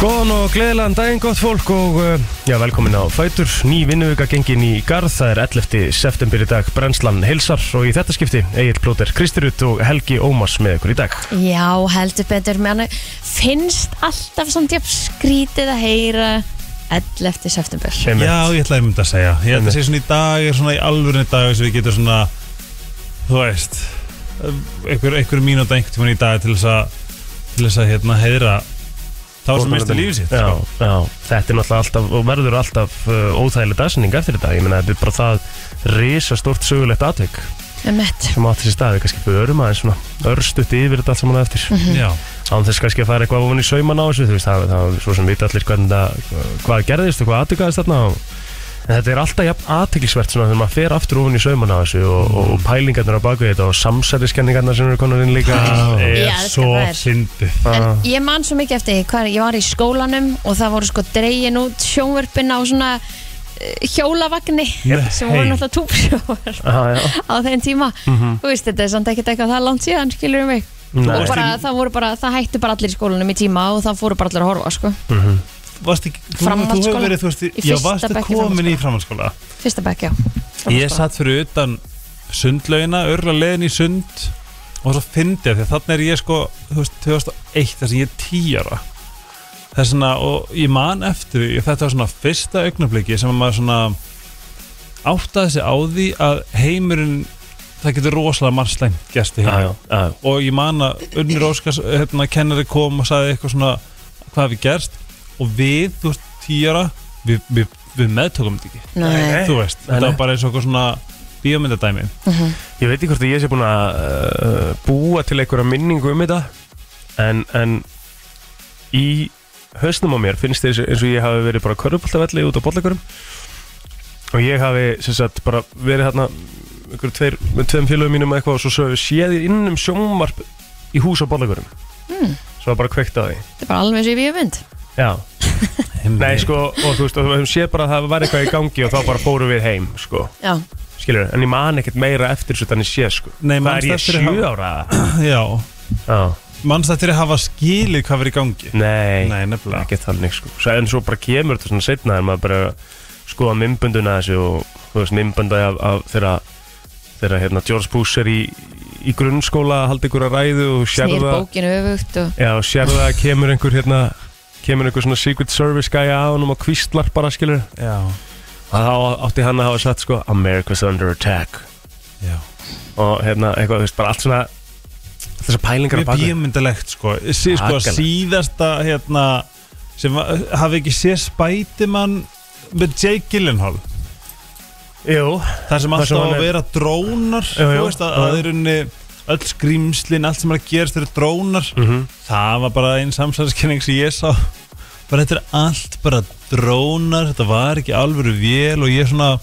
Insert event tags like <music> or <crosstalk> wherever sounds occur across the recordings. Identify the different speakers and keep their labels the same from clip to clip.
Speaker 1: Góðan og gleðilegan daginn, gott fólk og uh, já, velkomin á Fætur. Ný vinnuvika gengin í garð, það er 11. september í dag, brennslan heilsar og í þetta skipti Egil Plóter Kristirut og Helgi Ómas með ykkur í dag.
Speaker 2: Já, heldur betur með hann finnst alltaf samt jafn skrítið að heyra 11. september
Speaker 1: Einmitt.
Speaker 3: Já, ég ætla að mynda að segja Ég ætla að segja svona í dag er svona í alvörinu dag sem við getum svona, þú veist einhver, einhver mínúta einhvern tímann í dag til þess að til þess að hérna heyra þá sem mistu lífið sitt
Speaker 1: Já,
Speaker 3: sko.
Speaker 1: já, þetta er náttúrulega alltaf og verður alltaf uh, óþægileg dagsinning eftir þetta. Ég meina, þetta er bara það risastórt sögulegt atvik
Speaker 2: um þetta
Speaker 1: sem átti sér staði, kannski börum aðeins svona örstutti yfir þetta allt saman á eftir.
Speaker 3: Já,
Speaker 1: án þess kannski að fara eitthvað ofan í sauman á þessu þú veist, það, það er svo sem vita allir hvernig það hvað gerðist og hvað aðtökaðist þarna og, en þetta er alltaf jafn aðtöklisvert svona þegar maður fer aftur ofan í sauman á þessu og, og,
Speaker 2: Mm.
Speaker 1: og pælingarnar á baku þetta og samsæriskenningarnar sem eru konar inn líka
Speaker 3: það
Speaker 1: Eh,
Speaker 2: Ég
Speaker 3: er
Speaker 2: elska
Speaker 3: svo
Speaker 2: þær.
Speaker 3: fyndið
Speaker 1: Ah.
Speaker 2: En ég man svo mikið eftir því, hvað, er- ég var í skólanum og það voru sko dregin út sjónvörpin á svona eh, hjólavagni sem voru
Speaker 3: Nei.
Speaker 2: náttúrulega túpsjóvar
Speaker 1: Ah, já.
Speaker 2: á þeim tíma
Speaker 3: Mhm.
Speaker 2: Þú veist, þetta er samt ekkert eitthvað það langt síðan, skilur mig
Speaker 1: Nei.
Speaker 2: og bara, það, voru bara, það hættu bara allir í skólanum í tíma og það fóru bara allir að horfa sko.
Speaker 1: Mhm.
Speaker 3: Varst ekki, þú- þú
Speaker 2: Framhaldsskóla.
Speaker 3: hefur verið, þú veist,
Speaker 2: Í
Speaker 3: já,
Speaker 2: fyrsta
Speaker 3: varst
Speaker 2: bekk í
Speaker 3: komin í framhaldsskóla
Speaker 2: fyrsta bekk, já
Speaker 3: Ég satt fyrir utan sundlaugina, örla leiðin í sund og svo fyndi að því að þannig er ég sko þú veist, 2001 þess að ég er 10 ára það er svona og ég man eftir því, þetta var svona fyrsta augnabliki sem að maður svona áttaði sig á því að heimurinn það getur rosalega margt slengt gæst í
Speaker 1: Já,
Speaker 3: heimurinn
Speaker 1: já, já.
Speaker 3: og ég man að Unnur Óskars hérna, kennari kom og sagði eitthvað svona hvað hafi gerst og við, þú veist, 10 ára við, við, við meðtökum þetta ekki
Speaker 2: Nei.
Speaker 3: þú veist, þetta
Speaker 1: nei.
Speaker 3: var bara eins og eitthvað svona bíómyndadæmi
Speaker 1: ég veit ekki hvort að ég sé búin að uh, búa til einhverja minningu um þetta en, en í höstnum á mér finnst þess eins og ég hafi verið bara körfuboltavelli út á bollekurum og ég hafi sem sagt bara verið hérna ykkur tveir, með tveim félögum mínum eða eitthvað og svo svo hefur séð ég inn um sjónvarp í hús á bollekurum mm. svo var bara kveikt á því
Speaker 2: þetta er bara alveg eins og í bíumynd
Speaker 1: Já. Nei sko og þú veist og við höfum séð bara að það var eitthvað í gangi og þá bara fórum við heim sko
Speaker 2: já,
Speaker 1: skilur en ég man ekkert meira eftir svo þannig sé sko
Speaker 3: Nei,
Speaker 1: Hvað er
Speaker 3: manstu
Speaker 1: ég
Speaker 3: eftir að
Speaker 1: sjö
Speaker 3: hafa-
Speaker 1: ára
Speaker 3: já,
Speaker 1: Já,
Speaker 3: mannst þetta er að hafa skilið hvað verið í gangi
Speaker 1: nei,
Speaker 3: Nei, nefnilega.
Speaker 1: ekki þannig sko. svo, En svo bara kemur þetta svona setna En maður bara skoða mymbönduna þessu Og þú veist, mymböndaði af, af þeirra Þeirra, hérna, George Bush er í Í grunnskóla, haldi ykkur að ræðu Og
Speaker 2: snýr
Speaker 1: sérða,
Speaker 2: bókinu öfugt og
Speaker 1: já, sérða að kemur einhver hérna Kemur einhver svona Secret Service gæja á honum Og kvistlar bara, skilur
Speaker 3: já,
Speaker 1: Og þá átti hann að hafa sagt, sko America's under attack
Speaker 3: já
Speaker 1: Og hérna, eitthvað, þú veist, bara allt svona Þessar pælingar á
Speaker 3: mjög
Speaker 1: bak við.
Speaker 3: bíómyndalegt sko, sí, sko
Speaker 1: Hakalega.
Speaker 3: síðasta hérna sem var- hafi ekki séð Spiderman með Jake Gyllenhaal
Speaker 1: Jú,
Speaker 3: þar sem
Speaker 1: Þar sem
Speaker 3: alltaf á
Speaker 1: hann
Speaker 3: að
Speaker 1: er-
Speaker 3: vera drónar
Speaker 1: Já, já,
Speaker 3: þú veist
Speaker 1: já,
Speaker 3: að
Speaker 1: já.
Speaker 3: það er unni öll skrýmslin, allt sem er að gerast eru drónar
Speaker 1: Mhm.
Speaker 3: það var bara einn samsæðiskenning sem ég sá bara þetta er allt bara drónar þetta var ekki alvöru vél og ég svona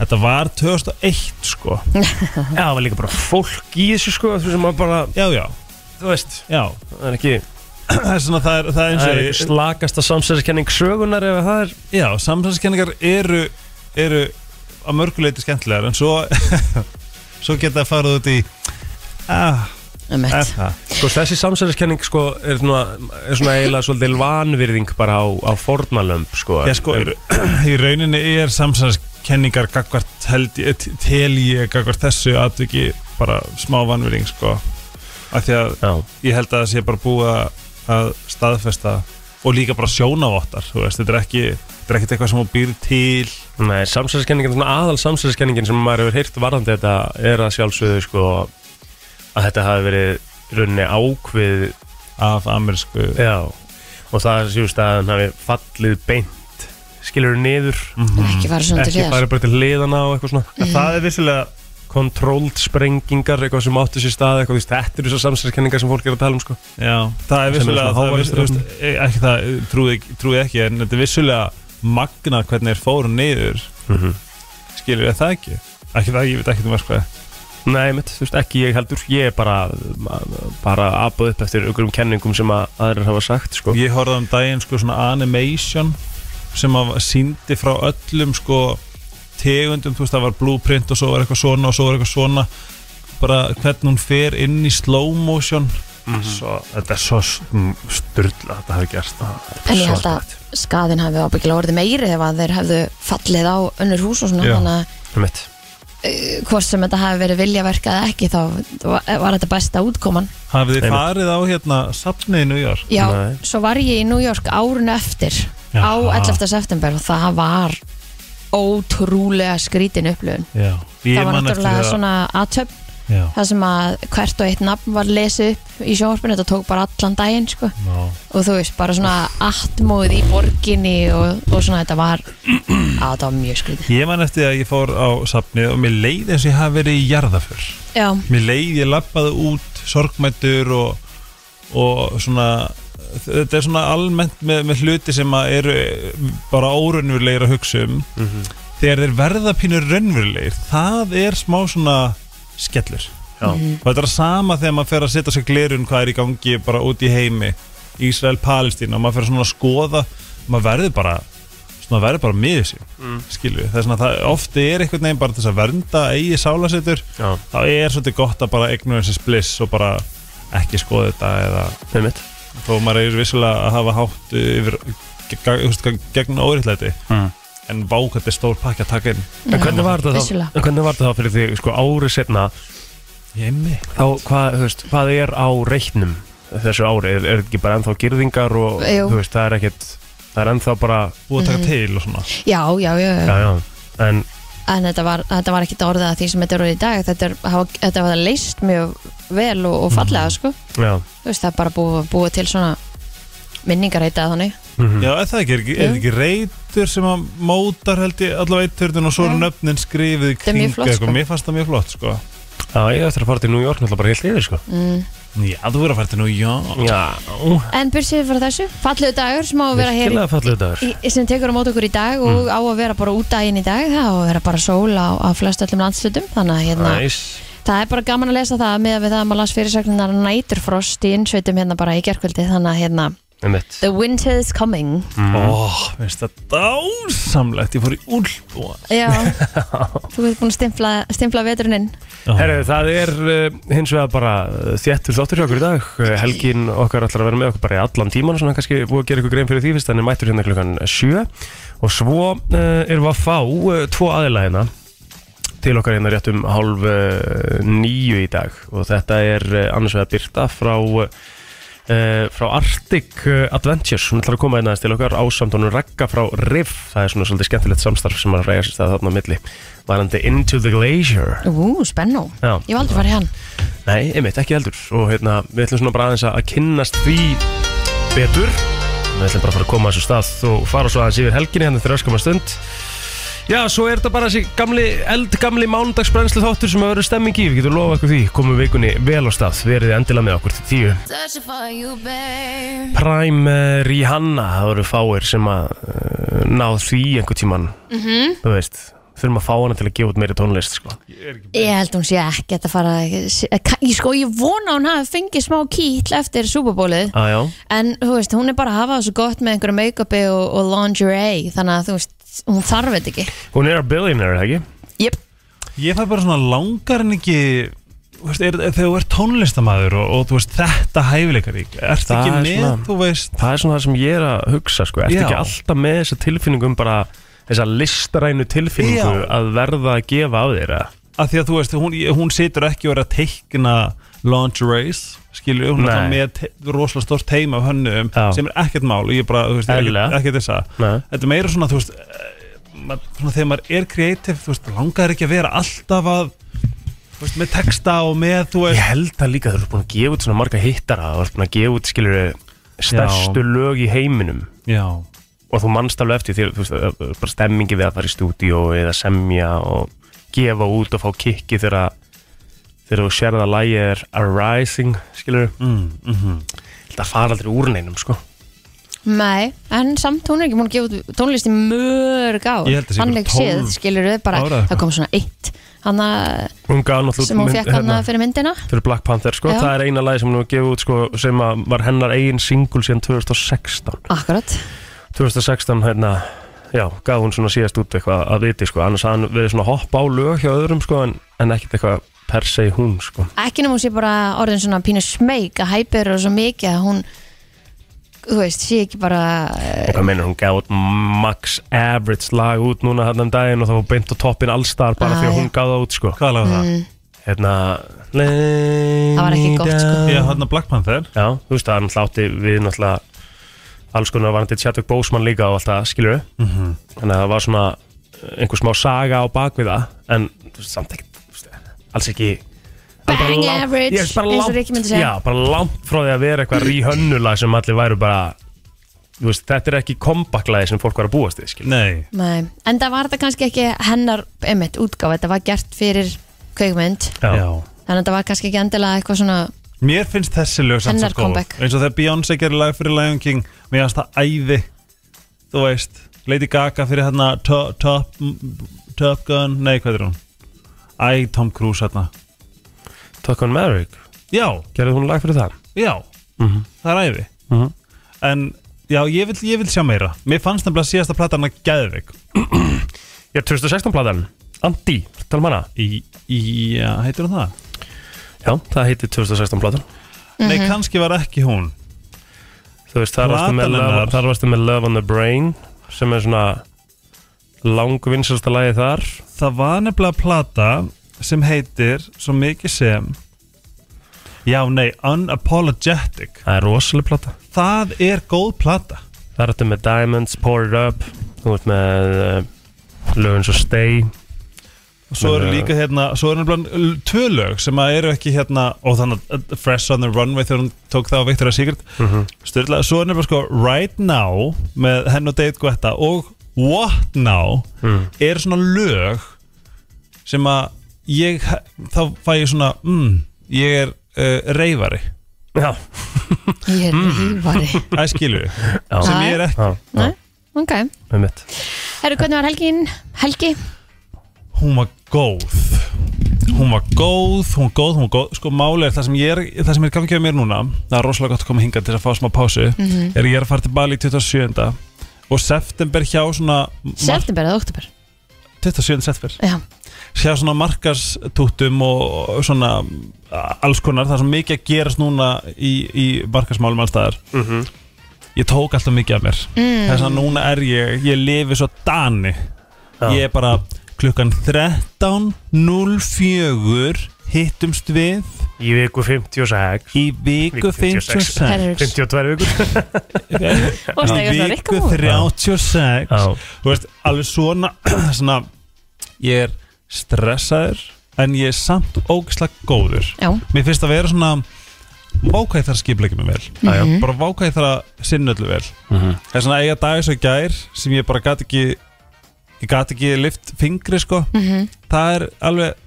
Speaker 3: þetta var 2001 sko
Speaker 1: já, það var líka bara fólk í þessu sko Þú sem maður bara,
Speaker 3: já já,
Speaker 1: þú veist
Speaker 3: já <clears throat>
Speaker 1: Það er ekki
Speaker 3: það er svona það er, það er eins
Speaker 1: Það
Speaker 3: og
Speaker 1: er
Speaker 3: ég-
Speaker 1: slagasta samsæðiskenning sögunar ef það er
Speaker 3: já, samsæðiskenningar eru eru að mörguleiti skemmtilegar en svo <laughs> svo geta það farið út í ah,
Speaker 2: um
Speaker 3: er það
Speaker 1: sko, Þessi samsæðiskenning sko, er, svona, er svona eiginlega svolítið vanvirðing bara á, á fornalömb sko.
Speaker 3: Já, sko,
Speaker 1: En-
Speaker 3: <clears throat> í rauninni er samsæðiskenningar gagvart held ég, t- tel ég gagvart þessu atviki bara smá vanvering, sko af því að
Speaker 1: Já,
Speaker 3: ég held að það sé bara búið að- að staðfesta og líka bara sjónavottar, þú veist, þetta er ekki þetta er ekkert eitthvað sem hún býr til
Speaker 1: nei, samsæðiskenningin, svona aðal samsæðiskenningin sem maður hefur heyrt varðandi þetta er að sjálfsögðu sko, að þetta hafi verið runni ákvið
Speaker 3: af amerísku
Speaker 1: já, og það séu staðan hafi fallið beint skilur niður
Speaker 3: Mhm.
Speaker 2: ekki fara svona til
Speaker 1: ekki
Speaker 2: hliðar
Speaker 1: farið bara til hliðana og eitthvað svona
Speaker 2: Mm.
Speaker 3: það er vissilega
Speaker 1: kontróld sprengingar eitthvað sem áttu sér stað eitthvað, þú veist, þetta eru þessar samsæðiskenningar sem fólk er að tala um sko.
Speaker 3: Já, það er
Speaker 1: Sem er
Speaker 3: vissulega
Speaker 1: svona
Speaker 3: það er
Speaker 1: hávært
Speaker 3: vissulega,
Speaker 1: röfn.
Speaker 3: þú veist, e, ekki það trúið ekki, trúið ekki en þetta er vissulega magna hvernig er fóru niður
Speaker 1: Mhm.
Speaker 3: skilur ég það ekki ekki það, ég veit ekki um að skoða
Speaker 1: Nei, mitt, þú veist, ekki ég heldur ég er bara, bara abuð upp eftir einhverjum kenningum sem að aðrir hafa sagt sko.
Speaker 3: Ég horfði um daginn sko svona animation sem að síndi frá öllum sko tegundum, þú veist það var blueprint og svo var eitthvað svona og svo var eitthvað svona bara hvernig hún fer inn í slow motion
Speaker 1: Mhm.
Speaker 3: svo, þetta er svo styrla þetta hafi gert
Speaker 2: En ég held að skaðin hafi ábyggilega orðið meiri ef að þeir hefðu fallið á önnur hús og svona
Speaker 3: Já.
Speaker 2: þannig að
Speaker 1: Einmitt.
Speaker 2: eh, hvort sem þetta hafi verið viljaverk eða ekki þá var var þetta besta útkoman
Speaker 3: hafið þið
Speaker 1: Einmitt.
Speaker 3: farið á hérna safnið í New York
Speaker 2: Já,
Speaker 1: Nei.
Speaker 2: svo var ég í New York árun eftir á
Speaker 3: Jaha.
Speaker 2: 11. september og það var ótrúlega skrítin upplöfun
Speaker 3: já,
Speaker 2: það var náttúrulega svona aðtöp
Speaker 3: já,
Speaker 2: það sem að hvert og eitt nafn var lesið upp í sjónvarpinu, þetta tók bara allan daginn sko.
Speaker 3: ná,
Speaker 2: og þú veist, bara svona attmóð í borginni og, og svona þetta var <clears throat> að það var mjög skrítið
Speaker 3: ég man eftir því að ég fór á safnið og mér leið eins og ég hafi verið í jarðaför
Speaker 2: já,
Speaker 3: mér leið, ég lappaði út sorgmættur og, og svona þetta er svona almennt með, með hluti sem að eru bara órunverulegir að hugsa um þegar þeir verða pínur raunverulegir það er smá svona skellur
Speaker 1: Já.
Speaker 2: Mhm.
Speaker 3: og þetta er sama þegar maður fer að setja sér glerun hvað er í gangi bara út í heimi Ísrael, Palestín og maður fer svona að skoða maður verður bara svona verður bara miður sér mm. skilju, það er svona það ofti er einhvern veginn bara til þess að vernda eigi sálasetur
Speaker 1: Já,
Speaker 3: þá er svolítið gott að bara ignorance is bliss og bara ekki skoða þetta eða
Speaker 1: einmitt
Speaker 3: þó maður er vissulega að hafa hátt yfir gegn, gegn, gegn óriðlæti
Speaker 1: Mm.
Speaker 3: en vákvæmt er stór pakki að taka inn
Speaker 1: En hvernig var þetta þá,
Speaker 2: vissulega.
Speaker 1: en hvernig var þetta þá fyrir því sko árið setna
Speaker 3: ég mig
Speaker 1: þá hvað, þú veist, hvað er á reiknum þessu ári, er, er þetta ekki bara ennþá girðingar og
Speaker 2: Jú.
Speaker 1: þú veist, það er ekkert það er ennþá bara,
Speaker 2: Mhm.
Speaker 3: búið að taka til og svona
Speaker 2: já, já, já, já.
Speaker 1: já já en,
Speaker 2: en þetta var, þetta var ekki orðið að því sem þetta er orðið í dag þetta, er, hafa, þetta var leist mjög vel og, og fallega
Speaker 1: Mm.
Speaker 2: sko.
Speaker 1: já
Speaker 2: þú veist, það er bara búið, búið til svona minningar heitað þannig
Speaker 1: mhm.
Speaker 3: já, er það ekki, er, ekki- er ekki reytur sem að mótar held ég allavega eitturðun og svo eru
Speaker 2: Já.
Speaker 3: nöfnin
Speaker 2: er
Speaker 3: skrifið í
Speaker 2: mjög
Speaker 3: kring
Speaker 2: flott, sko.
Speaker 3: eitthvað, mér fannst það mjög flott sko
Speaker 1: Já, ég á eftir að fara til New York náttúrulega bara heilt yfir sko
Speaker 2: mm.
Speaker 3: já, þú verður að fara til nú, já
Speaker 1: Já,
Speaker 2: en byrjuðið frá þessu, fallegu dagur sem á að vera hér í
Speaker 1: virkilega Mm. fallið dagur
Speaker 2: Í- sem tekur á mót okkur í dag og á að vera bara út daginn í dag það á að vera bara sól á, á flest öllum landslutum þannig að hérna,
Speaker 1: Næs
Speaker 2: það er bara gaman að lesa það með að við það að maður las fyrirsagnar næturfrost í innsveitum hérna bara í gerkvöldi þannig að hérna,
Speaker 1: Einmitt
Speaker 2: the winter is coming
Speaker 3: Mm. ó, finnst það dásamlegt ég fór í úlbúa
Speaker 2: já, þú ert búin að stimpla, stimpla veturinn
Speaker 1: Herru, það er uh, hins vegar bara uh, þéttur þáttur hjá okkur í dag Uh, Helgin okkar ætlar að vera með okkur bara í allan tíman svona kannski búið að gera ykkur grein fyrir því fyrst hann er mættur hérna klukkan 7 og svo uh, erum við að fá uh, tvo aðila hérna til okkar hérna rétt um hálf uh, nýju í dag og þetta er uh, annars vegar Birta frá uh, frá Arctic uh, Adventures hún ætlar að koma einnaðist til okkar ásamt honum Ragga frá Riff það er svona svolítið skemmtilegt samstarf sem að ræða sér stað þarna á milli varandi Into the Glacier
Speaker 2: ú, spennó,
Speaker 1: Já.
Speaker 2: ég var aldrei farið hann
Speaker 1: Nei, einmitt, ekki heldur og hérna, við ætlum svona bara aðeins að kynnast því betur við ætlum bara að fara að koma að þessu stað og fara svo aðeins yfir helginni hérna þegar öskama stund Já, svo er þetta bara þessi gamli, eldgamli mánudagsbrennslu þáttur sem að vera stemming í, við getum lofa ykkur því komum vikunni vel á stað, verið endilega með okkur til tíu
Speaker 4: Searching for you, babe.
Speaker 1: Prime eh, Rihanna, það voru fáir sem að uh, ná því einhver tíman -hmm. þú veist, þurfum að fá hana til að gefa út meiri tónlist sko.
Speaker 2: ég held hún sé ekki að fara ég sko, ég vona hún hafi fengið smá kýtl eftir súbabólið
Speaker 1: ah, Já,
Speaker 2: En þú veist, hún er bara að hafa það svo gott með einhverju make-upi og, og lingerie Þannig að þú veist, hún þarf þetta ekki
Speaker 1: hún er að billionaire, er það ekki?
Speaker 2: Jöp
Speaker 3: Ég fæ bara svona langar en ekki þú veist, er, þegar þú ert tónlistamæður og, og þú veist þetta hæfileikarík ert
Speaker 1: Það
Speaker 3: ekki
Speaker 1: er
Speaker 3: með,
Speaker 1: svona-
Speaker 3: þú veist
Speaker 1: það er svona það sem ég er að hugsa sko. ertu
Speaker 3: Já.
Speaker 1: ekki alltaf með þessa tilfinningum bara þessa listarænu tilfinningu
Speaker 3: Já.
Speaker 1: að verða að gefa á þér eða?
Speaker 3: að því að þú veist, hún, hún situr ekki og er að teikna lingeries skilju, hún er
Speaker 1: Nei.
Speaker 3: bara með te- rosalega stórt teima af hönnum
Speaker 1: Já.
Speaker 3: sem er ekkert mál og ég bara, þú veist, ekkert,
Speaker 1: Eðlilega.
Speaker 3: ekkert þessa
Speaker 1: Nei.
Speaker 3: þetta er meira svona, þú veist eh, ma- svona, þegar maður er kreatív, þú veist, langar ekki að vera alltaf að þú veist, með texta og með, þú veist
Speaker 1: ég held það líka þú ert búin að gefa út svona marga hittara þú ert búin að gefa út skilur stærstu lög í heiminum
Speaker 3: já,
Speaker 1: og þú mannst alveg eftir því þú veist, ö- ö- bara stemmingi við að fara í stúdíó eða semja og gefa út og fá kikki þegar þegar þú sérð að lægi er arising skilur
Speaker 3: mm, mm
Speaker 1: mhm. þetta fara aldrei úr neinum sko
Speaker 2: Nei, en samt hún er ekki múin að gefa út tónlist í mörg á
Speaker 3: Ég held að sé
Speaker 2: Þannig
Speaker 3: bara 12
Speaker 2: séð, skilur við bara
Speaker 3: ára eitthvað.
Speaker 2: Það kom svona eitt Hanna
Speaker 1: hún gaf náttúrulega
Speaker 2: sem hún
Speaker 1: mynd- hérna.
Speaker 3: hérna.
Speaker 2: fekk hanna fyrir myndina
Speaker 1: fyrir Black Panther sko,
Speaker 2: Já.
Speaker 1: það er eina lagi sem hún gefið út sko, sem að var hennar eigin single síðan 2016
Speaker 2: Akkurat
Speaker 1: 2016 hérna, já, gaf hún svona síðast út eitthvað að viti sko, annars hafði hann verið svona hopp á lög hjá öðrum sko, en, en ekkert eitthvað per se hún sko.
Speaker 2: ekki nema hún sé bara orðin svona pínu smeyk að hæpir og svo mikið að hún þú veist, sé ekki bara eh,
Speaker 1: og hvað meinar hún gaf út max average lag út núna hann um daginn og það var beint á toppin allstar bara
Speaker 2: Ah,
Speaker 1: því að hún
Speaker 2: já.
Speaker 1: gaf það út sko.
Speaker 3: Hvað lag var það?
Speaker 1: hérna
Speaker 2: Það var ekki gott, sko.
Speaker 3: Ég hann að Black Panther
Speaker 1: já, þú veist það er náttúrulega átti við náttúrulega alls konar varandi Chadwick Boseman líka og allt það skilur við þannig að það var svona einhver smá saga á bakvið það en þú veist, samt ekki þú veist, alls ekki alveg bara
Speaker 2: Bang
Speaker 1: langt-
Speaker 2: average,
Speaker 1: Ég veist, bara
Speaker 2: eins og
Speaker 1: langt-
Speaker 2: Rikki myndi segja.
Speaker 1: já, bara langt frá því að vera eitthvað ríhönnula sem allir væru bara þú veist, þetta er ekki kompaklæði sem fólk var að búast við skilur við.
Speaker 3: Nei
Speaker 2: Nei, en það var þetta kannski ekki hennar einmitt útgáfa, þetta var gert fyrir kveikmynd, þannig að þetta var kannski ekki endilega eitthvað svona
Speaker 3: Mér finnst þessi lög samt
Speaker 2: Hennar
Speaker 3: svo góð
Speaker 2: comeback.
Speaker 3: eins og þegar Beyoncé gerir lag fyrir Lion King mér finnst það æði þú veist, Lady Gaga fyrir hérna Top, top, top Gun nei, hvað er hún? Æ, Tom Cruise hérna
Speaker 1: Top Gun Maverick,
Speaker 3: Já,
Speaker 1: gerði hún lag fyrir það?
Speaker 3: já,
Speaker 1: Mhm.
Speaker 3: það er æði
Speaker 1: Mhm.
Speaker 3: en já, ég vil, ég vil sjá meira mér fannst nefnilega síðasta platan að geðveik
Speaker 1: Já, 2016 platan, Andi, tala manna
Speaker 3: í, í, já, heitir hún það?
Speaker 1: Já, það heitir 2016 platan
Speaker 3: Nei,
Speaker 2: Mhm.
Speaker 3: kannski var ekki hún
Speaker 1: Þú veist, þar varstu, með
Speaker 3: Platan
Speaker 1: love,
Speaker 3: hennar.
Speaker 1: þar varstu með Love on the Brain sem er svona langvinnselsta lagi þar
Speaker 3: það var nefnilega plata sem heitir svo mikið sem já nei Unapologetic
Speaker 1: Það er rosaleg plata
Speaker 3: það er góð plata
Speaker 1: Þar ertu með Diamonds, Pour It Up Þú ert með uh, lögun svo Stay
Speaker 3: og svo eru líka hérna svo eru nefnilega l- tvö lög sem að eru ekki hérna og þannig að Fresh on the Runway þegar hún tók það á Victoria's Secret mm svo er nefnilega sko Right Now með henn og David Guetta og What Now
Speaker 1: Mm.
Speaker 3: eru svona lög sem að ég þá fæ ég svona mm, ég er uh, reyfari
Speaker 1: Já,
Speaker 2: ég er lífari
Speaker 3: Hmm. <laughs> Það skilu
Speaker 1: Já.
Speaker 3: Sem ég er ekki
Speaker 1: já, já,
Speaker 2: Nei, ok
Speaker 1: með mitt
Speaker 2: Herru, hvernig var helgin? Helgi?
Speaker 3: Hún var góð Hún var góð, hún var góð, hún var góð Sko máli er það sem ég er, það sem er gangi á mér núna Það er rosalega gott að koma hingað til að fá smá pásu Er ég er að fara til Bali 27. Og september hjá svona mar-
Speaker 2: September eða oktober?
Speaker 3: 27. september
Speaker 2: Já,
Speaker 3: Hjá svona markastúttum og svona alls konar Það er svo mikið að gerast núna í, í markasmálum alls staðar
Speaker 1: Mhm.
Speaker 3: Ég tók alltaf mikið af mér
Speaker 2: Mm.
Speaker 3: Þess að núna er ég, ég lifi svo dani
Speaker 1: Já.
Speaker 3: Ég er bara klukkan 13.04 hittumst við
Speaker 1: Í viku 56
Speaker 3: í viku
Speaker 1: Viku 56.
Speaker 3: 56
Speaker 1: 52
Speaker 2: herru
Speaker 1: vikur
Speaker 2: Og stegast
Speaker 3: í
Speaker 2: það
Speaker 3: viku
Speaker 2: rikkum úr
Speaker 1: <laughs>
Speaker 3: 36
Speaker 1: Já,
Speaker 3: Þú veist, alveg svona, <clears throat> svona ég er stressaður en ég er samt ógislega góður
Speaker 2: Já,
Speaker 3: Mér finnst að vera svona vákæð þar skipleikið mér vel
Speaker 1: já, já
Speaker 3: bara vákæð þar að sinna öllu vel
Speaker 1: Mhm.
Speaker 3: Það er svona eiga dagis og gær sem ég bara gat ekki ég gat ekki lift fingri sko það er alveg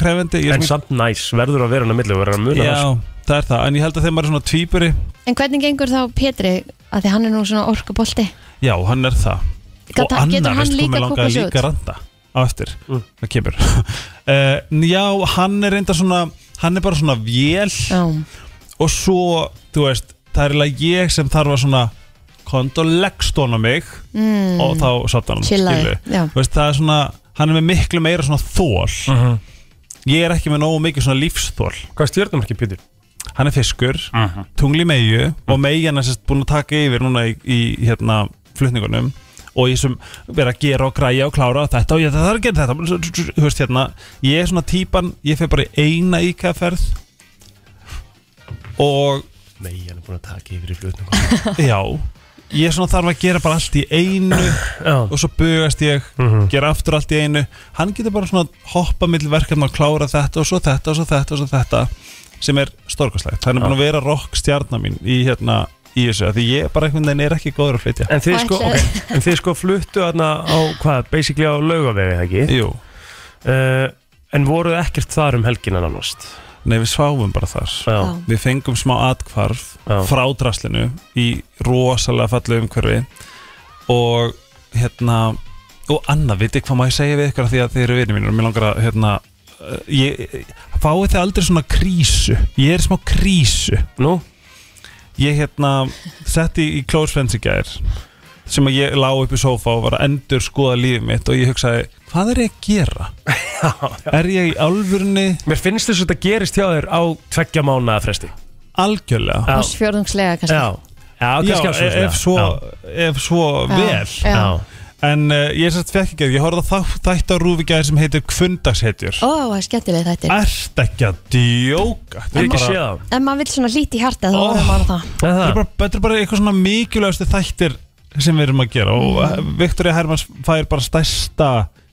Speaker 3: krefendi ég er
Speaker 1: En
Speaker 3: svona-
Speaker 1: samt næs, verður að vera hann að milli og verður að muna það,
Speaker 3: Já, það er það, en ég held að þegar maður er svona tvíburi
Speaker 2: en hvernig gengur þá Pétri að því hann er nú svona orkubolti
Speaker 3: Já, hann er það
Speaker 2: Gat-
Speaker 3: Og annar,
Speaker 2: getur hann
Speaker 3: veistu hvað
Speaker 2: líka
Speaker 3: mig langaði
Speaker 2: kúkað sig
Speaker 3: líka
Speaker 2: út?
Speaker 3: randa á eftir,
Speaker 1: Mm.
Speaker 3: það kemur <laughs> uh, Já, hann er reynda svona hann er bara svona vél
Speaker 2: Já,
Speaker 3: og svo, þú veist, það er eiginlega ég sem þarf að svona kondolegstóna mig
Speaker 2: mm,
Speaker 3: og þá sáttan hann
Speaker 2: chillaði Já,
Speaker 3: Þú veist, það er svona, hann er með miklu meira svona þól
Speaker 1: Mhm.
Speaker 3: ég er ekki með nógu mikið svona lífsþól
Speaker 1: Hvað er stjörnum ekki, Pítur?
Speaker 3: hann er fiskur,
Speaker 1: Mhm.
Speaker 3: tungli meiu og meian er sérst búin að taka yfir núna í, í hérna flutningunum og ég sem vera að gera og græja og klára þetta og ég það er að gera þetta þú veist hérna, ég er svona típan ég fer bara í eina íkaferð og
Speaker 1: Nei, hann er búin að taka yfir í flutningum
Speaker 3: já ég svona þarf að gera bara allt í einu
Speaker 1: Já, <laughs> Mhm.
Speaker 3: og svo bugast ég gera aftur allt í einu hann getur bara svona hoppa mill verkefna og klára þetta og svo þetta og svo þetta og svo þetta sem er storkaslegt hann er búin að vera rockstjarnar mín í hérna í þessu af því ég bara einhvern veginn er ekki góður að flytja
Speaker 1: En þið
Speaker 2: Og
Speaker 1: sko,
Speaker 2: ætlaði-
Speaker 1: okay, en þið sko fluttu þarna á hvað, basically á laugavegi eða ekki
Speaker 3: Jú,
Speaker 1: uh, En voruð ekkert þar um helginan annast
Speaker 3: nei við sváum bara þar
Speaker 1: Já,
Speaker 2: Já.
Speaker 3: við fengum smá atkvarf
Speaker 1: Já.
Speaker 3: frá draslinu í rosalega fallu umhverfi og hérna og annað, vitið hvað má ég segja við ykkur af því að þið eru vinir mínir og mér langar að hérna eh, ég, fáið þið aldrei svona krísu ég er í smá krísu
Speaker 1: nú,
Speaker 3: Ég hérna setti í Close Friends í gær sem að ég lá upp í sófa og var að endur skoða lífið mitt og ég hugsaði, hvað er ég að gera?
Speaker 1: <laughs>
Speaker 3: Er ég í alvörni
Speaker 1: Mér finnst þess að þetta gerist hjá þér á tveggja mánaða fresti
Speaker 3: algjörlega?
Speaker 1: Já,
Speaker 2: Ársfjörðungslega kannski
Speaker 1: já, já, kannski
Speaker 3: Já, e-
Speaker 1: ársfjórðungslega.
Speaker 3: ef svo,
Speaker 1: Já.
Speaker 3: ef svo vel
Speaker 2: Já.
Speaker 1: Já.
Speaker 3: En uh, ég sérst fekk ekki að ég horfði að þætt á rúfigæði sem heitir Kvundagshetjur
Speaker 2: Ó, það er skemmtileg þetta
Speaker 3: Ert ekki að
Speaker 1: Ég
Speaker 3: djóka
Speaker 1: hef ekki
Speaker 3: Þetta
Speaker 1: séð
Speaker 3: er bara-
Speaker 1: það.
Speaker 2: Ef maður vill svona lít í hjarta þá
Speaker 3: Ó.
Speaker 2: verður maður það
Speaker 1: Er
Speaker 3: þetta er
Speaker 1: það
Speaker 3: bara, þetta er bara eitthvað svona mikilvægastu þættir sem við erum að gera og
Speaker 1: Mm.
Speaker 3: eh, Viktoría Hermanns fær bara stærsta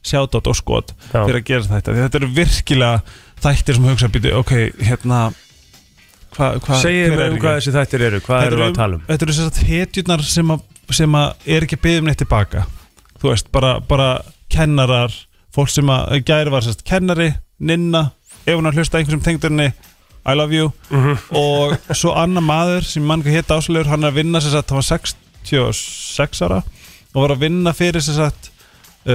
Speaker 3: sjátátt og skot
Speaker 1: Já.
Speaker 3: fyrir að gera þetta Því þetta eru virkilega þættir sem hugsa býtu, ok, hérna hva, hva,
Speaker 1: Segðu
Speaker 3: hver
Speaker 1: mér
Speaker 3: er
Speaker 1: um
Speaker 3: ég?
Speaker 1: hvað þessi þættir eru, hvað
Speaker 3: Þetta
Speaker 1: eru við að tala um?
Speaker 3: Þetta eru þessar hetjurnar sem, að, sem að er ekki að byggja um neitt tilbaka Þú veist, bara, bara kennarar Fólk sem að gæri var sérst kennari Ninna, ef hún að hlusta einhversum tengdurinni I love you
Speaker 1: Mhm.
Speaker 3: Og svo annar maður sem mann hvað hétt áslegur Hann er að vinna sérst að hann var 66 ára Og var að vinna fyrir sérst að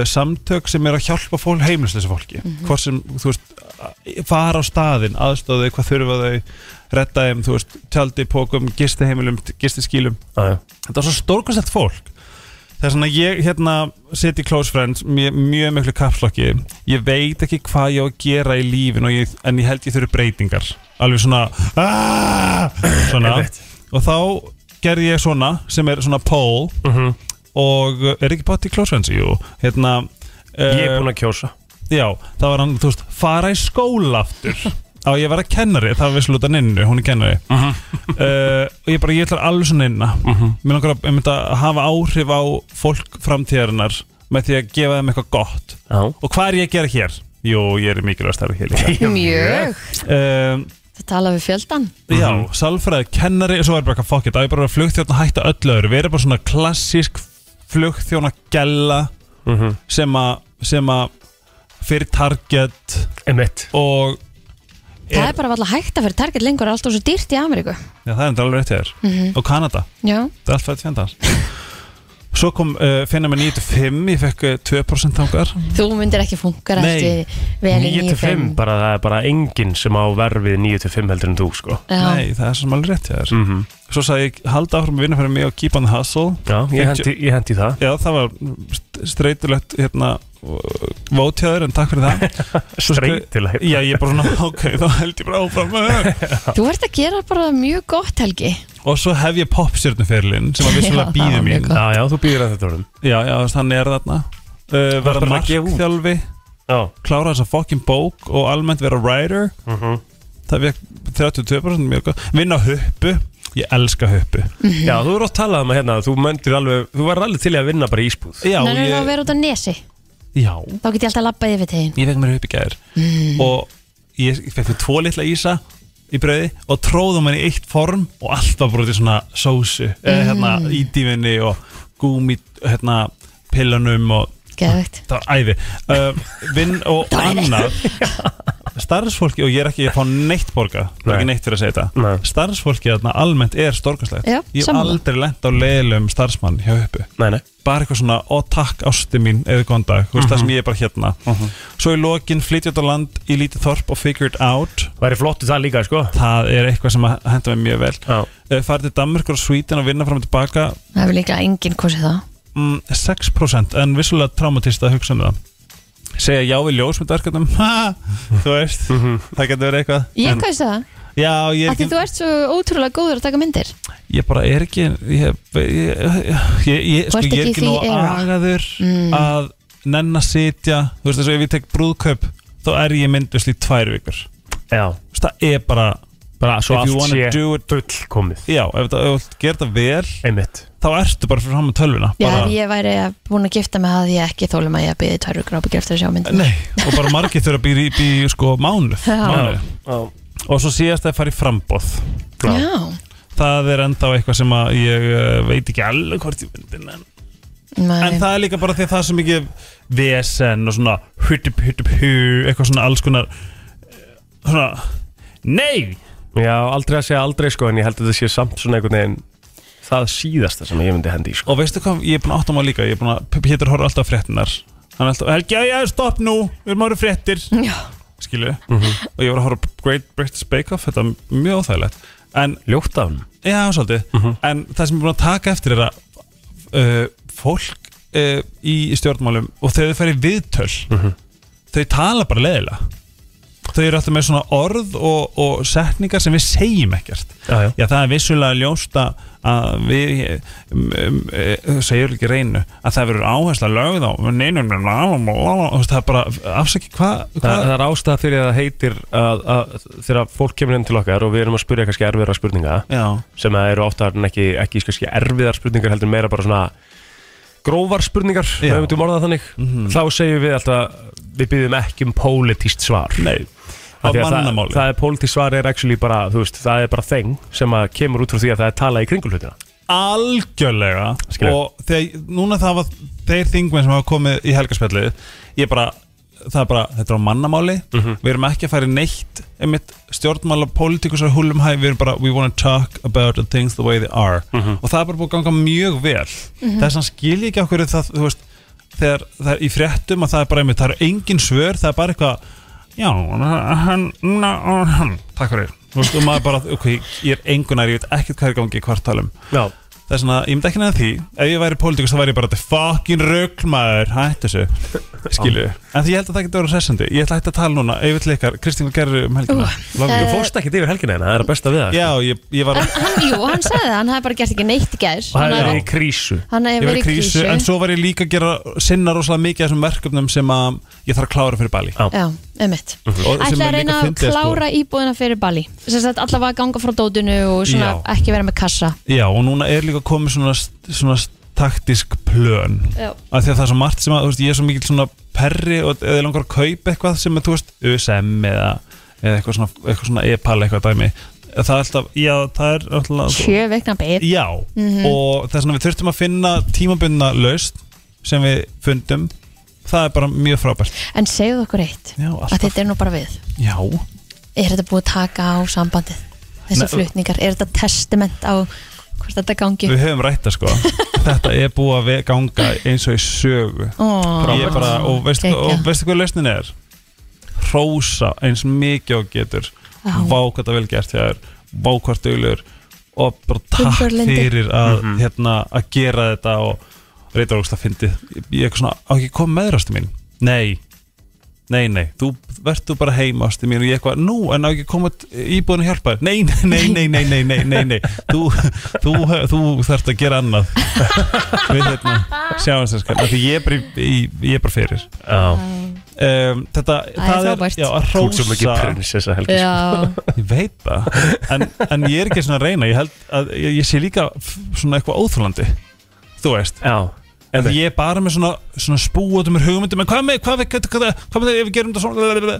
Speaker 3: samtök sem er að hjálpa fólk heimilisleysa fólki hvort sem, þú veist, að- fara á staðin aðstóðu, hvað þurfa þau redda þeim, þú veist, tjaldi, pókum gistiheimilum, gistiskýlum
Speaker 1: Já, já.
Speaker 3: þetta var svo stórkvæmstætt fólk það er svona ég hérna sit í Close Friends mjög, mjög miklu kapslokki ég veit ekki hvað ég á að gera í lífin og ég, en ég held ég þurfi breytingar alveg svona "Ah!" svona
Speaker 1: Einmitt.
Speaker 3: og þá gerði ég svona sem er svona poll
Speaker 1: Mhm.
Speaker 3: og uh, er ekki bátt í Close Friends jú, hérna
Speaker 1: Ég er búin að kjósa
Speaker 3: já, það var hann, þú veist, fara í skóla aftur á ég að vera kennari, það var við sluta ninnu, hún er kennari uh, og ég bara, ég ætlar alveg svona inna mér langar að, einmitt að hafa áhrif á fólk framtíðarinnar með því að gefa þeim eitthvað gott
Speaker 1: Já.
Speaker 3: og hvað er ég að gera hér? Jú, ég er mikilvægt starf hér líka
Speaker 2: Mjög
Speaker 3: um,
Speaker 2: Það tala við fjöldan
Speaker 3: Já, salfræði, kennari og svo er bara eitthvað fuck it, að ég bara flugþjóna hætta öllu öðru við erum bara svona klassísk flugþjóna gælla
Speaker 1: <laughs> Mhm.
Speaker 3: sem að sem að fyrir target
Speaker 1: Einmitt
Speaker 3: og
Speaker 2: Það er bara alltaf hægt að fyrir target lengur Það er alltaf svo dýrt í Ameríku
Speaker 3: Já, það er enda alveg rétt hjá þér og Kanada
Speaker 2: Já,
Speaker 3: Það er allt fætt fjandar Svo kom uh, finna með 95 Ég fekk eh, 2% þangar
Speaker 2: þú myndir ekki funka
Speaker 3: Nei.
Speaker 2: eftir vel í
Speaker 1: 9 til 5, bara það er bara enginn sem á verfið 9 til 5 heldur en þú sko
Speaker 2: Já,
Speaker 3: Nei, það er sem alveg rétt hjá þér
Speaker 1: mm
Speaker 3: Svo sagði ég halda áfram að vinna fyrir mig og keep on the hustle
Speaker 1: Já, ég
Speaker 3: 50
Speaker 1: hendi, ég hendi í það
Speaker 3: Já, það var st- streitulegt hérna Vótjaður en takk fyrir það
Speaker 1: Streitileg
Speaker 3: Já, ég bara svona, <laughs> ok, þá held ég bara áfram
Speaker 2: þú ert að gera bara mjög gott Helgi
Speaker 3: Og svo hef ég popstjörnuferlin sem var
Speaker 2: Já, það
Speaker 3: vissulega
Speaker 2: var
Speaker 3: býði
Speaker 2: mjög
Speaker 3: mín
Speaker 2: gott.
Speaker 1: Já, já, þú býðir að þetta orðum
Speaker 3: Já, já, þannig er þarna uh, Verða
Speaker 1: bara að gefa út.
Speaker 3: markþjálfi
Speaker 1: Já,
Speaker 3: Klára þessa fucking bók og almennt vera writer
Speaker 1: mm
Speaker 3: það fekk 32% mjög gott vinna huppu, ég elska huppu
Speaker 2: Mm.
Speaker 1: já þú eru að tala um að hérna Þú möndir alveg, þú verður alveg til í að vinna bara í ísbúð
Speaker 3: já,
Speaker 2: Nei, nei, þá
Speaker 3: ég,
Speaker 2: verður út á nesi
Speaker 3: já,
Speaker 2: Þá get ég alltaf labbað yfir tegin
Speaker 3: ég fekk mér huppu gæður
Speaker 2: Mm.
Speaker 3: og ég fekk mér tvo litla ísa í brauði og tróðum henni í eitt form og allt var bara út í svona sósu eða hérna
Speaker 2: Mm.
Speaker 3: í dífinni og gúmi hérna pillanum og
Speaker 2: Geðvegt
Speaker 3: það var æði uh, vinn
Speaker 2: <laughs>
Speaker 3: og
Speaker 2: Það var æði.
Speaker 3: annar starfsfólki og ég er ekki að fá neitt borga það er
Speaker 1: Nei.
Speaker 3: ekki neitt fyrir að segja þetta
Speaker 1: Nei.
Speaker 3: starfsfólki þarna almennt er storkaslegt
Speaker 2: Já,
Speaker 3: ég hef
Speaker 2: sammála.
Speaker 3: aldrei lent á leiðilegum starfsmann hjá uppu
Speaker 1: Nei, nei
Speaker 3: bara eitthvað svona, ó takk ásti mín eða góðan dag, þú veist það sem
Speaker 1: Mhm.
Speaker 3: ég er bara hérna svo í lokin flytja út á land í lítið þorp og figure it out
Speaker 1: Væri flott í það líka, sko
Speaker 3: það er eitthvað sem að henda mig mjög vel
Speaker 1: Já,
Speaker 3: Eh, farið til Danmörkur og Svítin og vinna fram og tilbaka
Speaker 2: Það hefur líklega enginn kosið það
Speaker 3: mm, 6% en vissulega traumatista að hugsa um það segja já við ljósmyndaverkefnum ha, þú veist,
Speaker 1: Mhm.
Speaker 3: það getur verið eitthvað
Speaker 2: Ég
Speaker 3: en,
Speaker 2: kosið það
Speaker 3: já, ég,
Speaker 2: Af því
Speaker 3: er ekki,
Speaker 2: þú ert svo ótrúlega góður að taka myndir
Speaker 3: ég bara er ekki ég, ég, ég, ég,
Speaker 2: Þú ert
Speaker 3: sko, ég er
Speaker 2: ekki í
Speaker 3: ekki nóg
Speaker 2: því era.
Speaker 3: agaður
Speaker 2: Mm.
Speaker 3: að nenn að sitja þú veist þessu ef ég tek brúðkaup þá er ég myndvisli í tvær vikur Þú
Speaker 1: já
Speaker 3: veist, það er bara
Speaker 1: Bara svo
Speaker 3: If you
Speaker 1: allt
Speaker 3: wanna
Speaker 1: sé
Speaker 3: do it-
Speaker 1: fullkomið
Speaker 3: já, ef það- ef þú gerir það vel
Speaker 1: Einmitt
Speaker 3: þá ertu bara fyrir fram með tölvuna
Speaker 2: Já,
Speaker 3: bara,
Speaker 2: ef ég væri að- búin að gifta mig það því ég ekki þólum að ég að byggði tværu grápa eftir að sjá myndir
Speaker 3: Nei, og bara margir þurfa að býra í, býra í sko mánuð,
Speaker 2: Já.
Speaker 3: mánuð.
Speaker 1: Já,
Speaker 3: og svo síðast að fara í frambóð
Speaker 1: já.
Speaker 2: Já,
Speaker 3: það er ennþá eitthvað sem að ég eh, veit ekki alveg hvort ég myndin en, en
Speaker 2: nei
Speaker 3: það er líka bara því að það er svo mikið vesen og svona hutup hutup hu eitthvað svona alls konar eh, svona nei
Speaker 1: já, aldrei að segja aldrei, sko En ég held að þetta sé samt svona einhvern veginn Það síðasta sem ég myndi hendi í, sko
Speaker 3: og veistu hvað ég er búin að átta mig á líka ég er búin að Pétur horfa alltaf á fréttinar hann er alltaf Helgi, já, já, stopp nú við erum árið fréttir
Speaker 2: Já,
Speaker 3: skilu og ég var að horfa á Great British Bake Off þetta er mjög óþægilegt en
Speaker 1: Ljótt af hann Mhm.
Speaker 3: Já, svolítið En það sem ég er búin að taka eftir er að uh, fólk uh, í stjórnmálum og þegar þau færi viðtöl
Speaker 1: Mhm.
Speaker 3: þau tala bara leðilega þau eru alltaf með svona orð og, og setningar sem við segjum ekkert
Speaker 1: Já, já.
Speaker 3: Já, það er vissulega ljóst að- að við um, um, um, segjum ekki reynu að það verður áhersla lögð á neynum það er bara afsaki hvað hva,
Speaker 1: Það, það er ástæða fyrir að það heitir að, að þegar fólk kemur inn til okkar og við erum að spyrja kannski erfiðra spurninga
Speaker 3: já,
Speaker 1: sem að eru oftar en ekki, ekki kannski erfiðar spurningar heldur meira bara svona grófar spurningar, ef
Speaker 3: Já. Mhm.
Speaker 1: við myndum orða það þannig þá segjum við alltaf við byggjum ekki um pólitískt svar
Speaker 3: nei á
Speaker 1: Af því að það,
Speaker 3: mannamáli
Speaker 1: það er pólitískt svar er actually bara, þú veist, það er bara þeng sem að kemur út frá því að það er talað í kringulhutina
Speaker 3: algjörlega
Speaker 1: Skilja.
Speaker 3: og þegar, núna það var þeir þingmenn sem hafa komið í helgarspjallið ég bara, það er bara, þetta er á mannamáli
Speaker 1: Mm.
Speaker 3: við erum ekki að fara í neitt einmitt stjórnmála pólitíkusar húlum hæ við erum bara, we want to talk about the things the way they are og það er bara búið að ganga mjög vel þess að skilja ekki okkur það, þú veist, þegar það er í fréttum að það er bara einmitt, það eru engin svör, það er bara eitthvað já, hann, na, hann takk fyrir, þú veist, og maður bara ok, ég er engunar, ég veit ekkert hvað er í gangi hvart talum
Speaker 1: Já,
Speaker 3: Það er svona, ég myndi ekki nefna því Ef ég væri pólitíkus þá væri ég bara Þetta er fucking rugl maður, hættu þessu Skilu En því ég held að það getur verið hressandi Ég ætla að hætta að tala núna, ef við til ykkar Kristín, hvað gerður um helgina? Uh,
Speaker 1: þú fórst ekki yfir helgina hérna, það er að besta við það
Speaker 3: Já, ég, ég var,
Speaker 2: hann, hann, jú, hann sagði það, hann hefði bara gert ekki neitt í gær
Speaker 1: og það
Speaker 2: Hann
Speaker 1: er
Speaker 2: hefði-
Speaker 1: í krísu
Speaker 2: hann
Speaker 3: ég
Speaker 2: hefði
Speaker 3: var
Speaker 2: verið
Speaker 3: í
Speaker 2: í
Speaker 3: krísu
Speaker 2: krísu
Speaker 3: En svo var ég líka að gera sinna rosalega mikið af Þessum verkefnum sem að ég þarf að klára fyrir Bali
Speaker 2: Já, einmitt
Speaker 3: Og sem
Speaker 2: Ætla
Speaker 3: er
Speaker 2: að reyna
Speaker 3: líka
Speaker 2: að
Speaker 3: fyndið, sko.
Speaker 2: klára íbúðina fyrir Bali Sem sagt allavega að ganga frá dótinu og svona
Speaker 3: Já.
Speaker 2: ekki vera með kassa
Speaker 3: Já, og núna er líka komið svona, svona taktisk plön
Speaker 2: Já.
Speaker 3: af því að það er svo margt sem að, þú veist, ég er svo mikil svona perri og eða ég langar að kaupa eitthvað sem er, þú veist, USM eða, eða eitthvað svona, eitthvað svona E e-pal eitthvað dæmi það er alltaf, já, það er alltaf
Speaker 2: Sjö vekna beir
Speaker 3: Já,
Speaker 2: Mhm.
Speaker 3: og þess vegna við þurftum að finna tímabundna laust sem við fundum það er bara mjög frábært
Speaker 2: En segðu okkur eitt
Speaker 3: Já,
Speaker 2: að
Speaker 3: alltaf,
Speaker 2: þetta er nú bara við
Speaker 3: já,
Speaker 2: Er þetta búið að taka á sambandið? Þessi
Speaker 1: Nei.
Speaker 2: flutningar, er þetta testament á hvort þetta gangi?
Speaker 3: við höfum rætta sko
Speaker 2: <laughs>
Speaker 3: þetta er búið að ve- ganga eins og í sögu
Speaker 2: Ó,
Speaker 3: Ég er bara, og veistu,
Speaker 2: geggjað.
Speaker 3: og veistu hvað lausnin er? Rósa eins mikið og getur
Speaker 2: Já.
Speaker 3: Vá hvað það er vel gert þér Vá hvað stöðlur Og bara takk
Speaker 2: Gunnbjörg
Speaker 3: fyrir að,
Speaker 1: Mhm.
Speaker 3: hérna, að gera þetta Og reyta rúksla fyndið Ég- Ég er eitthvað svona, á ekki kom meðrastu mín Nei, nei, nei Þú verður bara heima ástu mín Og ég eitthvað, nú, en á ekki koma íbúðin að hjálpa þér Nei, nei, nei, nei, nei, nei, nei, nei Þú, þú, þú þarft að gera annað <laughs> Við hérna Sjáumst þess kannar, því ég er bara, í- í- ég er bara fyrir
Speaker 1: Já,
Speaker 3: um, þetta,
Speaker 2: er frábært.
Speaker 3: já, að
Speaker 1: þú ert svo mikið
Speaker 3: rósa
Speaker 1: prinsessa helgi sko.
Speaker 2: Já,
Speaker 3: ég veit það en, en ég er ekki svona að reyna ég held að ég, ég sé líka f- svona eitthvað óþúlandi þú veist
Speaker 1: Já,
Speaker 3: en
Speaker 1: en
Speaker 3: ég er bara með svona, svona spúatum mér hugmyndum en hvað með, hvað með, hvað, hvað, hvað, hvað með það ef við gerum þetta svona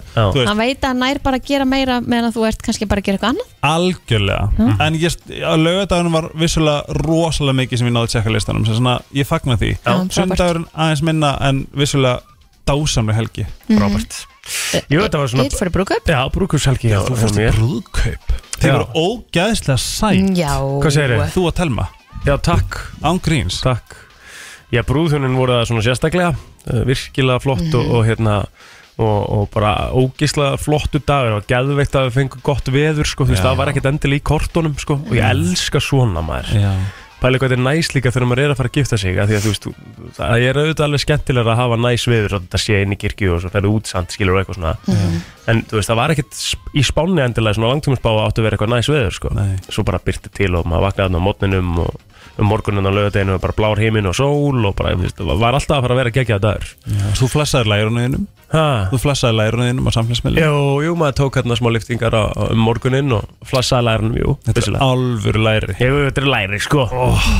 Speaker 1: Já.
Speaker 3: þú veist,
Speaker 2: hann veit að hann nær bara að gera meira meðan að þú ert kannski bara að gera eitthvað annað
Speaker 3: algjörlega en ég, að lögadagurinn var vissulega rosalega mikið sem ég náði að tjekka listanum sem svona, ég fagna því
Speaker 2: Já, frábært.
Speaker 3: sundagurinn aðeins minna en vissulega dásamlega helgi
Speaker 1: Robert
Speaker 2: Mm.
Speaker 1: Jú, þetta var svona-
Speaker 2: Eitt fyrir brúkup?
Speaker 1: Já, brúkurshelgi hjá
Speaker 3: þú
Speaker 1: hjá
Speaker 3: fórst í
Speaker 1: mér.
Speaker 3: brúðkaup þið
Speaker 1: Já.
Speaker 3: voru ógæðslega sæt
Speaker 2: Já
Speaker 1: Hvað segirðu?
Speaker 3: Þú að telma,
Speaker 1: Já, takk,
Speaker 3: án gríns
Speaker 1: takk Já, brúðhjónin voru það svona sérstaklega uh, virkilega flott og, og hérna og, og bara ógislega flottu dagur og geðveikt að við fengum gott veður sko, þú veist,
Speaker 3: Já.
Speaker 1: það var ekkert endilega í kortunum sko, og ég elska svona maður
Speaker 3: Já,
Speaker 1: Pæli hvað þetta er næs líka þegar maður er að fara að gifta sig að því að þú veist, þú- það er auðvitað alveg skemmtilega að hafa næs veður og þetta sé inn í kirkju og svo það er útsand, skilur og eitthvað svona en þú veist, það var ekkert sp- í spánni endilega svona langtímusbá áttu að vera eitthvað næs veður sko.
Speaker 3: Nei.
Speaker 1: svo bara byrti til og maður vaknaði þarna á mótninum og um morgunin á lögadeginu og bara blár heiminn og sól og bara, þú veist, það var alltaf að fara að vera geggjaða dagur
Speaker 3: já. Þú flassaði lærunuðinum
Speaker 1: ha.
Speaker 3: Þú flassaði lærunuðinum á samfélagsmiðlum
Speaker 1: Jú, jú, maður tók hérna smá liftingar á, á, um morgunin og flassaði lærnum, jú,
Speaker 3: Þetta er
Speaker 1: vissulega
Speaker 3: alvöru læri
Speaker 1: Jú, þetta er læri, sko oh.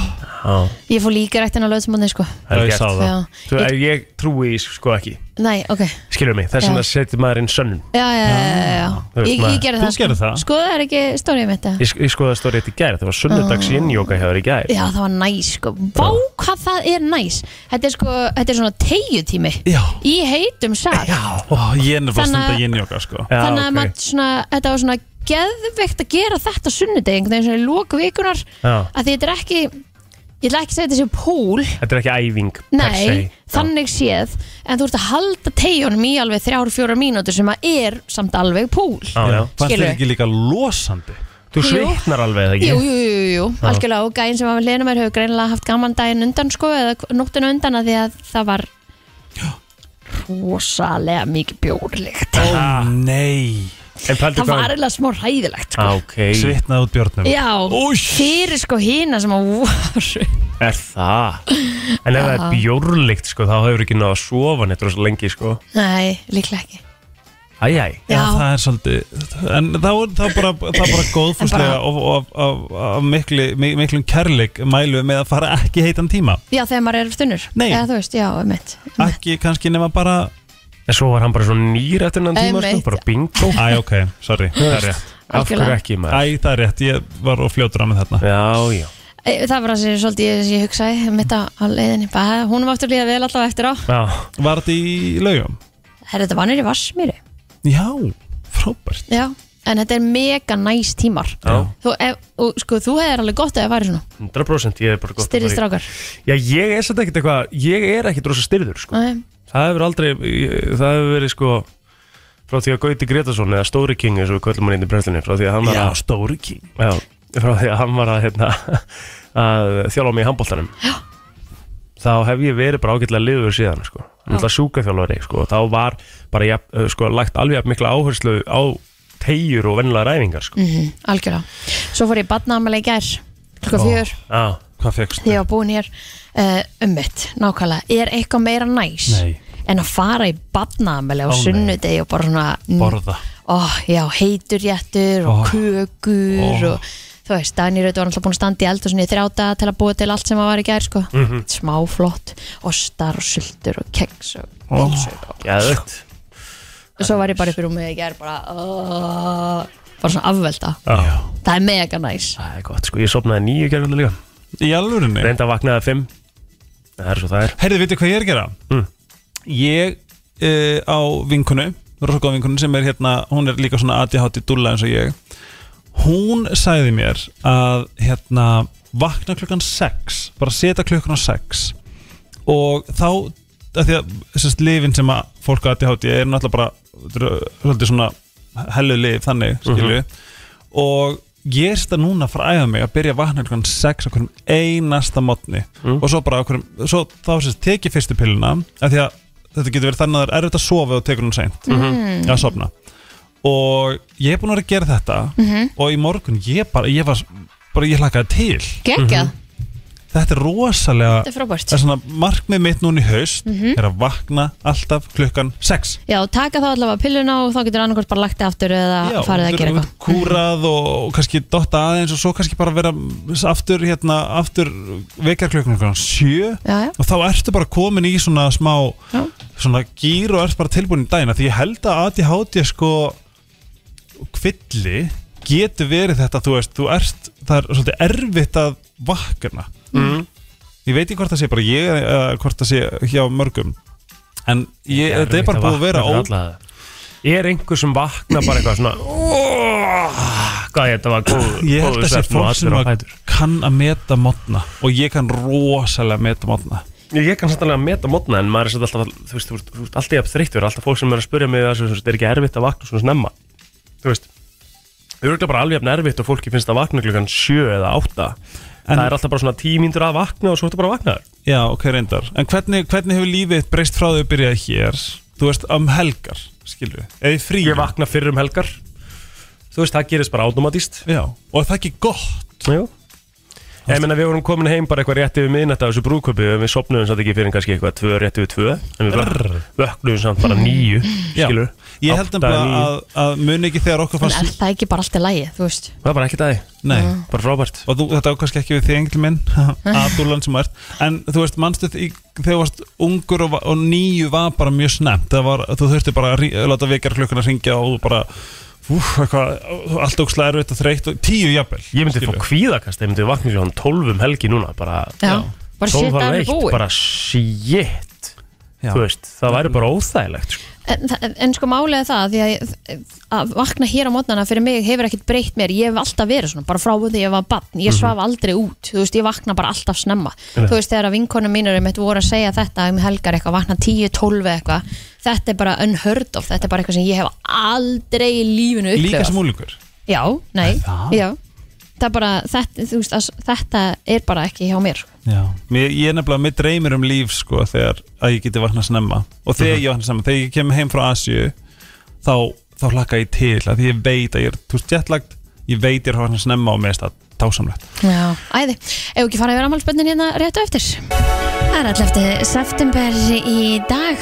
Speaker 2: Ég fór líka rættin á löðsmóðni sko
Speaker 1: Það er
Speaker 3: Já, ég
Speaker 1: gert.
Speaker 3: sá það.
Speaker 2: Já.
Speaker 1: Svo, ég, ég trúi í, sko ekki
Speaker 2: Nei, ok
Speaker 1: Skilur mig, þess
Speaker 2: Já.
Speaker 1: vegna setjum maður inn sönnum
Speaker 2: Já, já, já, já,
Speaker 1: Þú
Speaker 2: já.
Speaker 1: veist
Speaker 2: Ég,
Speaker 1: maður-
Speaker 2: ég gerði
Speaker 3: Þú
Speaker 2: það
Speaker 3: gerðir það?
Speaker 2: Sko það er ekki stórið mitt eða?
Speaker 1: Ég, sk- ég skoðaði stórið þetta í gær, það var sunnudags oh. innjóka hjá þér í gær
Speaker 2: Ah. Já, það var næs sko Vá, hvað það er næs Þetta er sko, þetta er svona tegjutími
Speaker 3: Já,
Speaker 2: Í heitum sal
Speaker 3: Ó, ég er
Speaker 2: Þannig
Speaker 3: nefnilega
Speaker 2: að-
Speaker 3: stund að jinnjóka sko
Speaker 1: Já,
Speaker 2: Þannig að
Speaker 1: ok.
Speaker 2: maður svona, þetta var svona geðveikt að gera þetta sunnudeg einhvern veginn svona í lóku vikunar
Speaker 1: Já.
Speaker 2: að þetta er ekki ég ætla ekki að segja þetta séu pól
Speaker 1: Þetta er ekki æfing per se.
Speaker 2: Nei, þannig séð en þú ert að halda tegjónum í alveg þrjár, fjórar mínútur sem að er samt alveg pól
Speaker 1: Já, já.
Speaker 3: Fannst
Speaker 2: Skilur.
Speaker 3: þér ekki líka losandi
Speaker 1: Þú
Speaker 2: Jú.
Speaker 1: svitnar alveg, eða ekki?
Speaker 2: Jú, jú, jú, jú, jú.
Speaker 1: Já.
Speaker 2: algjörlega og gæinn sem var við hliðina á mér hefur greinilega haft gaman daginn undan sko eða nóttinu undan að því að það var rosalega mikið bjórlíkt
Speaker 3: Ó nei
Speaker 1: En pældu
Speaker 2: það var
Speaker 1: hvað
Speaker 2: eiginlega smá ræðilegt sko.
Speaker 1: Ah, Ok,
Speaker 3: Svitnað út björnum
Speaker 2: já, fyrir sko hína sem að voru
Speaker 1: er það En ef það er bjórlikt, sko, þá hefur ekki náða að sofa neitt rosa lengi, sko
Speaker 2: nei, líklega ekki
Speaker 1: Æjæj
Speaker 3: Já,
Speaker 2: já,
Speaker 3: það er svolítið En þá er það bara, það er bara góðfúslega og, og, og, og mikli, mi- miklum kærleik mælu við með að fara ekki heitan tíma
Speaker 2: já, þegar maður er þunnur
Speaker 3: Nei.
Speaker 2: eða þú veist, já, mitt
Speaker 3: ekki kannski nema bara
Speaker 1: En svo var hann bara svo nýr eftir hennan tíma, sko,
Speaker 2: Einmitt.
Speaker 1: bara bingo
Speaker 3: Æ, ok, sorry, það er rétt
Speaker 1: Af hverju
Speaker 2: Algjörlega.
Speaker 1: ekki, maður?
Speaker 3: Æ, það er rétt, ég var og fljótur á með þarna
Speaker 1: Já, já
Speaker 2: E, það var það sem svolítið sem ég hugsaði mitt á, á leiðinni, bara hún máttu líða vel allavega eftir á
Speaker 1: Já,
Speaker 3: Var þetta í laugum?
Speaker 2: Herra, þetta var nýri vassmýri
Speaker 3: Já, frábært
Speaker 2: já, en þetta er mega næs tímar
Speaker 1: já,
Speaker 2: þú, ef, og, sko, þú hefur alveg gott að það væri svona
Speaker 1: 100% ég er bara gott að
Speaker 2: styrri
Speaker 1: fara í-
Speaker 2: strákar
Speaker 1: Já, ég er svolítið ekkert eitthvað, ég er ekkert rosa styrður, sko
Speaker 2: Nei.
Speaker 1: Það hefur aldrei, ég- það hefur verið, sko Frá því að Gauti Gretarsson, eða Stóri King, eins og við köllum hann inn í brennslunni Frá því að hann var að
Speaker 3: stóri king
Speaker 1: Já, frá því að hann var að, hérna, að þjálfa mig í handbóltanum þá hef ég verið bara ágætlega liður síðan sko. náttúrulega sjúkaþjálfari sko. og þá var bara ja, sko, lagt alveg jafn mikla áherslu á tegjur og vennilega ræfingar sko.
Speaker 2: Mhm, algjörlega Svo fór ég badnaðamæli í gær klukka
Speaker 3: Ó.
Speaker 2: fjör
Speaker 1: Já,
Speaker 3: Hvað fegst?
Speaker 2: því ég var búin hér uh, um mitt nákvæmlega, er eitthvað meira næs
Speaker 3: Nei,
Speaker 2: en að fara í badnaðamæli á
Speaker 3: Ó, nei.
Speaker 2: sunnudegi og bara svona mm,
Speaker 3: borða
Speaker 2: ó, já, heitur réttur og
Speaker 3: Ó.
Speaker 2: kökur
Speaker 3: Ó.
Speaker 2: og þú veist, Dani Raut var alltaf búin að standa í eld og svona í þrjáta til að búa til allt sem að var í gær sko.
Speaker 3: Mhm.
Speaker 2: smá flott, ostar og sultur og keks og
Speaker 3: Ó.
Speaker 2: pylsur og
Speaker 1: geðvögt
Speaker 2: og svo var ég bara upp í rúmið í gær bara, uh, bara svona afvelta
Speaker 1: Já,
Speaker 2: það er mega næs
Speaker 1: það er gott sko. Ég sopnaði nýju gerðinu líka
Speaker 3: Í alvörinni?
Speaker 1: reynda að vaknaði að fimm Það er svo það er
Speaker 3: Herðu, veitu hvað ég er að gera?
Speaker 1: Mm.
Speaker 3: Ég uh, á vinkunu Rósakóð vinkunu sem er hérna Hún er líka svona ADHD dúlla eins og ég Hún sagði mér að hérna vakna klukkan 6 bara setja klukkan á 6 og þá að því að sérst, lifin sem að fólk á ADHD er náttúrulega bara þetta eru svolítið svona hellu lif þannig skilju og ég er þetta núna að fara að æfa mig að byrja að vakna klukkan 6 á hverjum einasta mótni og svo bara á hverjum svo þá sérst tekið fyrstu pilluna af því að þetta getur verið þannig að það er erfitt að sofa og tekur hún seint mm. að sofna og ég er búin að vera að gera þetta
Speaker 2: Mhm.
Speaker 3: og í morgun ég bara ég var bara ég hlakaði til Mhm.
Speaker 2: geggjað,
Speaker 3: þetta er rosalega
Speaker 2: þetta er Mhm. frábært
Speaker 3: Það er svona markmið mitt núna í haust er að vakna alltaf klukkan 6
Speaker 2: já, taka þá allavega pilluna og þá getur annarkvæmt bara lagt þig aftur eða farið að gera eitthvað
Speaker 3: Kúrað og, og kannski dotta aðeins og svo kannski bara vera aftur, hérna, aftur vekjar klukkan klukkan 7
Speaker 2: já, já,
Speaker 3: og þá ertu bara komin í svona smá
Speaker 2: Já.
Speaker 3: svona gýr og ert bara tilbúin í dagina því ég held að ADHD sko kvilli getur verið þetta þú veist, þú ert, það er svolítið erfitt að vakna
Speaker 1: mm.
Speaker 3: ég veit ekki hvort það sé bara ég uh, hvort það sé hjá mörgum en ég, þetta er bara búið að vera ó,
Speaker 1: Er einhver sem vakna bara eitthvað svona "Oh, Hvað ég þetta var góð
Speaker 3: ég held
Speaker 1: góður
Speaker 3: að sé
Speaker 1: svefn og
Speaker 3: fólk
Speaker 1: allir á
Speaker 3: sem að
Speaker 1: fætur.
Speaker 3: kann að meta modna og ég kann rosalega meta modna
Speaker 1: Ég ég kann samt alveg að meta mótna en maður er samt alltaf, þú veist, þú veist, þú veist alltaf jafn þreyttur, alltaf fólk sem er að spyrja mig þessu, þú veist, er ekki erfitt að vakna svona snemma, þú veist, þau eru bara alveg jafn erfitt og fólki finnst að vakna klukkan sjö eða átta,
Speaker 3: En-
Speaker 1: það er alltaf bara svona tímíndur að vakna og svo ertu bara að vakna þér.
Speaker 3: já ok reyndar en hvernig, hvernig hefur lífið þitt breyst frá þau að byrjaði hér þú veist um helgar skilju eða í frí
Speaker 1: Ég vakna fyrir um helgar, þú veist, það gerist bara automatíst.
Speaker 3: já og er það ekki gott
Speaker 1: Jú. Ég meina við vorum komin heim bara eitthvað rétt yfir miðnætt af þessu brúköpi og við sopnuðum samt ekki fyrir en kannski eitthvað tvö rétt yfir tvö en við vak- vöknuðum samt bara nýju
Speaker 3: Já.
Speaker 1: skilur
Speaker 3: ég held
Speaker 1: Átta,
Speaker 3: nefnilega
Speaker 1: níu.
Speaker 3: að, að muni ekki þegar okkur
Speaker 2: en er
Speaker 3: fannst
Speaker 2: það ekki bara allt í lagi þú veist,
Speaker 1: Það var bara ekkert aðeins,
Speaker 3: nei
Speaker 1: bara frábært
Speaker 3: og þú, þetta á kannski ekki við þig engil minn <laughs> aðdúlan sem þú ert en þú veist, manstu því, þegar þú varst ungur og, va- og nýju var bara mjög snemt það var, þú þurfti bara að rí- láta vekjar klukkuna hringja og þú bara úf, eitthvað, allt ókslega erfitt og þreytt og tíu jafnvel
Speaker 1: Ég myndi fá
Speaker 3: skilurðu.
Speaker 1: kvíðakast, ég myndi vakna sér hann 12 um helgi núna bara,
Speaker 2: já, bara
Speaker 1: tólf var
Speaker 2: shit að það er
Speaker 1: leitt,
Speaker 2: búið
Speaker 1: bara shit
Speaker 3: Já.
Speaker 1: þú veist, það væri bara óþægilegt sko.
Speaker 2: en, það- en sko málið er það því að, að vakna hér á mótnana fyrir mig hefur ekkert breytt mér, ég hef alltaf verið svona bara frá því ég var barn, ég svaf aldrei út þú veist, ég vakna bara alltaf snemma
Speaker 1: Nei.
Speaker 2: þú veist, þegar að vinkonum mínur mitt voru að segja þetta um helgar eitthvað, vakna 10-12 eitthvað þetta er bara unheard of, þetta er bara eitthvað sem ég hef aldrei í lífinu upplifað
Speaker 3: líka smúlingur
Speaker 2: Já, nei,
Speaker 3: það?
Speaker 2: já það er bara, þetta, þú veist, að, þetta er bara ekki hjá mér sko.
Speaker 3: Já, mér, ég er nefnilega, mér dreymir um líf sko þegar að ég geti vakna snemma og
Speaker 1: Mhm.
Speaker 3: þegar ég vakna snemma, þegar ég kem heim frá Asju þá, þá hlakka ég til að því ég veit að ég er, þú veist, jetlagt ég veit ég er að vakna snemma og mér er þetta tásamlegt
Speaker 2: Já, æði, ef ekki fara yfir ammálspönnin hérna rétt á eftir Það er alltaf eftir september í dag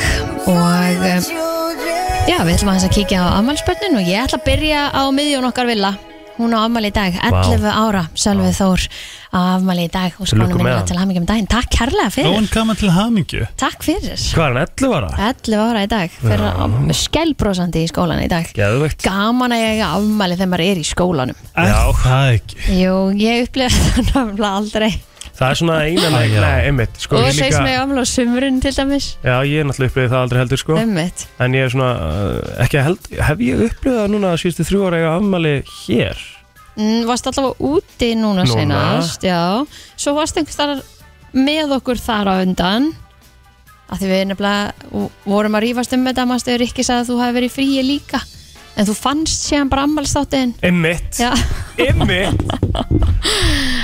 Speaker 2: og eh, já, við ætlum aðeins að kíkja á ammálspönnin og ég ætla að byrja á miðjón okkar villa Hún á ammál í dag, 11 ára, Sölvi Þór á ammál í dag og
Speaker 1: Til lukku með hann.
Speaker 2: til hamingjum daginn Takk kærlega fyrir,
Speaker 3: Nóin kama til hamingju
Speaker 2: takk fyrir
Speaker 1: Hvað er hann 11 ára?
Speaker 2: 11 ára í dag, fyrir skellbrósandi í skólan í dag
Speaker 1: Geðvegt
Speaker 2: Gaman að ég afmæli þegar maður er í skólanum
Speaker 3: Er það ekki?
Speaker 2: Jú, ég upplifa það <laughs> náttúrulega aldrei
Speaker 1: Það er svona einan
Speaker 3: Æ, já.
Speaker 1: Nei, einmitt sko,
Speaker 2: og
Speaker 1: ég
Speaker 2: segist mig afmæla á sumrun til dæmis
Speaker 1: Já, ég er náttúrulega upplifið það aldrei heldur sko
Speaker 2: Ömmit
Speaker 1: En ég er svona uh, Ekki held Hef ég upplifið það núna Sýrstu þrjú ára Ég afmæli hér
Speaker 2: mm, Varst alltaf úti núna,
Speaker 1: Núna.
Speaker 2: seinast Já Svo varst einhvers þar með okkur þar á undan að því við nefnilega vo- vorum að rífast um þetta mannstu Rikki sagði að þú hafi verið í fríi líka en þú fannst síðan bara ammælstáttin
Speaker 1: Einmitt
Speaker 2: Já <laughs>
Speaker 1: Einmitt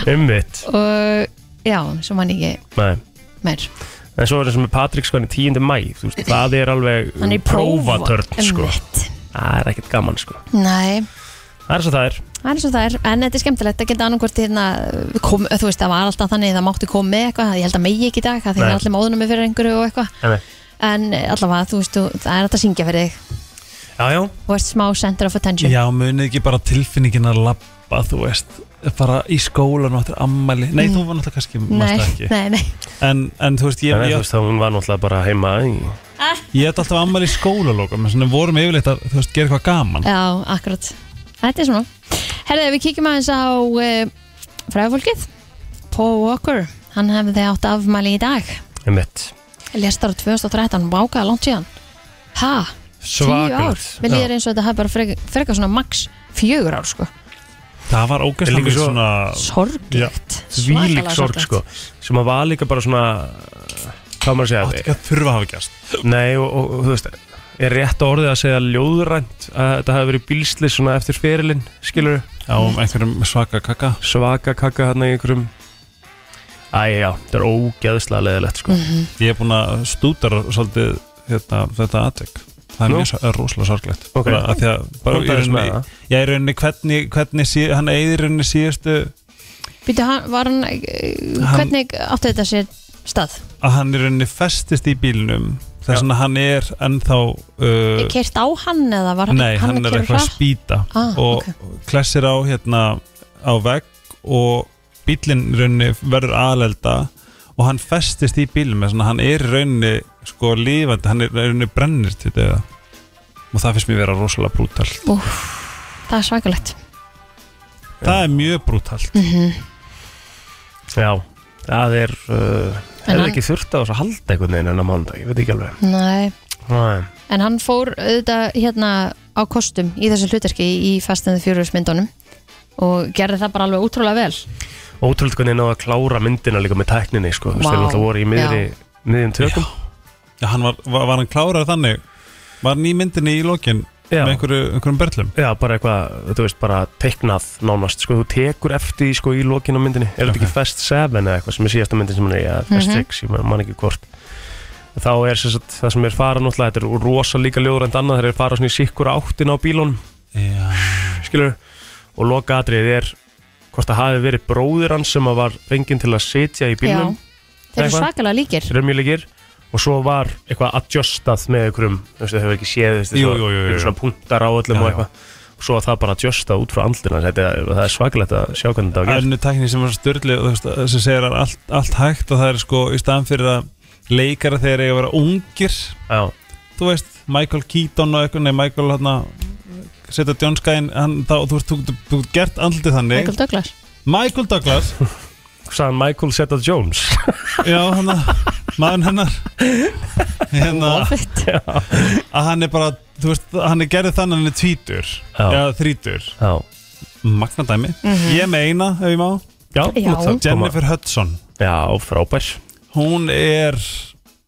Speaker 1: Einmitt
Speaker 2: og já, svo mann ekki
Speaker 1: Nei
Speaker 2: meir
Speaker 1: En svo er það sem með Patrik sko hann er 10. mæ þú veist, Það er alveg
Speaker 2: Hann er í prófa-
Speaker 1: prófatörn sko
Speaker 2: Einmitt.
Speaker 1: Það er ekkert gaman sko
Speaker 2: Nei
Speaker 1: Það er svo það er
Speaker 2: Það er svo það er, en þetta er skemmtilegt að geta annarkvort hérna, kom, þú veist, það var alltaf þannig það mátti koma með eitthvað, ég held að megi ekki í dag það
Speaker 1: Nei.
Speaker 2: er allir móðunum með fyrir einhverju og eitthvað
Speaker 1: Nei, nei.
Speaker 2: en eh, allavega, þú veist, þú- það er alltaf að syngja fyrir þig
Speaker 1: Já, já
Speaker 2: og ert smá center of attention
Speaker 3: Já, munið ekki bara tilfinningin að labba, þú veist bara í skólan og eftir ammæli
Speaker 1: Mm.
Speaker 3: Nei, þú var náttúrulega kannski,
Speaker 2: Nei,
Speaker 3: mástu ekki
Speaker 2: <laughs> nei, nei,
Speaker 3: en, en þú veist, ég,
Speaker 1: Nei, þú
Speaker 3: ég,
Speaker 1: veist, þá hún var náttúrulega bara heima í...
Speaker 3: ég ætti alltaf ammæli í skólalókum en við vorum yfirleitt að, þú veist, gera eitthvað gaman
Speaker 2: já, akkurat Þetta er svona Herðið, við kíkjum aðeins á uh, fræðfólkið Paul Walker, hann hefði átt afmæli í dag
Speaker 1: Einmitt
Speaker 2: Lestar 2013, vákaða langt síðan Ha, tíu ár Mér líður eins og þetta hafi bara freka, freka svona max fjögur ár, sko
Speaker 3: Það var ógæslega
Speaker 1: Líka
Speaker 3: mikið
Speaker 1: svo-
Speaker 3: svona
Speaker 1: Já.
Speaker 2: sorglegt
Speaker 1: Svílik sorg sko Sem að var líka bara svona Hvað maður að
Speaker 3: átti
Speaker 1: segja
Speaker 3: ekki að þurfa að hafa gerst
Speaker 1: Nei, og, og, og þú veist Er rétt orðið að segja ljóðrænt Að þetta hafi verið bílsli svona eftir ferilinn Skilur
Speaker 3: á einhverjum svaka kaka
Speaker 1: svaka kakka hérna í einhverjum Æ, já, þetta er ógeðslega leðilegt sko
Speaker 3: Ég er búin að stúdara svolítið hérna, þetta atvik Það er
Speaker 1: Nú?
Speaker 3: mjög sa- rosalega sorglegt
Speaker 1: Ok.
Speaker 3: bara, að því að bara, í
Speaker 1: Komdu aðeins með
Speaker 3: rauninni,
Speaker 1: það.
Speaker 3: Ég er rauninni hvernig, hvernig sí, hann eigðir rauninni síðustu
Speaker 2: Býtu, hann, var hann, eh,
Speaker 3: Hann-
Speaker 2: hvernig átti þetta sér stað?
Speaker 3: að hann í rauninni festist í bílnum
Speaker 1: Já.
Speaker 3: þess vegna hann er ennþá uh,
Speaker 2: Uh, Kert á hann eða var
Speaker 3: Nei, hann,
Speaker 2: að
Speaker 3: er
Speaker 2: keyra
Speaker 3: eitthvað að
Speaker 2: hratt?
Speaker 3: spýta
Speaker 2: Ah,
Speaker 3: og
Speaker 2: ok.
Speaker 3: klessir á hérna á vegg og bílinn í rauninni verður aðlelda og hann festist í bílum þannig að hann er í rauninni sko lífandi, hann er í rauninni brennir til döða og það finnst mér vera rosalega brútalt
Speaker 2: Úff, það er svakalegt
Speaker 3: það er mjög brútalt
Speaker 2: Mhm.
Speaker 1: Já, það er uh,
Speaker 2: En
Speaker 1: Hefði
Speaker 2: hann-
Speaker 1: ekki þurft á þess að halda einhvern veginn en á mánudag, ég veit ekki alveg
Speaker 2: Nei,
Speaker 1: Nei.
Speaker 2: en hann fór auðvitað hérna á kostum í þessu hlutarki í Fast and the Furious myndunum og gerði það bara alveg útrúlega vel
Speaker 1: Ótrúld hvernig náðu að klára myndina líka með tækninni sko, þú veist,
Speaker 2: Vá,
Speaker 1: þeir náttúrulega voru í miðri, miðjum tökum
Speaker 3: Já, hann var, var, var hann klárað þannig var hann í myndinni í lokin
Speaker 1: Já.
Speaker 3: með einhverju, einhverjum berlum
Speaker 1: Já, bara eitthvað, þú veist, bara teiknað nánast, sko, þú tekur eftir því, sko, í lokinu á myndinni, er þetta ekki Fast 7 eða eitthvað sem er síðasta myndin sem hann er, í, eða Fast 6 ég man- man ekki hvort þá er sem sagt, það sem er fara náttúrulega þetta er rosa líka ljóður en annað, þeir eru fara svona í sikkur áttin á bílunum,
Speaker 3: Já,
Speaker 1: skilur og loka atrið er hvort það hafi verið bróðir hans sem að var fenginn til að sitja í bílunum,
Speaker 2: Já, þeir eru
Speaker 1: Eitthvað?
Speaker 2: svakalega líkir
Speaker 1: raumjulegir og svo var eitthvað adjustað með einhverjum, þú veist, það hefur ekki séð þú veist,
Speaker 3: Jú,
Speaker 1: svo-
Speaker 3: jú, jú, jú.
Speaker 1: einhver svona punktar á öllum
Speaker 3: Já,
Speaker 1: og
Speaker 3: já.
Speaker 1: eitthvað og svo að það bara adjustað út frá andlina þetta, er- það er svakalegt að sjá hvernig þetta var gert
Speaker 3: önnu tækni sem var störli sem segir að allt, allt hægt og það er sko í staðan fyrir að leikara þegar eiga að vera ungir
Speaker 1: Já,
Speaker 3: þú veist, Michael Keaton og eitthvað, nei, Michael hérna setja John Skyen, hann, þá, þú veist, þú- þú- þú getur gert andlitið þannig
Speaker 2: Michael Douglas
Speaker 3: Michael Douglas,
Speaker 1: sagðan Michael Zeta Jones
Speaker 3: já, hann maður hennar hérna, <laughs>
Speaker 2: Offit
Speaker 3: að hann er bara, þú veist, hann er gerðið þannig að hann er tvítur,
Speaker 1: Já.
Speaker 3: eða þrítur
Speaker 1: Já,
Speaker 3: magnadæmi,
Speaker 2: Mhm.
Speaker 3: ég er með eina ef ég má,
Speaker 1: já,
Speaker 2: Já.
Speaker 1: þú mátt það koma.
Speaker 3: Jennifer Hudson
Speaker 1: Já, frábær
Speaker 3: hún er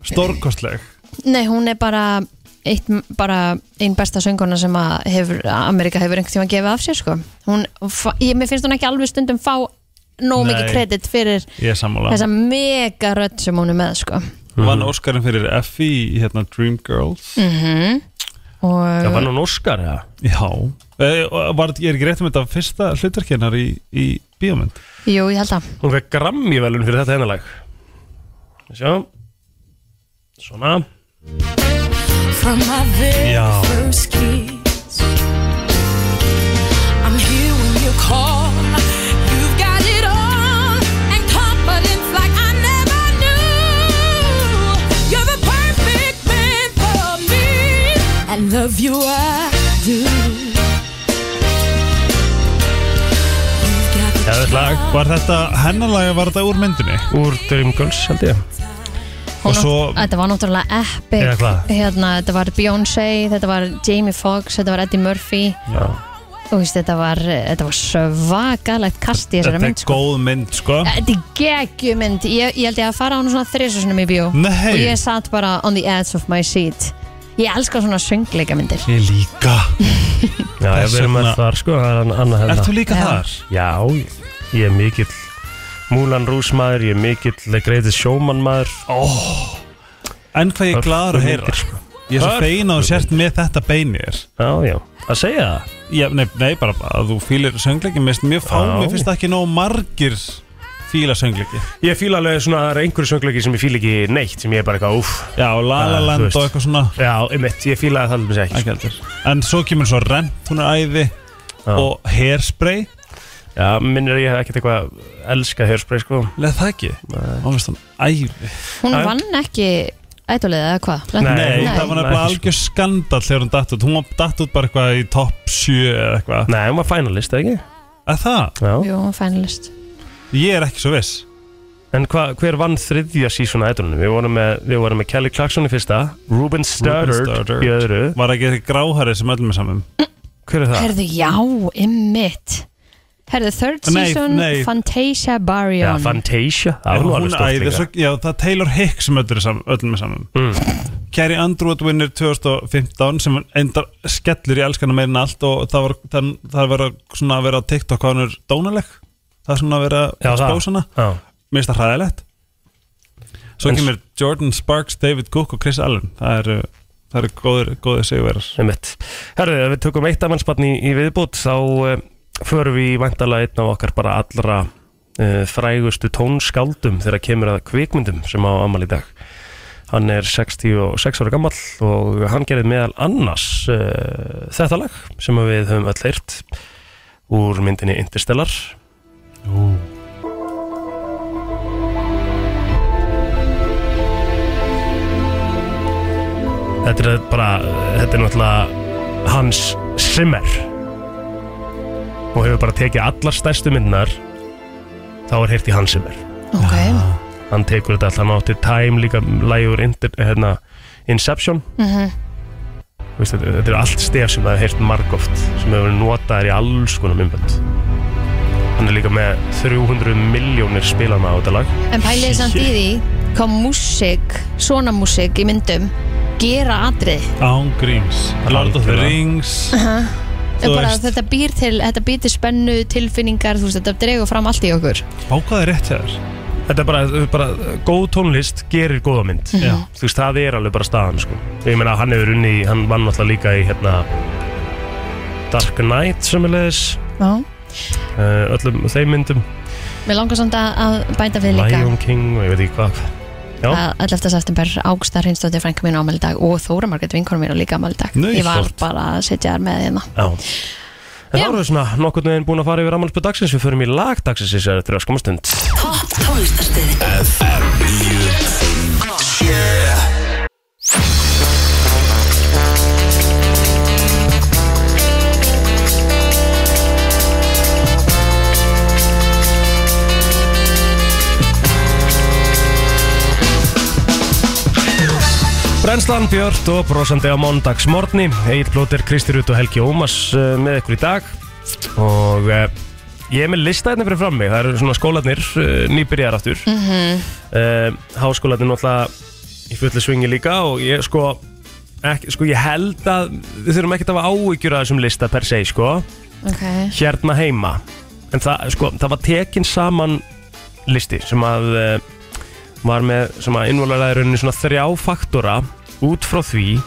Speaker 3: stórkostleg
Speaker 2: Nei, hún er bara eitt, bara einn besta sönguna sem að hefur, Amerika hefur einhvern tíma að gefa af sér sko. hún, fa- ég, mér finnst hún ekki alveg stundum fá nóg
Speaker 3: Nei.
Speaker 2: mikið kredit fyrir
Speaker 3: Ég er sammála
Speaker 2: þessa mega rödd sem hún er með sko.
Speaker 3: Vann Óskarinn fyrir Effie í hérna Dreamgirls
Speaker 2: mm og
Speaker 3: Eh.
Speaker 1: Það var nú Óskar, eða?
Speaker 3: Já Eh, og var, Ég er ekki rétt um þetta fyrsta hlutverkennar í, í bíómynd
Speaker 2: jú, ég held að
Speaker 1: Hún fekk grammívelun fyrir þetta hennalag Sjá Svona
Speaker 4: From my very
Speaker 3: Yeah.
Speaker 4: first kiss, I'm here when you call. You've got it all and confidence like I never knew. You're the perfect man for me. I love you, I do. You've got the
Speaker 1: Geðveikt lag.
Speaker 4: charm.
Speaker 3: Var þetta hennanlega, var þetta úr myndinni?
Speaker 1: Úr Dream Girls held ég
Speaker 2: Hún
Speaker 3: Og
Speaker 2: átt-
Speaker 3: svo-
Speaker 2: Þetta var náttúrulega epic
Speaker 1: Eða hvað?
Speaker 2: hérna, Þetta var Beyoncé, þetta var Jamie Foxx Þetta var Eddie Murphy
Speaker 1: Já.
Speaker 2: Þú veist, þetta, var, þetta var svakalegt kast í þessari
Speaker 3: Þetta
Speaker 2: mynd
Speaker 3: er
Speaker 2: sko.
Speaker 3: góð mynd, sko
Speaker 2: Þetta er geggjumynd ég, ég held ég að fara á hún svona þrisunum í bíó Og
Speaker 3: Nei,
Speaker 2: ég satt bara on the edge of my seat Ég elska svona söngleikamyndir
Speaker 3: ég líka
Speaker 1: Já, ég
Speaker 3: Þess
Speaker 1: verið með
Speaker 3: vegna-
Speaker 1: þar sko Það er an- annað
Speaker 3: Ert
Speaker 1: hérna
Speaker 3: þú líka
Speaker 2: Já.
Speaker 3: þar?
Speaker 1: Já, ég- ég er mikill Múlan Rús maður, ég er mikill The Greatest Showman maður
Speaker 3: En hvað ég er gladur að heyra
Speaker 1: Myndir, sko.
Speaker 3: Ég er svo
Speaker 1: Hörfu
Speaker 3: fein að þú sért með þetta beinir
Speaker 1: Já, já, að segja það
Speaker 3: Já, nei, nei, bara að þú fýlir söngleikin Mér finnst mjög fá,
Speaker 1: Já.
Speaker 3: mér finnst það ekki nóg margir fíla söngleiki
Speaker 1: Ég fíla alveg svona, það er einhverju söngleiki sem ég fíla ekki neitt sem ég er bara eitthvað, úff
Speaker 3: Já, og La La
Speaker 1: Já, þú
Speaker 3: Land
Speaker 1: veist.
Speaker 3: og eitthvað svona
Speaker 1: Já, einmitt, ég fíla það alveg ekki sko.
Speaker 3: ekki heldur En svo kemur svo Rent, hún er æði
Speaker 1: Já.
Speaker 3: Og Hairspray,
Speaker 1: Já, minnir ég hef ekkert eitthvað elskað hörspray sko
Speaker 3: leð það ekki
Speaker 1: Nei.
Speaker 3: Og veist hún æði
Speaker 2: Hún
Speaker 1: Já.
Speaker 2: vann ekki ætolið eða hvað
Speaker 1: Nei,
Speaker 2: Lenti-
Speaker 3: Nei, það var nefnilega
Speaker 1: ekki, sko.
Speaker 3: algjör skandall þegar hún datt út Hún var datt út bara eitthvað í topp 7 eða eitthvað
Speaker 1: Nei, hún var finalist, eða ekki?
Speaker 3: Að það,
Speaker 1: Já
Speaker 2: Jú, finalist
Speaker 3: ég er ekki svo viss
Speaker 1: En hva, hver vann þriðja sísón að ædolunum? Við vorum með, við vorum með Kelly Clarkson í fyrsta Ruben Studdard
Speaker 3: Studdard.
Speaker 1: í öðru
Speaker 3: Var ekki þessi gráhæri sem öllum er um? saman
Speaker 1: Hver er það?
Speaker 2: Herðu, já, ymmit Herðu, third
Speaker 3: Nei,
Speaker 2: season
Speaker 3: nei.
Speaker 2: Fantasia
Speaker 1: Já,
Speaker 2: Baryon
Speaker 1: Fantasia Já,
Speaker 3: En
Speaker 1: hún var
Speaker 3: Hún
Speaker 1: alveg stórt
Speaker 3: æði,
Speaker 1: líka
Speaker 3: svo, já, það er Taylor Hicks sem öllum er saman, öllum er um. saman.
Speaker 1: mm.
Speaker 3: Carrie Underwood vinnur 2015 sem endar skellir í elskana meirinn allt og það var, það, það var svona að vera á TikTok hvað hann er dónaleg það er svona að vera
Speaker 1: Já, það.
Speaker 3: spósana
Speaker 1: Já,
Speaker 3: mér finnst það hræðilegt svo
Speaker 1: En-
Speaker 3: kemur Jordan Sparks, David Cook og Chris Allen það eru, það eru góðir, góðir sigurverar
Speaker 1: um mitt Herðu, ef við tökum eitt afmannsbarn í, í viðbútt þá uh, förum við vantala einn af okkar bara allra uh, frægustu tónskáldum þegar kemur að kvikmyndum sem á amal í dag Hann er 66 ára gammal og hann gerði meðal annars uh, þetta lag sem að við höfum öll heyrt úr myndinni Interstellar Þetta er bara, þetta er náttúrulega hans Zimmer og hefur bara tekið allar stærstu myndnar þá er heyrt í hans Zimmer
Speaker 2: Ok,
Speaker 3: Ah,
Speaker 1: hann tekur þetta alltaf, hann átti Time líka lægur inter, hérna, Inception
Speaker 2: Mhm.
Speaker 1: Veist, þetta, þetta er allt stef sem það hefur heyrt margóft sem hefur verið notaðir í alls konar myndbönd hann er líka með 300 miljónir spilana á þetta lag
Speaker 2: En pæliði samt í því hvað músík, svona músík í myndum gera atrið
Speaker 3: Án Gríms, Lord of the
Speaker 1: Algjörlega.
Speaker 3: Rings þú
Speaker 2: bara
Speaker 3: veist,
Speaker 2: þetta býr til, þetta býr til spennu tilfinningar, þú veist, þetta dregur fram allt í okkur
Speaker 3: bákaði rétt hér
Speaker 1: þetta er bara, bara góð tónlist gerir góða mynd
Speaker 2: Mhm.
Speaker 3: Já,
Speaker 1: þú veist, það er alveg bara staðan sko. ég meina, hann hefur unni, hann vann alltaf líka í hérna Dark Knight sem er leðis
Speaker 2: Já.
Speaker 1: uh, öllum þeim myndum
Speaker 2: Mér langar samt að- að bæta við líka
Speaker 1: Lion King og ég veit ekki hvað Já.
Speaker 2: að alltaf þess aftur bara Ágsta Hrinsdóttir frænka mín á ámæli dag og Þóra Margrét vinkonum mín á líka ámæli dag
Speaker 3: Nei,
Speaker 2: Ég var
Speaker 3: flott.
Speaker 2: bara að setja þær með hérna
Speaker 1: Já. en þá
Speaker 2: Já.
Speaker 1: erum við svona nokkurn veginn búin að fara yfir ammálspöð dagsins við förum í lag dagsins þess að þetta er að skoma stund
Speaker 5: Topp tónlistarstöðin
Speaker 1: Brennslan Björn og brosandi á mondagsmorni Egil Plóter, Kristi Rút og Helgi Ómas uh, með ykkur í dag og uh, ég er með lista hérna fyrir frammi það eru svona skólanir uh, nýbyrjar aftur Eh, mm -hmm. náttúrulega í fullu svingi líka og ég sko ekki, sko ég held að við þurfum ekkert að hafa áhyggjur af þessum lista per se, sko
Speaker 2: Ok,
Speaker 1: hérna heima en það, sko, það var tekin saman listi sem að eh, var með, sem að innvolaði rauninni svona þrjá faktora út frá því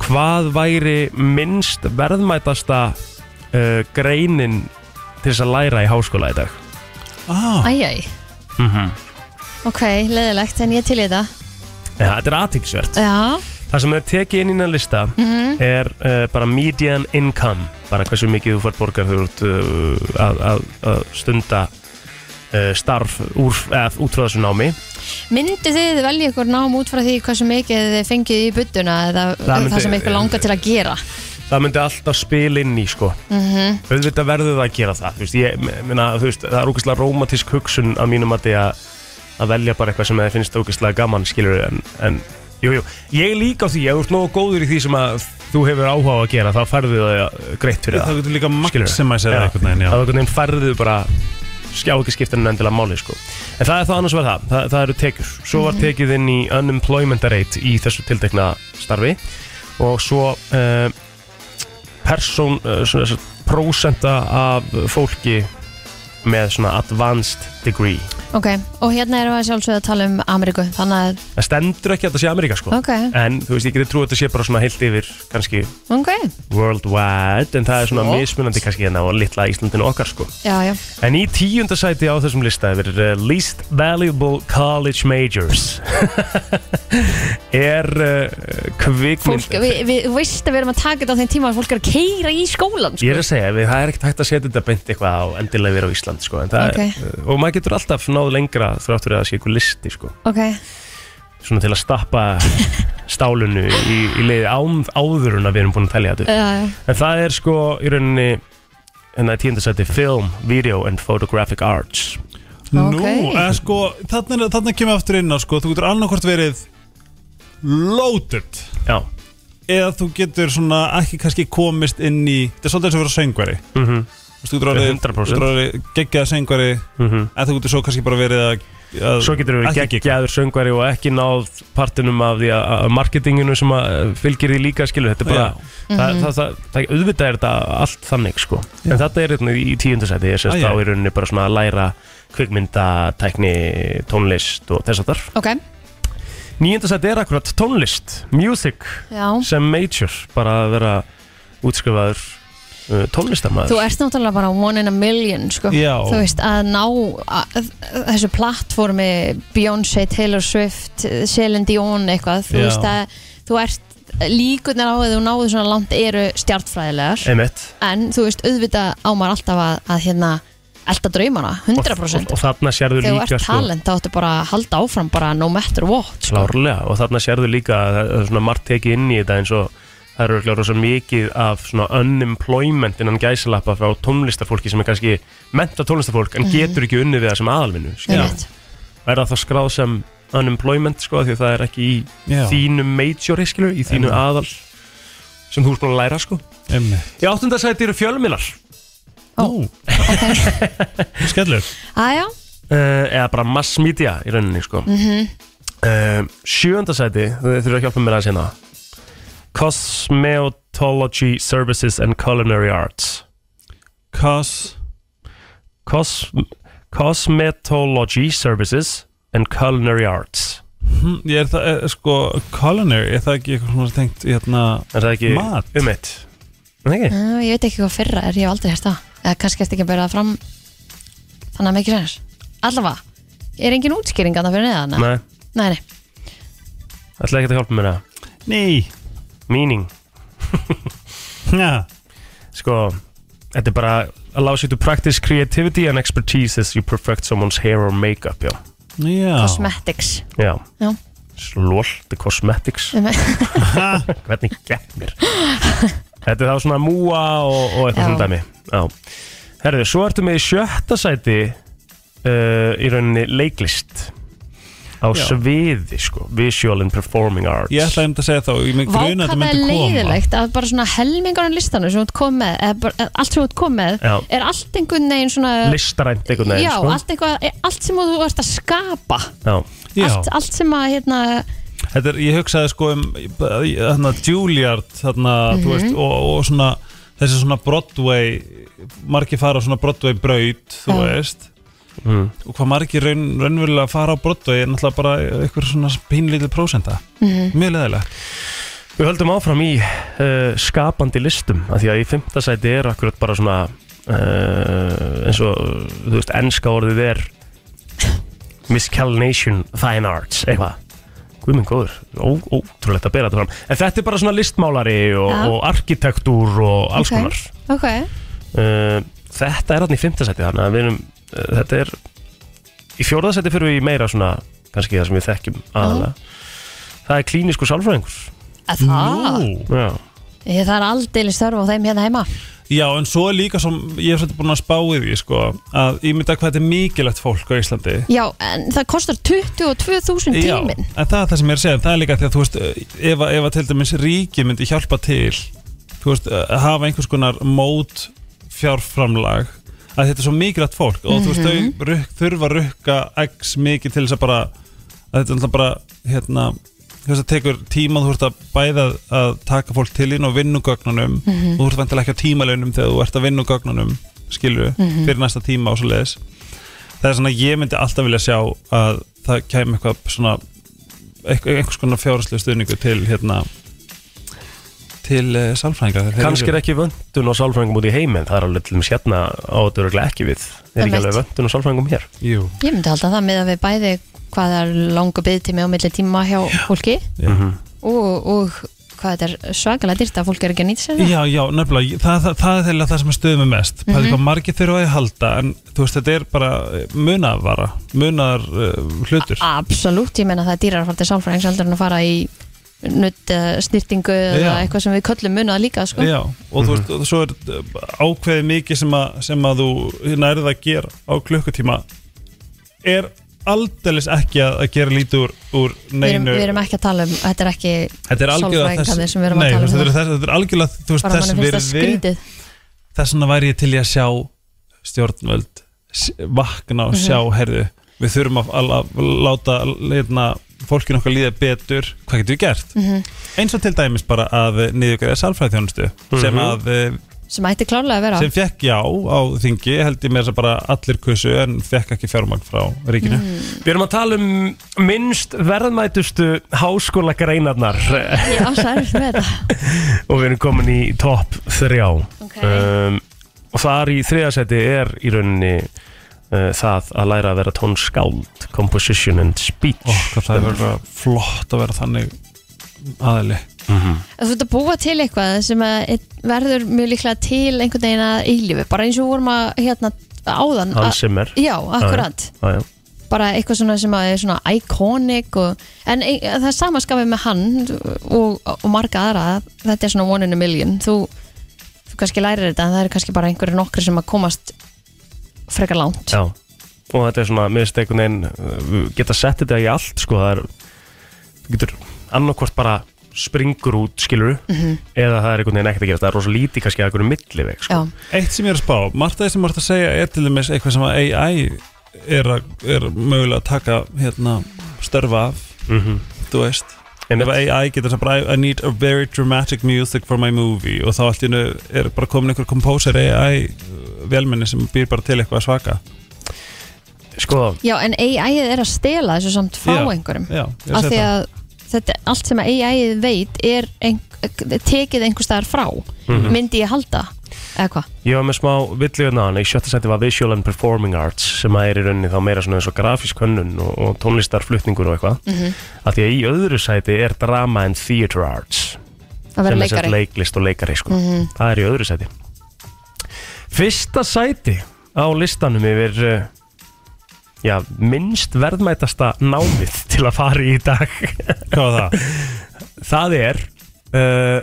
Speaker 1: hvað væri minnst verðmætasta uh, greinin til þess að læra í háskóla í dag
Speaker 3: ah,
Speaker 2: æjæj
Speaker 1: mm -hmm.
Speaker 2: Ok, leðilegt, en ég til í það
Speaker 1: Þetta er aðtíksvert
Speaker 2: Já,
Speaker 1: Það sem er tekið inn í þennan lista er uh, bara median income bara hversu mikið þú fær borgar þegar þú ert uh, að, að, að stunda uh, starf úr, eða, út frá þessu námi
Speaker 2: myndu þið velja ykkur nám út frá því hversu mikið þið fengið í budduna eða það,
Speaker 1: myndi-
Speaker 2: sem ykkur langar til að gera
Speaker 1: það myndi alltaf spil inn í sko
Speaker 2: Mhm.
Speaker 1: auðvitað verður það að gera það þú veist, ég, minna, þú veist, það er ógeðslega rómatísk hugsun að mínum að því að að velja bara eitthvað sem þið finnst ógeðslega gaman skilur en, en jú, jú. ég er líka á því, ef þú ert nógu góður í því sem að þú hefur áhuga á að gera, þá færðu það greitt fyrir það
Speaker 3: Það getur líka
Speaker 1: Skilurðu?
Speaker 3: maximisera
Speaker 1: Já.
Speaker 3: einhvern
Speaker 1: að
Speaker 3: veginn, já
Speaker 1: einhvern veginn færðu bara skjá ekki skiptinu endilega máli sko. en það er þá annars verð það, það, það eru tekjur svo
Speaker 2: Mhm.
Speaker 1: var tekið inn í unemployment rate í þessu tiltekna starfi og svo uh, persón uh, svona, svona, prósenta af fólki með svona advanced degree
Speaker 2: Ok, og hérna erum við að sjálfsögðu að tala um Ameríku Þannig að,
Speaker 1: það stendur ekki að þetta sé Ameríka sko
Speaker 2: ok,
Speaker 1: en þú veist, ég geti trú að þetta sé bara svona heilt yfir kannski
Speaker 2: ok
Speaker 1: worldwide en það er svona
Speaker 2: Flott.
Speaker 1: mismunandi kannski hérna og litla Íslandinu okkar sko
Speaker 2: Já, já,
Speaker 1: En í tíunda sæti á þessum lista yfir uh, Least Valuable College Majors <laughs> er uh, kvikmynd
Speaker 2: fólk, við, við þú veist að við erum að taka þetta á þeim tíma að fólk er að keira í skólan
Speaker 1: Ég
Speaker 2: sko.
Speaker 1: er að segja, við, það er ekkert hægt að setja þetta beint eitthvað á endilega verið á Ísland sko, en það
Speaker 2: Ok.
Speaker 1: er, uh, og maður getur alltaf náð lengra þrátt fyrir að það sé ykkur listi sko,
Speaker 2: Ok,
Speaker 1: svona til að stappa
Speaker 2: <laughs>
Speaker 1: stálunu í, í leiði án, áður en að við erum búin að telja þetta upp.
Speaker 2: já, já
Speaker 1: En það er sko í rauninni hérna í tíunda sæti Film, Video and Photographic Arts
Speaker 3: Nú,
Speaker 2: Ok.
Speaker 3: eða sko, þarna, er- þarna kemur aftur inn á sko, þú getur annarkvort verið loaded
Speaker 1: Já,
Speaker 3: eða þú getur svona ekki kannski komist inn í, þetta er svolítið eins og vera söngveri
Speaker 1: mhm, mhm
Speaker 3: Þú veist, þú getur orðið-
Speaker 1: 100%.
Speaker 3: þú getur orðið geggjað söngveri
Speaker 1: mhm.
Speaker 3: en þú getur svo kannski bara verið að, að
Speaker 1: Svo getur við
Speaker 3: ekki gigga.
Speaker 1: geggjaður söngvari og ekki náð partinum af því að að marketinginu sem að eh, fylgir því líka skilur þetta er bara,
Speaker 3: Já.
Speaker 1: það,
Speaker 2: Mhm.
Speaker 1: það, það, það, auðvitað er þetta allt þannig sko en þetta er hérna í tíundasæti, ég sést
Speaker 3: Æ, já.
Speaker 1: þá í rauninni bara svona að læra kvikmyndatækni, tónlist og þess að þar.
Speaker 2: Ok,
Speaker 1: Níundasæti er akkurat tónlist, music
Speaker 2: já
Speaker 1: sem major, bara að vera útskrifaður uh, tónlistamæður.
Speaker 2: Þú ert náttúrulega bara one in a million sko.
Speaker 3: Já.
Speaker 2: Þú veist að ná að, að þessu plattformi Beyoncé, Taylor Swift, Celine Dion eitthvað Þú
Speaker 3: Já.
Speaker 2: veist að þú ert líkurnar á að þú náðu svona langt eru stjartfræðilegar
Speaker 1: Einmitt.
Speaker 2: En þú veist auðvitað á maður alltaf að, að hérna elda draumana,
Speaker 1: Og-
Speaker 2: 100%
Speaker 1: Og, og þarna sérðu
Speaker 2: Þegar þú
Speaker 1: líka sko.
Speaker 2: ert talent þá áttu bara að halda áfram bara no matter what sko.
Speaker 1: Klárlega og þarna sérðu líka að það er svona margt tekið inn í þetta eins og það eru örugglega rosa mikið af svona unemployment innan gæsalappa frá tónlistafólki sem er kannski menta tónlistafólk en getur ekki unnið við það sem aðalvinnu skilur.
Speaker 2: Einmitt.
Speaker 1: er það þá skráð sem unemployment sko því að það er ekki í
Speaker 3: Já.
Speaker 1: þínu major skilur, í þínu
Speaker 3: Einmitt.
Speaker 1: aðal sem þú ert búin að læra sko
Speaker 3: Einmitt.
Speaker 1: í áttundasæti eru fjölmilar
Speaker 3: Ó,
Speaker 2: Ok.
Speaker 3: <laughs> skellur
Speaker 2: Æja,
Speaker 1: uh, eða bara mass media í rauninni sko. mm -hmm. uh, sjöndasæti þau þurfa að hjálpa mér að hérna Cosmetology Services and Culinary Arts
Speaker 3: Cos
Speaker 1: Cos Cosmetology Services and Culinary Arts
Speaker 3: hm, Ég er það, er, sko, culinary Er það ekki eitthvað svona tengt í hérna
Speaker 1: er það ekki
Speaker 3: Mat.
Speaker 1: um eitt er það ekki?
Speaker 2: Æ, Hm, ég veit ekki hvað fyrra er, ég hef aldrei hérst það eða kannski eftir ekki að bera það fram þannig að mikið sennir allavega, er engin útskýring að það fyrir neðan eða?
Speaker 1: nei,
Speaker 2: nei, nei,
Speaker 1: ætlaði ekki að hjálpa mér að
Speaker 3: Nei
Speaker 1: meaning,
Speaker 3: ja.
Speaker 1: sko þetta er bara allows you to practice creativity and expertise as you perfect someone's hair or makeup já,
Speaker 3: Já
Speaker 2: cosmetics
Speaker 1: já.
Speaker 2: Já.
Speaker 1: slól, the cosmetics
Speaker 2: um,
Speaker 1: hvernig gekk mér Þetta er þá svona múa og, og eitthvað
Speaker 2: Já.
Speaker 1: svona dæmi Já. Herðu, svo ertu með í sjötta sæti uh, í rauninni leiklist á
Speaker 3: Já.
Speaker 1: sviði sko, visual and performing arts
Speaker 3: Ég ætlaði um þetta að segja þá Ég með gruna
Speaker 2: vákvæða
Speaker 3: þetta
Speaker 2: er
Speaker 3: myndi koma
Speaker 2: leiðilegt að bara svona helmingarinn listanum sem þú ert komið með, eða bara, eða allt sem þú ert komið með
Speaker 1: Já.
Speaker 2: er allt einhvern veginn svona
Speaker 1: listrænt einhvern veginn
Speaker 2: já, e,
Speaker 1: sko.
Speaker 2: allt, eitthvað, allt sem þú ert að skapa
Speaker 1: Já.
Speaker 3: Já.
Speaker 2: allt, allt sem að hérna
Speaker 3: þetta er, ég hugsaði sko um þarna Juilliard þarna, þú
Speaker 2: Mhm.
Speaker 3: veist, og, og svona þessi svona Broadway margir fara á svona Broadway braut þú
Speaker 2: Já.
Speaker 3: veist
Speaker 1: Mm.
Speaker 3: og hvað margir raun, raunverulega fara á Broadway er náttúrulega bara einhver svona pínlítið prósenta, mjög leðilega
Speaker 1: Við höldum áfram í uh, skapandi listum af því að í fimmta sæti er akkurat bara svona uh, eins og þú veist, enska orðið er miscalination fine arts, eitthvað Guðminn góður, Ó, ótrúlegt að bera þetta fram En þetta er bara svona listmálari og,
Speaker 2: Já.
Speaker 1: og arkitektúr og alls
Speaker 2: Ok.
Speaker 1: konar
Speaker 2: Ok,
Speaker 1: uh, Þetta er hann í fimmta sæti þannig að við erum, uh, þetta er í fjórða sæti fyrir við í meira svona kannski það sem við þekkjum aðalega Það er klínisku sálfræðingur
Speaker 2: að það
Speaker 1: Já
Speaker 2: Ég þarf aldeilis þörf á þeim hérna heima
Speaker 3: Já, en svo er líka sem ég hef svolítið búin að spá í því sko, að ég myndi að hvað þetta er mikilvægt fólk á Íslandi
Speaker 2: Já, en það kostar 22.000
Speaker 3: Já,
Speaker 2: tíminn
Speaker 3: en það er það sem ég er að segja það er líka því að þú veist, ef, að- ef að til dæmis ríki myndi hjálpa til þú veist, að hafa einhvers konar mót fjárframlag að þetta er svo mikilvægt fólk og þú veist, þau ruk, þurfa að rukka x mikið til þess að bara að þetta er alltaf bara, hérna þú veist, það tekur tíma, þú ert að bæða að taka fólk til inn og vinnugögnunum mm -hmm. og þú ert vantilega ekki á tímalönum þegar þú ert að vinnugögnunum, skilur fyrir næsta tíma og svo leiðis það er svona, ég myndi alltaf vilja sjá að það kæmi eitthvað svona eitthvað, einhvers konar fjárhastlegu stuðningu til hérna til uh, sálfræðinga
Speaker 1: Kanski er ekki vöndun á sálfræðingum út í heim en það er alveg til dæmis hérna á þetta örugglega ekki við er ekki
Speaker 2: Einmitt.
Speaker 1: alveg vöndun á sálfræðingum hér
Speaker 3: Jú,
Speaker 2: Ég myndi halda það með að við bæði hvað það er langa byggtími og milli tíma hjá fólki
Speaker 3: já.
Speaker 2: og, og hvað þetta er svakalega dyrt að fólk er ekki að nýta sér það
Speaker 3: Já, já, nefnilega, ég- það, það, það er þeirlega það sem er stöðum mest mm hvað margir þurfa að halda en þú veist, þetta er bara eh, munavara munar uh, hlutur
Speaker 2: Absolutt, ég meina það er dýrar að fara til sálfræðings heldur en að fara í nutt snýrtingu eða
Speaker 3: Já.
Speaker 2: eitthvað sem við köllum munað líka sko.
Speaker 3: Já, og þú veist, og svo er uh, ákveðið mikið sem að, sem að þú nærið að gera á klukkutíma er aldeilis ekki að, að gera lítið úr, úr
Speaker 2: við, erum,
Speaker 3: neinu
Speaker 2: við erum ekki að tala um, þetta er ekki
Speaker 3: Þetta er algjörlega
Speaker 2: sálfræðingarnir
Speaker 3: þess
Speaker 2: sem við erum að
Speaker 3: Nei,
Speaker 2: tala um
Speaker 3: þetta er,
Speaker 2: hérna.
Speaker 3: þess, þetta er algjörlega þú veist,
Speaker 2: bara
Speaker 3: þess
Speaker 2: manni finnst það
Speaker 3: virði
Speaker 2: skrítið
Speaker 3: þess vegna væri ég til í að sjá stjórnvöld s- vakna
Speaker 2: Mhm.
Speaker 3: og sjá, herðu, við þurfum að, að, að láta hérna, fólkinu okkar líða betur, hvað getum við gert
Speaker 2: Mhm.
Speaker 3: eins og til dæmis bara að niðurgræða sálfræðþjónustu sem að eh,
Speaker 2: sem ætti klárlega að vera
Speaker 3: sem fekk já á þingi held ég með þess að bara allir kussu en fekk ekki fjármagn frá ríkinu
Speaker 2: Mm.
Speaker 1: Við erum að tala um minnst verðmætustu háskóla greinarnar
Speaker 2: ég ásæður með þetta
Speaker 1: <laughs>
Speaker 3: <laughs>
Speaker 1: og við erum komin í topp þrjá
Speaker 2: Ok.
Speaker 1: um, og þar í þriðasæti er í rauninni uh, það að læra að vera tónskáld composition and speech
Speaker 3: og hvað það er verið flott að vera þannig aðili
Speaker 2: Þú ert að búa til eitthvað sem að einn- verður mjög líklega til einhvern veginn að eilífi bara eins og við vorum að hérna áðan
Speaker 1: Hans
Speaker 2: að,
Speaker 1: Zimmer
Speaker 2: Já, akkurat
Speaker 1: Já, já.
Speaker 2: bara eitthvað svona sem að er svona iconic og, en e, það er sama skapið með hann og, og marga aðra þetta er svona one in a million þú, þú kannski lærir þetta en það eru kannski bara einhverju nokkri sem að komast frekar langt
Speaker 1: Já, og þetta er svona miðst einhvern veginn, uh, við geta sett þetta í allt sko, það er þú getur annarkvort bara springur út skilur, eða það er einhvern veginn ekkert að gera það er rosa lítið kannski að einhverju milliveg sko.
Speaker 2: Já.
Speaker 3: Eitt sem ég er að spá, margt af því sem margt að segja er til dæmis eitthvað sem að AI er, að, er mögulega að taka hérna, störfa af þú
Speaker 1: Mhm.
Speaker 3: veist
Speaker 1: En
Speaker 3: Ef AI getur það bara I need a very dramatic music for my movie og þá allt í hennu er bara komin einhver komposer AI velmenni uh, sem býr bara til eitthvað að svaka
Speaker 1: sko,
Speaker 2: Já, en AI er að stela þessu samt frá
Speaker 3: Já,
Speaker 2: einhverjum
Speaker 3: Já, ég
Speaker 2: af
Speaker 3: segi
Speaker 2: því
Speaker 3: það.
Speaker 2: að þetta, allt sem AI veit er ein, tekið einhver staðar frá
Speaker 1: Mhm.
Speaker 2: myndi ég halda eða hvað
Speaker 1: ég var með smá villiðna hann, í sjötta seti var Visual and Performing Arts sem að er í rauninni þá meira svona eins og grafísk hönnun og, og tónlistarflutningur og eitthvað af því að í öðru sæti er Drama and Theatre Arts
Speaker 2: að vera
Speaker 1: sem er sett
Speaker 2: leikari Mhm.
Speaker 1: leiklist og leikari sko. það er í öðru sæti fyrsta sæti á listanum yfir uh, já, minnst verðmætasta námið til að fara í í dag
Speaker 3: Hvað var það?
Speaker 1: <laughs> það er uh,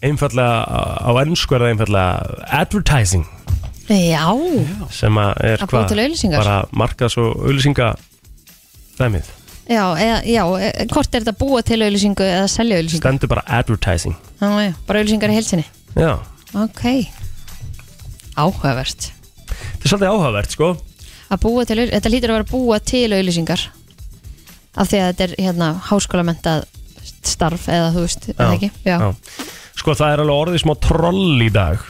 Speaker 1: einfallega á ennsku er það einfallega advertising
Speaker 2: Já,
Speaker 1: sem að er
Speaker 2: Að búa til auglýsingar?
Speaker 1: bara markas og auðlýsinga dæmið,
Speaker 2: já, eða, já e- hvort er þetta að búa til auðlýsingu eða selja auðlýsingu
Speaker 1: stendur bara advertising
Speaker 2: Já, já, bara auðlýsingar í helsini
Speaker 1: já,
Speaker 2: Ok, áhugavert
Speaker 1: þetta er svolítið áhugavert sko
Speaker 2: að búa til, auglý- þetta lítur að vera að búa til auðlýsingar af því að þetta er hérna háskólamentað starf eða þú veist, eða ekki já.
Speaker 1: já. Sko það er alveg orðið smá troll í dag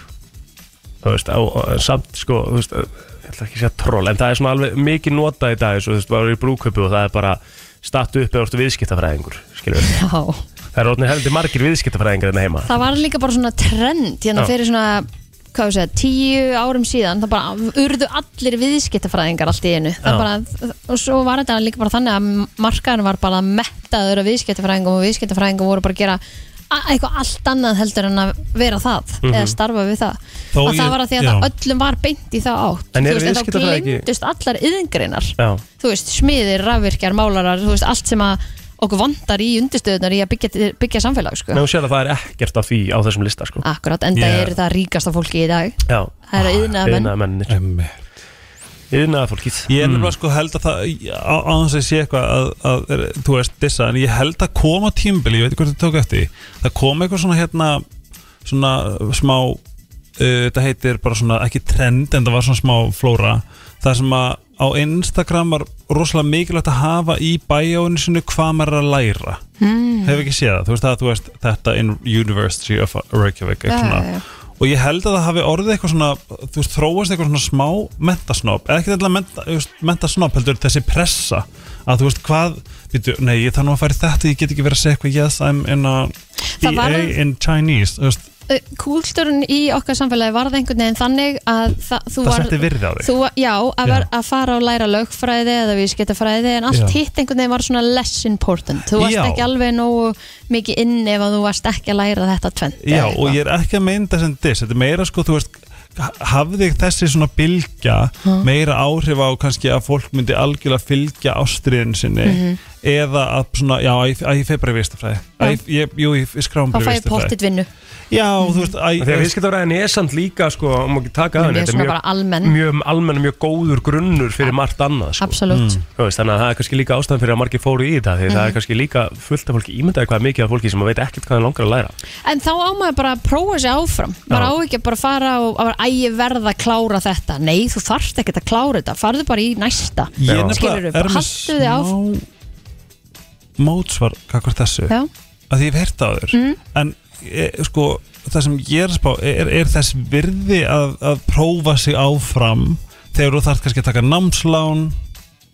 Speaker 1: Þú veist, á, á, samt sko, þú veist, ég ætla ekki að segja troll En það er svona alveg mikið nota í dag Svo þú veist, bara í brúköpu og það er bara Stattu upp eða orðið viðskiptafræðingur Skilur við
Speaker 2: já,
Speaker 1: Það er orðinir heldur margir viðskiptafræðingar hérna heima
Speaker 2: það var líka bara svona trend hérna
Speaker 1: Já.
Speaker 2: fyrir svona hvað þú segja, tíu árum síðan það bara urðu allir viðskiptafræðingar allt í einu,
Speaker 1: Já.
Speaker 2: það bara og svo var þetta líka bara þannig að markaðin var bara mettaður af viðskiptafræðingum og viðskiptafræðingum voru bara að gera a- eitthvað allt annað heldur en að vera það eða
Speaker 1: Mhm.
Speaker 2: starfa við það
Speaker 3: Þó
Speaker 2: og það
Speaker 3: ég-
Speaker 2: var að því að
Speaker 3: já.
Speaker 2: það öllum var beint í það átt
Speaker 1: En
Speaker 2: Þú
Speaker 1: eru
Speaker 2: veist, þá
Speaker 1: viðskiptafræði ekki-
Speaker 2: gleymdust allar yðingreinar
Speaker 1: Já,
Speaker 2: þú veist, smiðir, rafvirkjar, málarar þú veist, allt sem að okkur vandar í undirstöðunar í að byggja, byggja samfélag sko.
Speaker 1: en þú sér að það er ekkert af því á þessum lista sko
Speaker 2: Akkurat, enda
Speaker 3: Yeah.
Speaker 2: eru það ríkasta fólki í dag
Speaker 1: Já,
Speaker 2: Það eru iðnaðarmenn.
Speaker 1: Yðnaðamennir,
Speaker 3: Emmi.
Speaker 1: yðnaðarfólkið
Speaker 3: Ég er nefnilega sko held að það á á þess að ég sé eitthvað að, að er, þú veist dissa en ég held að koma tímbili, ég veit ekki hvort þið tók eftir því, það kom eitthvað svona hérna svona smá uh, þetta heitir bara svona ekki trend en það var svona smá flóra það sem að á Instagram var rosalega mikilvægt að hafa í bæjónu sinu hvað maður er að læra mm. hefur ekki séð það, þú veist það þú veist þetta in University of Reykjavík eitthvað svona
Speaker 2: Já, já, já.
Speaker 3: og ég held að það hafi orðið eitthvað svona þú veist, þróast eitthvað svona smá mentasnob eða ekki eitthvað menta, þú veist, mentasnob heldur þessi pressa að þú veist hvað byrju, nei, ég þarf nú að fara í þetta, ég get ekki verið að segja eitthvað yes, I'm in a BA
Speaker 2: Það var að-
Speaker 3: in Chinese þú veist,
Speaker 2: Kúltúrun í okkar samfélagi varð einhvern veginn þannig að það, þú
Speaker 3: það
Speaker 2: var
Speaker 3: setti virði á þig
Speaker 2: þú, Já, að, var,
Speaker 3: Já.
Speaker 2: að fara og læra lögfræði eða viðskiptafræði en allt
Speaker 3: Já.
Speaker 2: hitt einhvern veginn var svona less important þú varst
Speaker 3: Já.
Speaker 2: ekki alveg nógu mikið inn ef að þú varst ekki að læra þetta tvend
Speaker 3: Já, og ég er ekki að meina þess en diss Þetta er meira sko, þú veist hafði þessi svona bylgja meira áhrif á kannski að fólk myndi algjörlega fylgja ástriðin sinni eða að svona, já, að ég- að ég feir bara í vistafræði
Speaker 2: Mhm. Já.
Speaker 3: Jú, ég skráum
Speaker 2: Þá
Speaker 3: bara í
Speaker 2: fæ ég
Speaker 3: vistafræði
Speaker 2: pottit vinnu
Speaker 3: Já, þú veist, að,
Speaker 1: Þegar viðskiptafræðin er samt líka sko, um ekki taka að
Speaker 2: Hún
Speaker 1: henni
Speaker 2: er
Speaker 1: Þetta
Speaker 2: svona
Speaker 1: er
Speaker 2: bara almenn.
Speaker 1: mjög, mjög almenn, mjög góður grunnur fyrir margt annað sko.
Speaker 2: Absolutt
Speaker 3: Mm.
Speaker 1: Þú veist, þannig að það er kannski líka ástæðan fyrir að margir fóru í þetta því það
Speaker 2: Mhm.
Speaker 1: er kannski líka fullt af fólki ímyndaði hvað er mikið af fólki sem veit ekkert hvað það langar að læra
Speaker 2: En þá á maður bara að prófa sér áfram maður á ekki að bara fara og að bara, æ, ég verða að klára þetta Nei, þú þarft ekkert að klára þetta farðu bara í næsta
Speaker 3: ég
Speaker 1: Já.
Speaker 2: Skilurðu,
Speaker 3: nefnilega er
Speaker 2: bara
Speaker 3: með
Speaker 2: haltu þig á-
Speaker 3: smá mótsvar kakvar þessu
Speaker 2: Já,
Speaker 3: að því ég hef heyrt á þér
Speaker 2: Mm.
Speaker 3: en e, sko það sem ég er að spá er, er þess virði að, að prófa sig áfram þegar þú þarf kannski að taka námslán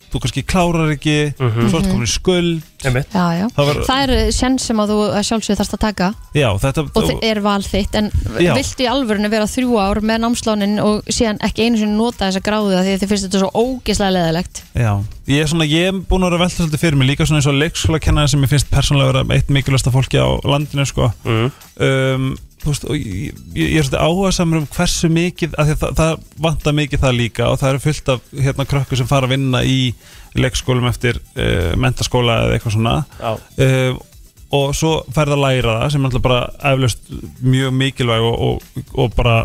Speaker 3: þú kannski klárar ekki þú ert komin í skuld
Speaker 1: Einmitt.
Speaker 2: já, já
Speaker 3: Það var-
Speaker 2: Það er senn sem að þú að sjálfsögðu þarfst að taka
Speaker 3: já, þetta,
Speaker 2: og það er val þitt en
Speaker 3: Já.
Speaker 2: viltu í alvörinu vera þrjú ár með námslánin og síðan ekki einu sinni nota þessa gráðu af því að þið finnst þetta svo ógislega leðilegt
Speaker 3: já, ég er svona ég er búin að vera að velta svolítið fyrir mig líka svona eins og leikskólakennar sem ég finnst persónlega vera eitt mikilvægsta fólki á landinu sko
Speaker 1: mm.
Speaker 3: um, þú veist, og ég, ég ég er svolítið áhuga samur um hversu mikið af því að það, það vantar mikið það líka og það eru fullt af hérna krökkur sem fara að vinna í leikskólum eftir uh, mentaskóla eða eitthvað svona
Speaker 1: Já.
Speaker 3: um, og svo færð að læra það sem er alltaf bara eflaust mjög mikilvæg og, og, og bara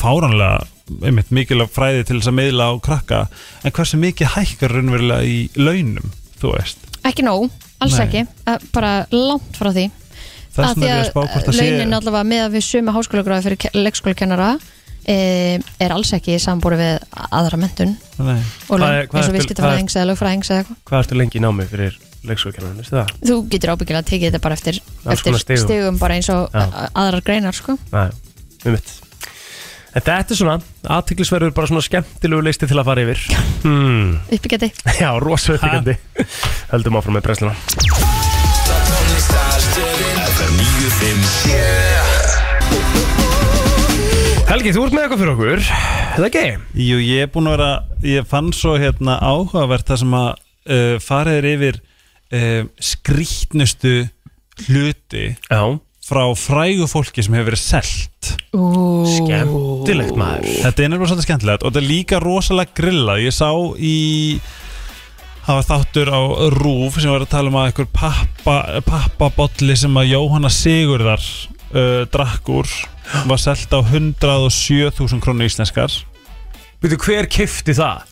Speaker 3: fáranlega einmitt mikilvæg fræði til þess að miðla á krakka en hversu mikið hækkar raunverulega í launum, þú veist
Speaker 2: Ekki nóg, alls
Speaker 3: Nei.
Speaker 2: ekki, Að- bara langt frá því
Speaker 3: þess
Speaker 2: Af
Speaker 3: vegna er ég að spá hvort það sé
Speaker 2: launin allavega með að við sömu háskólagráði fyrir ke- leikskólakennara e, er alls ekki sambúri við aðra mentun
Speaker 3: Nei.
Speaker 2: og
Speaker 1: Hvað
Speaker 2: laun,
Speaker 1: er- hvað er
Speaker 2: eins og
Speaker 1: til-
Speaker 2: viðskiptafræðings eða lögfræðings eða eitthvað.
Speaker 1: Hvað ertu lengi í námi fyrir leikskókjarnan, veistu það?
Speaker 2: Þú getur ábyggilega að tekið þetta bara eftir,
Speaker 1: Alls
Speaker 2: eftir
Speaker 1: konar stigum.
Speaker 2: stigum bara eins og
Speaker 1: Já.
Speaker 2: a- aðrar greinar sko.
Speaker 1: Nei, um mitt En þetta er svona, aðtiklisverður bara svona skemmtilegu listi til að fara yfir hmm. <laughs>
Speaker 2: uppbyggjandi.
Speaker 1: Já, rosaðuppbyggandi Höldum áfram með brennsluna Helgi, þú ert með eitthvað fyrir okkur Er Það ekki?
Speaker 3: Jú, ég er búin að vera, ég fann svo hérna áhugavert það sem að uh, farið er yfir uh, skrýtnustu hluti
Speaker 1: Já,
Speaker 3: frá frægu fólki sem hefur verið selt.
Speaker 1: skemmtilegt maður
Speaker 3: Þetta er nefnilega svolítið skemmtilegt og þetta er líka rosalega grilla. Ég sá í, það var þáttur á Rúf sem var að tala um að einhver pappa, pappabolli sem að Jóhanna Sigurðar uh, drakk úr var selt á 107.000 krónu íslenskar.
Speaker 1: Veitu, hver kifti það?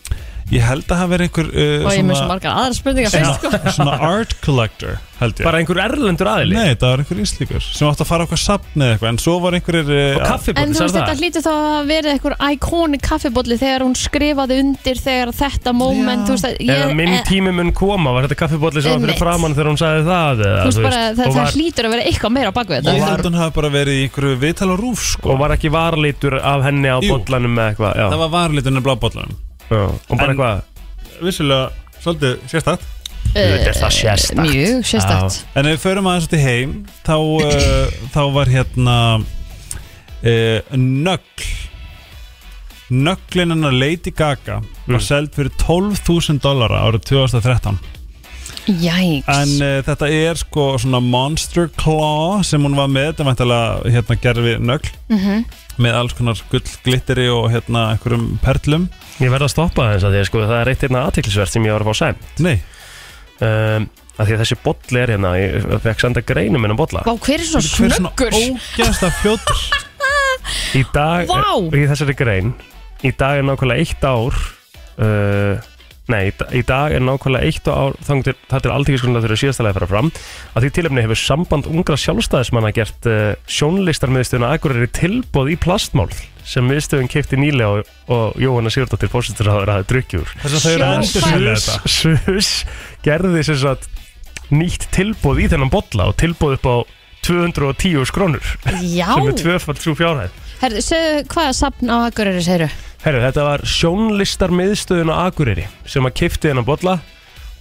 Speaker 3: Ég held að hann veri einhver uh,
Speaker 2: Og ég er með svo margar aðra spurningar fyrst sko.
Speaker 3: svona, svona art collector held ég
Speaker 1: Bara einhver erlendur aðili
Speaker 3: Nei, það var einhver íslíkur sem átti að fara á eitthvað safn eða eitthvað en svo var einhverjir uh,
Speaker 1: Og kaffibóti,
Speaker 2: En þú veist,
Speaker 1: sagði
Speaker 2: þetta
Speaker 1: það
Speaker 2: hlýtur þá að vera einhver iconic kaffibólli þegar hún skrifaði undir þegar þetta moment, þú veist að ég,
Speaker 1: Eða minn
Speaker 2: eh,
Speaker 1: tími mun koma, var þetta kaffibóli sem var fyrir
Speaker 2: Einmitt.
Speaker 1: framann þegar hún sagði það eða,
Speaker 2: þú veist bara, það,
Speaker 1: og,
Speaker 2: það
Speaker 1: var,
Speaker 2: hlýtur að vera eitthvað meira á bakvið þetta Eh,
Speaker 3: Ég held að hann hafi bara verið í einhverju viðtal á rúf sko
Speaker 1: og var ekki varlítur af henni á
Speaker 3: Jú.
Speaker 1: bollanum eða eitthvað já,
Speaker 3: Það var varlítunni blábollanum
Speaker 1: já, og bara
Speaker 3: En-
Speaker 1: eitthvað
Speaker 3: Vissulega, svolítið sérstætt
Speaker 1: Auðvitað er það sérstakt.
Speaker 2: eh, Mjög sérstakt
Speaker 3: En ef við förum aðeins út í heim þá, uh, þá var hérna uh, Nögl Nöglin hennar Lady Gaga
Speaker 1: Mm.
Speaker 3: var seld fyrir 12.000 dollara árið 2013 En
Speaker 1: eh,
Speaker 2: Jæks
Speaker 3: uh, þetta er sko svona Monster Claw sem hún var með þetta er væntalega hérna gerfi nögl
Speaker 2: Mhm.
Speaker 3: með alls konar gull glitteri og hérna einhverjum perlum
Speaker 1: Ég verð að stoppa þess að því sko, það er eitt hérna aðtiklisvert sem ég var að fá sæm
Speaker 3: Nei,
Speaker 1: um, að því að þessi bolli er hérna ég fekk senda greinu minn um bolla
Speaker 2: Vá, hver er svona
Speaker 3: hver er svona
Speaker 2: snöggur?
Speaker 3: ógæðslega fljótur
Speaker 1: í dag,
Speaker 2: Vá!
Speaker 1: í þessari grein í dag er nákvæmlega eitt ár uh, nei, í da- í dag er nákvæmlega eitt ár þannig til þetta er aldrei skoðan að þeirra síðastalega að fara fram að því tilefni hefur samband ungra sjálfstæðismanna gert uh, sjónlistarmiðstöðuna Akureyri tilbóð í plastmál sem miðstöðun keipti nýlega og, og Jóhanna Sigurdóttir fórsýttur að hafa drukkjúr
Speaker 3: Þess að þau eru
Speaker 2: Sjá,
Speaker 3: að endursýna
Speaker 1: Sus,
Speaker 3: þetta
Speaker 1: Sus gerði sem sagt nýtt tilbóð í þennan bolla og tilbóð upp á 210 skrónur
Speaker 2: Já
Speaker 1: sem er tvöfald svo fjárhæð
Speaker 2: Herðu, segðu hvaða safn á Akureyri segirðu?
Speaker 1: Herru, þetta var sjónlistar miðstöðun á Akureyri sem að kifti þennan bolla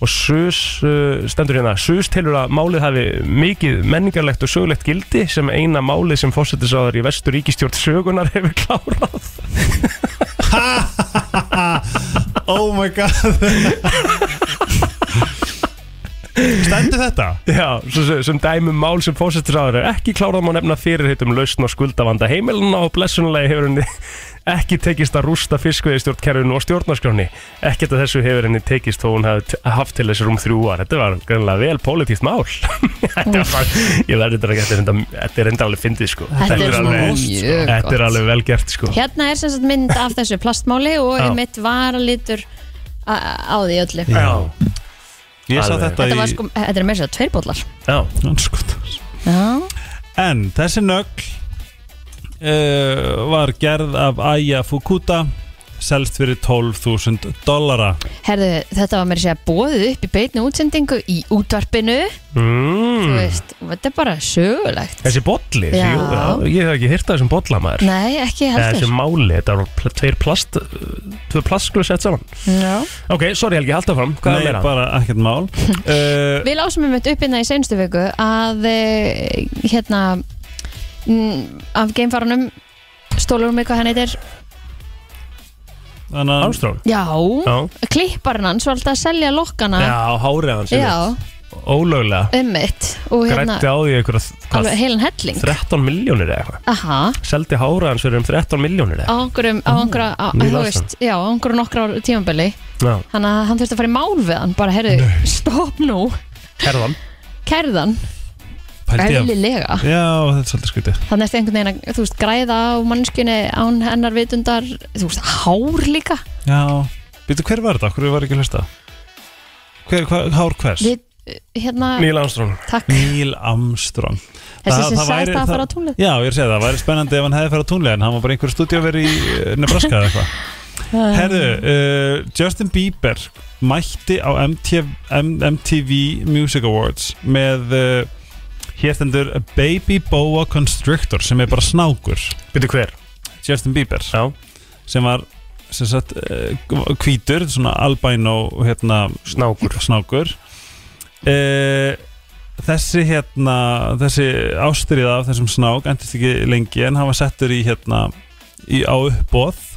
Speaker 1: og Sus uh, stendur hérna Sus telur að málið hafi mikið menningarlegt og sögulegt gildi sem eina málið sem fósettisáður í vestur ríkistjórn sögunar <laughs> hefur klárað
Speaker 3: Oh my god <laughs> Stendur þetta?
Speaker 1: Já, sem, sem dæmum mál sem fósættisáður er ekki klárað má nefna fyrirhitum lausn og skuldavanda heimilina og blessunlega hefur henni <laughs> ekki tekist að rústa fiskveiðistjórnkerfinu og stjórnarskráni. Ekkert að þessu hefur henni tekist þó hún hafði t- haft til þessar um þrjú ár. Þetta var greinlega vel pólitíft mál. <laughs> þetta var bara, ég verði þetta ekki, þetta er enda- þetta er enda alveg fyndið sko.
Speaker 2: Þetta er svona
Speaker 1: alveg-
Speaker 2: mjög
Speaker 1: Þetta er
Speaker 2: gott.
Speaker 1: alveg vel gert sko.
Speaker 2: Hérna er sem sagt mynd af þessu plastmáli og
Speaker 1: Já.
Speaker 2: einmitt varalitur á á því öllu
Speaker 3: Já.
Speaker 1: Já,
Speaker 3: Ég sá
Speaker 1: Alveg.
Speaker 3: þetta,
Speaker 2: Þetta var
Speaker 3: í
Speaker 2: sko, þetta er meira sér tveir bollar
Speaker 1: já,
Speaker 3: Andskotans.
Speaker 2: Já
Speaker 3: En þessi nögl uh, var gerð af Aya Fukuda selst fyrir 12.000 dollara
Speaker 2: Herðu, þetta var meira sér bóðið upp í beitni útsendingu í útvarpinu Þú
Speaker 1: mm.
Speaker 2: veist, og þetta er bara sögulegt
Speaker 1: þessi bolli,
Speaker 2: Já.
Speaker 1: jú, já, ég hef ekki hýrtað þessum bollamæður.
Speaker 2: Nei, ekki
Speaker 1: Eða þessu
Speaker 2: heldur
Speaker 1: máli, þetta var pl tveir plast tvö plastsklu sett saman
Speaker 2: Já.
Speaker 1: ok, sorry Helgi, halda fram, hvað
Speaker 3: Nei,
Speaker 1: er meira?
Speaker 3: bara
Speaker 2: <laughs>
Speaker 3: ekkert mál uh,
Speaker 2: Við lásum einmitt upp hérna í seinustu viku að eh, hérna mm, af geimfarunum stólurum eitthvað hann heitir
Speaker 3: Þannig að
Speaker 1: Armstrong
Speaker 2: Já,
Speaker 1: Já,
Speaker 2: klipparinn hans var alltaf að selja lokkana
Speaker 1: já hárið hans
Speaker 2: Ah. Já,
Speaker 1: ólöglega,
Speaker 2: ummitt og hérna
Speaker 1: grætti á því einhverja hvað,
Speaker 2: alveg heilan helling
Speaker 1: 13 miljónir eða eitthvað
Speaker 2: Aha,
Speaker 1: seldi hárið hans fyrir um 13 miljónir
Speaker 2: á einhverjum á einhverja, á,
Speaker 1: Ég
Speaker 2: þú
Speaker 1: las
Speaker 2: veist, já, á einhverju nokkra ára tímabili
Speaker 1: eitthvað já,
Speaker 2: Þannig að hann þurfti að fara í mál við hann bara, heyrðu, stopp nú
Speaker 1: herðan
Speaker 2: kærðan,
Speaker 3: pældi ég að-
Speaker 2: eðlilega
Speaker 3: Já, þetta er svolítið skrítið
Speaker 2: þannig ertu einhvern veginn að þú veist græða á mannskjunni án hennar vitundar þú veist hár líka
Speaker 3: Já, býtu hver var þetta? Hverju var ekki að hlusta? Hver, hva, hár hvers?
Speaker 2: við, eh, hérna,
Speaker 1: Neil Armstrong
Speaker 2: takk
Speaker 3: Neil Armstrong
Speaker 2: þessi sem
Speaker 3: það væri-
Speaker 2: sagðist að
Speaker 3: það-
Speaker 2: fara á túnlið
Speaker 3: Já, ég er að segja það, það væri spennandi ef hann hefði farið á tónlega en hann var bara í einhverju stúdíóveri í eh, Nebraska eða
Speaker 2: <laughs>
Speaker 3: eitthvað Herðu, uh, Justin Bieber mætti á MTV, M- MTV Music Awards með uh, hér stendur Baby Boa Constrictor sem er bara snákur
Speaker 1: byrju hver,
Speaker 3: Justin Bieber
Speaker 1: já,
Speaker 3: sem var sem sagt, uh, hvítur, svona albino hérna,
Speaker 1: snákur
Speaker 3: snákur uh, þessi hérna þessi ástriða af þessum snák endist ekki lengi en hann var settur í hérna í, á uppbóð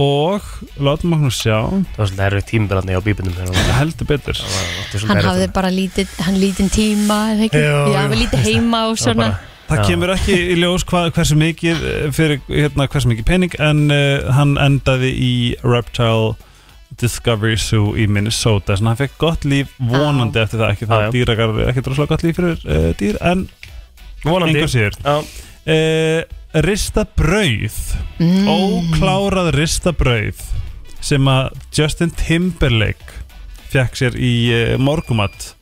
Speaker 3: og látum okkur sjá
Speaker 1: það var svolítið erfið tímbilandi á bíbunum þegar hann var-
Speaker 3: heldur betur
Speaker 1: það var- það var svolítið
Speaker 2: hann
Speaker 1: erfitt.
Speaker 2: hafði bara lítið, hann lítinn tíma eða ekki,
Speaker 1: Já,
Speaker 2: já,
Speaker 1: já.
Speaker 2: við lítið heima
Speaker 1: Það
Speaker 2: og
Speaker 1: var
Speaker 2: svona,
Speaker 1: bara-
Speaker 3: það
Speaker 1: Já.
Speaker 3: kemur ekki í ljós hvað, hversu mikið eh, fyrir hérna hversu mikið pening en uh, hann endaði í Reptile Discovery Zoo í Minnesota þannig að hann fekk gott líf vonandi eftir það ekki það
Speaker 1: Já, já.
Speaker 3: dýrakar ekki droslega gott líf fyrir uh, dýr en
Speaker 1: vonandi
Speaker 3: einhver sér
Speaker 1: Já.
Speaker 3: Eh, uh, Ristabrauð
Speaker 2: mm,
Speaker 3: Óklárað ristabrauð sem að Justin Timberlake fekk sér í uh, morgumat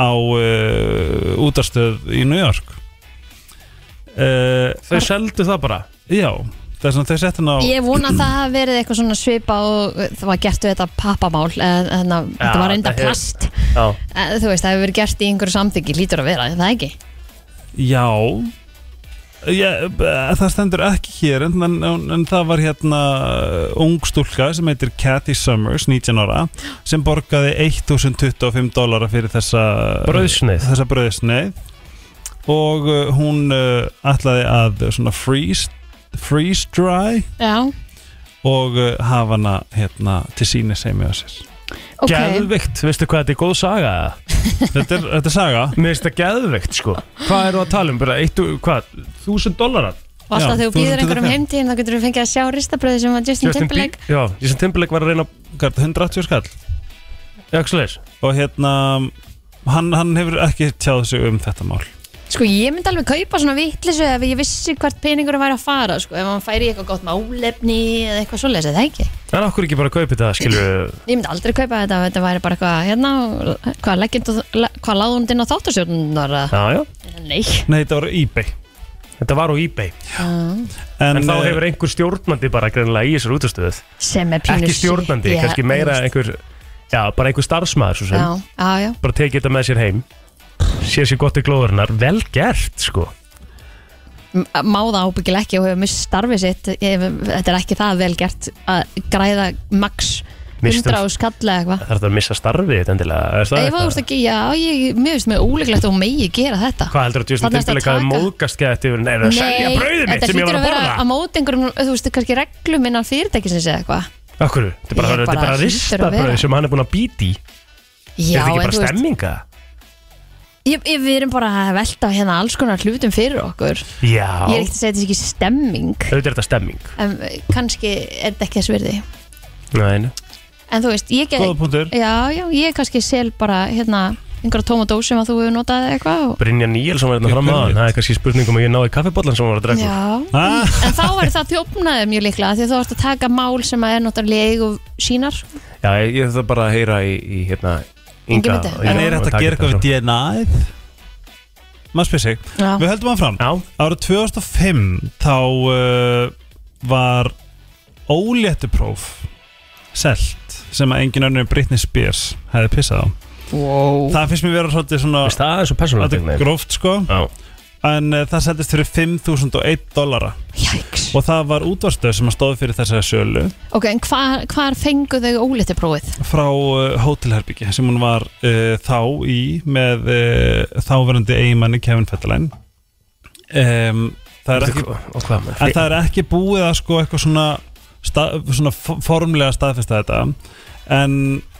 Speaker 3: á uh, útarstöð í New York uh,
Speaker 1: Þau seldu það bara
Speaker 3: Já, það er svona þau sett hann á
Speaker 2: Ég vona að það hafi verið eitthvað svona svipa og það var gert við þetta pappamál en en að þetta var reynda
Speaker 1: það hefur-
Speaker 2: plast
Speaker 1: Já,
Speaker 2: Eh, Þú veist, það hefur verið gert í einhverju samþyggi lítur að vera, er það ekki?
Speaker 3: Já Ég, það stendur ekki hér en, en, en það var hérna ung stúlka sem heitir Cathy Summers 19 ára sem borgaði 1025 dólara fyrir þessa
Speaker 1: brauðsneið
Speaker 3: þessa bröðsneið og uh, hún uh, ætlaði að uh, svona freeze, freeze dry
Speaker 2: Já,
Speaker 3: og uh, hafa hana hérna til síni sem ég að sér
Speaker 2: ok
Speaker 1: Geðvikt, veistu hvað þetta er góð saga?
Speaker 3: þetta er, þetta er saga
Speaker 1: Mér finnst það geðvikt sko Hvað eru að tala um? Bara eitt, hvað, þúsund dólarar?
Speaker 2: Og alltaf
Speaker 3: Já,
Speaker 2: þegar þú
Speaker 3: þú
Speaker 2: býður
Speaker 3: ert
Speaker 2: einhverjum
Speaker 3: þetta.
Speaker 2: heimtíðin þá getur þú fengið að sjá ristabröði sem var Justin
Speaker 1: Justin
Speaker 2: Timberlake
Speaker 1: Bie- Já, Justin Timberlake var að reyna
Speaker 3: Hvað er þetta, 180 skall
Speaker 1: Jaxleis
Speaker 3: og hérna hann, hann hefur ekki tjáð sig um þetta mál
Speaker 2: Sko, ég myndi alveg kaupa svona vittlisu ef ég vissi hvert peningur væri að fara sko, ef hann færi í eitthvað gott málefni eða eitthvað svoleiðis, er það ekki?
Speaker 1: En okkur ekki bara að kaupi það, skilur
Speaker 2: Ég myndi aldrei kaupa þetta ef þetta væri bara eitthvað hérna, hvað leggjum þú- hvað láðum þetta inn á þáttasjóðunar
Speaker 1: Já, já,
Speaker 2: Nei
Speaker 3: Nei, þetta var eBay
Speaker 1: þetta var á eBay En, þá
Speaker 3: eh,
Speaker 1: hefur einhver stjórnandi bara greinlega í þessar útastöðu
Speaker 2: sem er pínus
Speaker 1: Ekki stjórnandi, kannski meira einhver Já, bara einhver starfsmaður svo sem
Speaker 2: já, já, já,
Speaker 1: Bara tekið þetta með sér heim Sér sér gott í glóðurinnar, vel gert sko
Speaker 2: M- má það ábyggilega ekki og hefur mist starfið sitt ef, þetta er ekki það vel gert að græða max
Speaker 1: Mistum-
Speaker 2: 100 á skall eða eitthvað
Speaker 1: Það þarf að missa starfið þetta endilega er það
Speaker 2: ef þú
Speaker 1: þetta?
Speaker 2: veist ekki, já, ég, mér finnst mér óleiklegt og megi gera þetta
Speaker 1: Hvað heldur að Justin
Speaker 2: Þarna ertu að
Speaker 1: Timberlake hafi
Speaker 2: taka-
Speaker 1: móðgast gæti yfir Nei, það er að selja brauðið mitt
Speaker 2: þetta
Speaker 1: sem ég
Speaker 2: hlýtur
Speaker 1: var
Speaker 2: að
Speaker 1: að
Speaker 2: vera
Speaker 1: borða
Speaker 2: að móti einhverjum, þú veist, kannski reglum innan fyrirtækisins eða eitthvað
Speaker 1: Akkur, þetta er bara,
Speaker 2: Ég
Speaker 1: þetta er bara
Speaker 2: bara hlýtur að vera.
Speaker 1: ristabrauð sem hann er búin að býti í Er þetta ekki
Speaker 2: Já, en
Speaker 1: bara
Speaker 2: þú veist,
Speaker 1: stemminga?
Speaker 2: ég, ég, við erum bara að velta hérna alls konar hlutum fyrir okkur
Speaker 1: Já,
Speaker 2: Ég er ekkert að segja þetta sé ekki stemming
Speaker 1: auðvitað er þetta stemming
Speaker 2: en kannski er þetta ekki að sverði
Speaker 1: Nei, nei.
Speaker 2: En þú veist, ég get
Speaker 3: Góða punktur
Speaker 2: Já, já, ég kannski sel bara hérna einhverja tóma dós sem að þú hefur notað eða eitthvað og...
Speaker 1: Brynja Níelsson var hérna
Speaker 3: Ég
Speaker 1: fram að
Speaker 3: veit.
Speaker 1: hann Það er kannski spurningum að ég náði kaffibollan sem hann var að drekka úr.
Speaker 2: Já,
Speaker 3: Ah.
Speaker 2: en þá verður það þjófnaðið mjög líklega því að þú ert að taka mál sem að er náttúrulega í eigu sínar
Speaker 1: Já, ég, ég þarf bara að heyra í, í hérna Inga
Speaker 2: Ingimundi.
Speaker 1: og-
Speaker 3: En
Speaker 1: Já, og
Speaker 3: er þetta
Speaker 1: taka
Speaker 3: að gera eitthvað við
Speaker 1: svona.
Speaker 3: DNA-ið? Maður spyr sig
Speaker 2: Já,
Speaker 3: Við höldum hann fram
Speaker 1: Já,
Speaker 3: Ára 2005 þá uh, var óléttupróf selt sem að engin önnur en Britney Spears hefði pissað á
Speaker 2: wow.
Speaker 3: Það finnst mér vera svolítið svona
Speaker 1: veist það er svo persónulegt
Speaker 3: Þetta
Speaker 1: einhvern
Speaker 3: er
Speaker 1: veginn.
Speaker 3: gróft sko
Speaker 1: Já.
Speaker 3: En uh, það seldist fyrir 5001 dollara
Speaker 2: Jæks
Speaker 3: Og það var útvarstöð sem að stóði fyrir þessari sölu
Speaker 2: Ok, en hvar, hvar fengu þau ólítið prófið?
Speaker 3: Frá uh, hótelherbyggi sem hún var uh, þá í Með uh, þáverandi eigimanni Kevin Fetterlein um, Það er ekki
Speaker 1: Og hvað maður?
Speaker 3: En það er ekki búið að sko eitthvað svona, stað, svona f- formlega staðfesta þetta en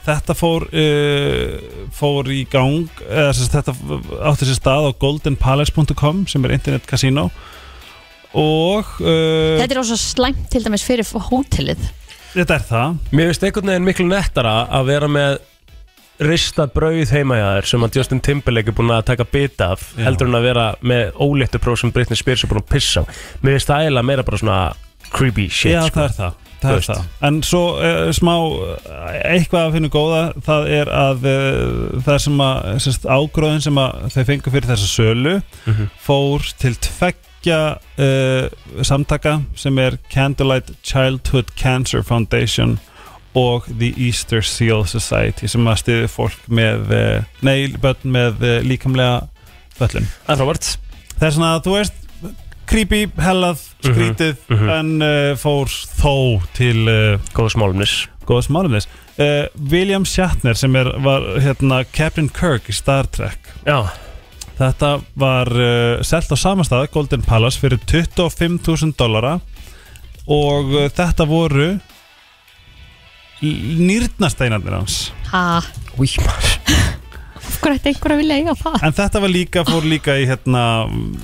Speaker 3: þetta fór uh, fór í gang eða sem sagt, þetta átti sér stað á goldenpalace.com sem er internet casino og uh,
Speaker 2: Þetta er ósa slæmt til dæmis fyrir hótelið
Speaker 3: þetta er það
Speaker 1: Mér finnst einhvern veginn miklu nettara að vera með rista brauð heima hjá þér sem að Justin Timberlake er búin að taka bit af
Speaker 3: Já.
Speaker 1: heldur en að vera með óléttu próf sem Britney Spears er búin að pissa á Mér finnst það eiginlega meira bara svona creepy shit
Speaker 3: já
Speaker 1: sko.
Speaker 3: það er það Það er
Speaker 1: Þú veist.
Speaker 3: það. En svo uh, smá eh, eitthvað að finna góða það er að uh, það sem að sem sagt, ágróðin sem að þau fengu fyrir þessa sölu
Speaker 1: Mhm.
Speaker 3: fór til tveggja uh, samtaka sem er Candlelight Childhood Cancer Foundation og The Easter Seal Society sem að stiði fólk með uh, nei, börn með uh, líkamlega föllun.
Speaker 1: Það er Robert
Speaker 3: Það er svona að þú veist creepy, hellað,
Speaker 1: Mhm,
Speaker 3: skrítið
Speaker 1: mhm.
Speaker 3: en uh, fór þó til uh,
Speaker 1: Góð smálumnis
Speaker 3: góðs málumins uh, William Shatner sem er, var hérna, Captain Kirk í Star Trek
Speaker 1: Já,
Speaker 3: Þetta var uh, selt á sama stað, Golden Palace, fyrir 25.000 dollara og uh, þetta voru nýrnasteinarnir hans.
Speaker 2: Ha,
Speaker 1: Újmar
Speaker 2: af hverju ætti einhver að vilja eiga það?
Speaker 3: En þetta var líka, fór líka í hérna,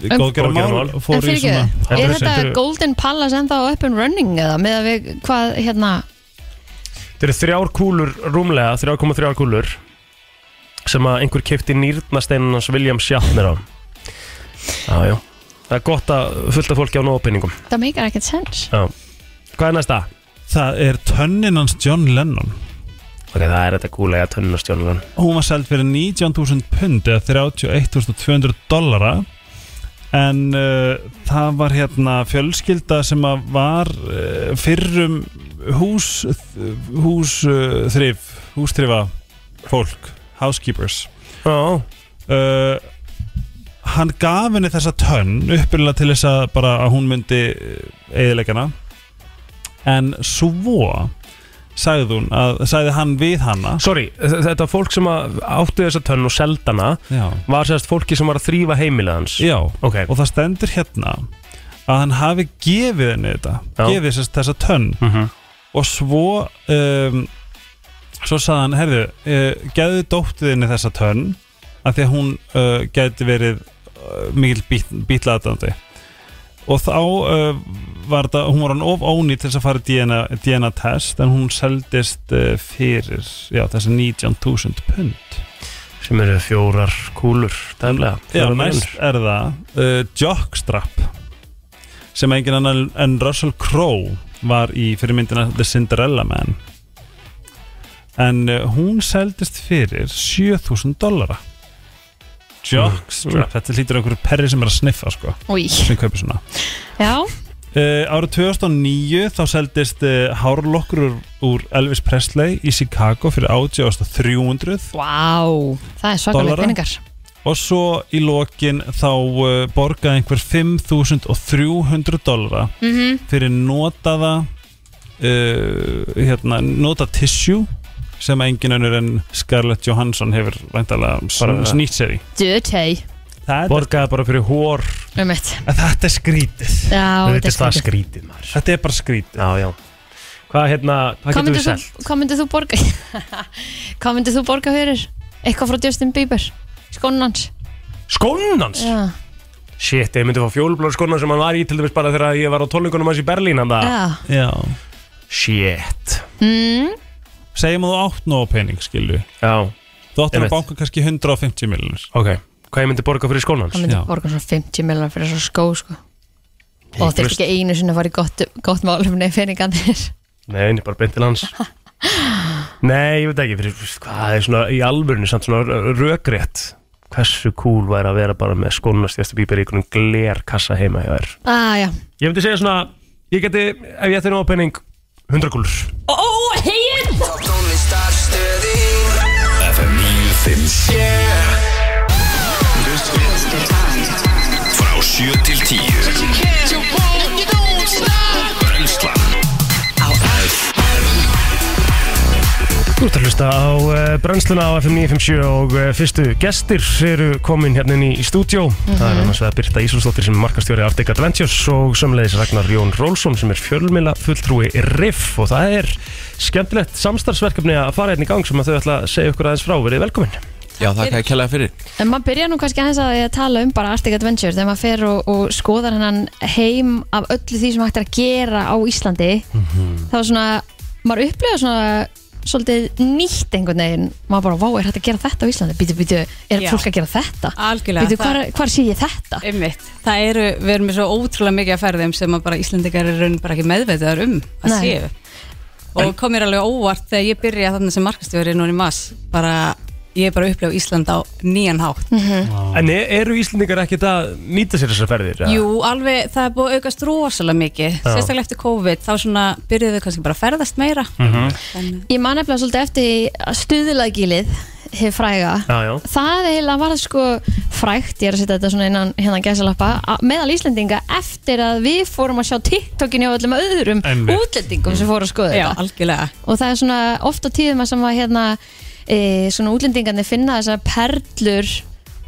Speaker 3: í
Speaker 2: En-
Speaker 3: góðgerðamál,
Speaker 1: Góðgerðarmál.
Speaker 2: Um- En
Speaker 3: fór í
Speaker 2: fyrir
Speaker 1: Þetta
Speaker 3: svona...
Speaker 2: er
Speaker 1: er-
Speaker 2: þetta
Speaker 1: þetta er-
Speaker 2: Golden Palace ennþá up and running eða með að við, hvað, hérna
Speaker 1: Þetta eru þrjár kúlur rúmlega, 3,3 kúlur sem að einhver keipti nýrnasteinin hans William Shatner á Já, já Það er gott að fullta fólki á nógu peningum
Speaker 2: það meikar ekkert sens
Speaker 1: Hvað er næsta?
Speaker 3: það er tönnin hans John Lennon
Speaker 1: Ok, það er þetta gúlega tönnun og stjónulegan
Speaker 3: hún var seld fyrir 19.000 pund eða 31.200 dollara en uh, það var hérna fjölskylda sem að var uh, fyrrum hús hús uh, þrif hústrifa fólk housekeepers
Speaker 1: Já,
Speaker 3: uh, hann gaf henni þessa tönn uppbyrjulega til þess að bara að hún myndi eðilegana en svo sagði hún að sagði hann við hanna
Speaker 1: sorry, þ- þetta fólk sem að átti þessa tönn og seldana
Speaker 3: já,
Speaker 1: var sérst fólki sem var að þrýfa heimilið hans
Speaker 3: já
Speaker 1: Ok,
Speaker 3: og það stendur hérna að hann hafi gefið henni þetta
Speaker 1: Já.
Speaker 3: gefið þess, þessa tönn
Speaker 1: mm
Speaker 3: og svo um, svo sagði hann, herðu uh, geðu dóttiðinni þessa tönn af því að hún uh, geti verið uh, mikil bít, bítlaðdandi og þá uh, var það, hún var hann of ónýtt til þess að fara í DNA, DNA test en hún seldist uh, fyrir já, þessi 19.000 pund
Speaker 1: sem eru fjórar kúlur dæmlega
Speaker 3: Já,
Speaker 1: Fjórar
Speaker 3: næst
Speaker 1: milljónir.
Speaker 3: er það uh, Jockstrap sem engin annan en Russell Crowe var í fyrir myndina The Cinderella Man en uh, hún seldist fyrir 7000 dollara Jockstrap, þetta lítur einhverju perri sem er að sniffa sko,
Speaker 2: Új,
Speaker 3: sem kaupir svona
Speaker 2: já,
Speaker 3: Uh, árið 2009 þá seldist uh, hárlokkur úr, úr Elvis Presley í Chicago fyrir 8300
Speaker 2: vá Það er svakalega
Speaker 3: Dollara?
Speaker 2: peningar
Speaker 3: og svo í lokin þá uh, borgaði einhver 5.300 dollara
Speaker 2: mm
Speaker 3: fyrir notaða uh, hérna, notað tissue sem engin önnur en Scarlett Johansson hefur væntalega
Speaker 1: Bara-
Speaker 3: snýtt sér í
Speaker 2: Dutey
Speaker 3: það er,
Speaker 1: Borgaði bara fyrir hór
Speaker 2: Um eitt
Speaker 3: en þetta er skrítið
Speaker 2: Já,
Speaker 1: Þetta er það
Speaker 2: skrítið.
Speaker 1: skrítið maður
Speaker 3: þetta er bara skrítið
Speaker 1: Já, já Hvað hérna, hvað
Speaker 2: Hvað
Speaker 1: getur
Speaker 2: myndir
Speaker 1: við selt?
Speaker 2: þú, hvað myndir þú borga <laughs> Hvað myndir þú borga fyrir Eitthvað frá Justin Bieber Skónans
Speaker 1: Skónans?
Speaker 2: Já,
Speaker 1: Shit, ég myndi fá fjólubláru skónan sem hann var í til dæmis bara þegar ég var á tónleikunum hans í Berlín hann það
Speaker 2: já
Speaker 3: Já.
Speaker 1: Shit
Speaker 2: mm,
Speaker 3: segjum að þú átt nóg pening skilju
Speaker 1: Já,
Speaker 3: þú átt hann
Speaker 1: Einmitt.
Speaker 3: að banka kannski 150 miljonir
Speaker 1: ok Hvað ég myndi borga fyrir skónans?
Speaker 2: Hvað myndir
Speaker 3: Já.
Speaker 2: þú borga svona 50 miljonar fyrir svo skó sko Og þetta er ekki einu sinni að fara í gott, gott málumni peningandir
Speaker 1: Nei, ég bara beint til <laughs> hans Nei, ég veit ekki fyrir, Hvað er svona í alvörinu samt svona rökrétt Hversu cool væri að vera bara með skónast Jæstu bíber í einhvern gler kassa heima hjá þér
Speaker 2: ah, já.
Speaker 1: Ég myndi segja svona Ég geti, ef ég ætti nóg af pening 100 kúlur
Speaker 2: Ó, oh, heginn
Speaker 6: FM 957 Frá 7 til 10 Brenslan
Speaker 1: Þú ert að hlusta á uh, brennsluna á FM 957 og uh, fyrstu gestir eru komin hérna inn í, í stúdjó. Það er annars vegar Birta Ísulsdóttir sem er markastjóri Arctic Adventures og sömulegis Ragnar Jón Rólfsson sem er fjölmila fulltrúi Riff og það er skemmtilegt samstarfsverkefni að fara hérna í gang sem að þau ætla að segja ykkur aðeins frá. Verið velkomin.
Speaker 7: Já, það er kælega fyrir
Speaker 2: En maður byrja nú kannski aðeins að tala um bara Arctic Adventure þegar maður fer og, og skoðar hennan heim af öllu því sem hægt er að gera á Íslandi þá svona, maður upplifa svona svolítið nýtt einhvern veginn maður bara, vá, er hægt að gera þetta á Íslandi? Býtu, býtu, er
Speaker 8: Já.
Speaker 2: fólk að gera þetta?
Speaker 8: Algjörlega
Speaker 2: Býtu,
Speaker 8: það-
Speaker 2: hvar, hvar sé ég þetta?
Speaker 8: Einmitt. Það eru, við erum með svo ótrúlega mikið að ferðum sem að bara Íslendingar eru raun bara ekki meðveitaðar um
Speaker 2: Nei.
Speaker 8: að séu og kom mér alveg óvart þegar ég byrja þarna sem markastjóri núna í mass bara, ég er bara að upplifa Ísland á nýjan hátt
Speaker 1: En er, eru Íslendingar ekkert að nýta sér þessar ferðir? eða?
Speaker 8: Jú, alveg, það er búið að aukast rosalega mikið
Speaker 1: Já.
Speaker 8: sérstaklega eftir COVID, þá svona byrjuðu við kannski bara að ferðast meira
Speaker 2: Ég man nefnilega svolítið eftir stuðlagilið hef fræga
Speaker 1: Já, já.
Speaker 2: það eiginlega var sko frægt ég er að setja þetta svona innan hérna gæsalappa að- meðal Íslendinga eftir að við fórum að sjá TikTokinu og öllum öðrum
Speaker 3: Einmitt.
Speaker 2: útlendingum sem fóru að skoða
Speaker 8: Já,
Speaker 2: þetta
Speaker 8: algjörlega
Speaker 2: og það er svona oft á tíðum að sem að hérna e, svona útlendingarnir finna þessar perlur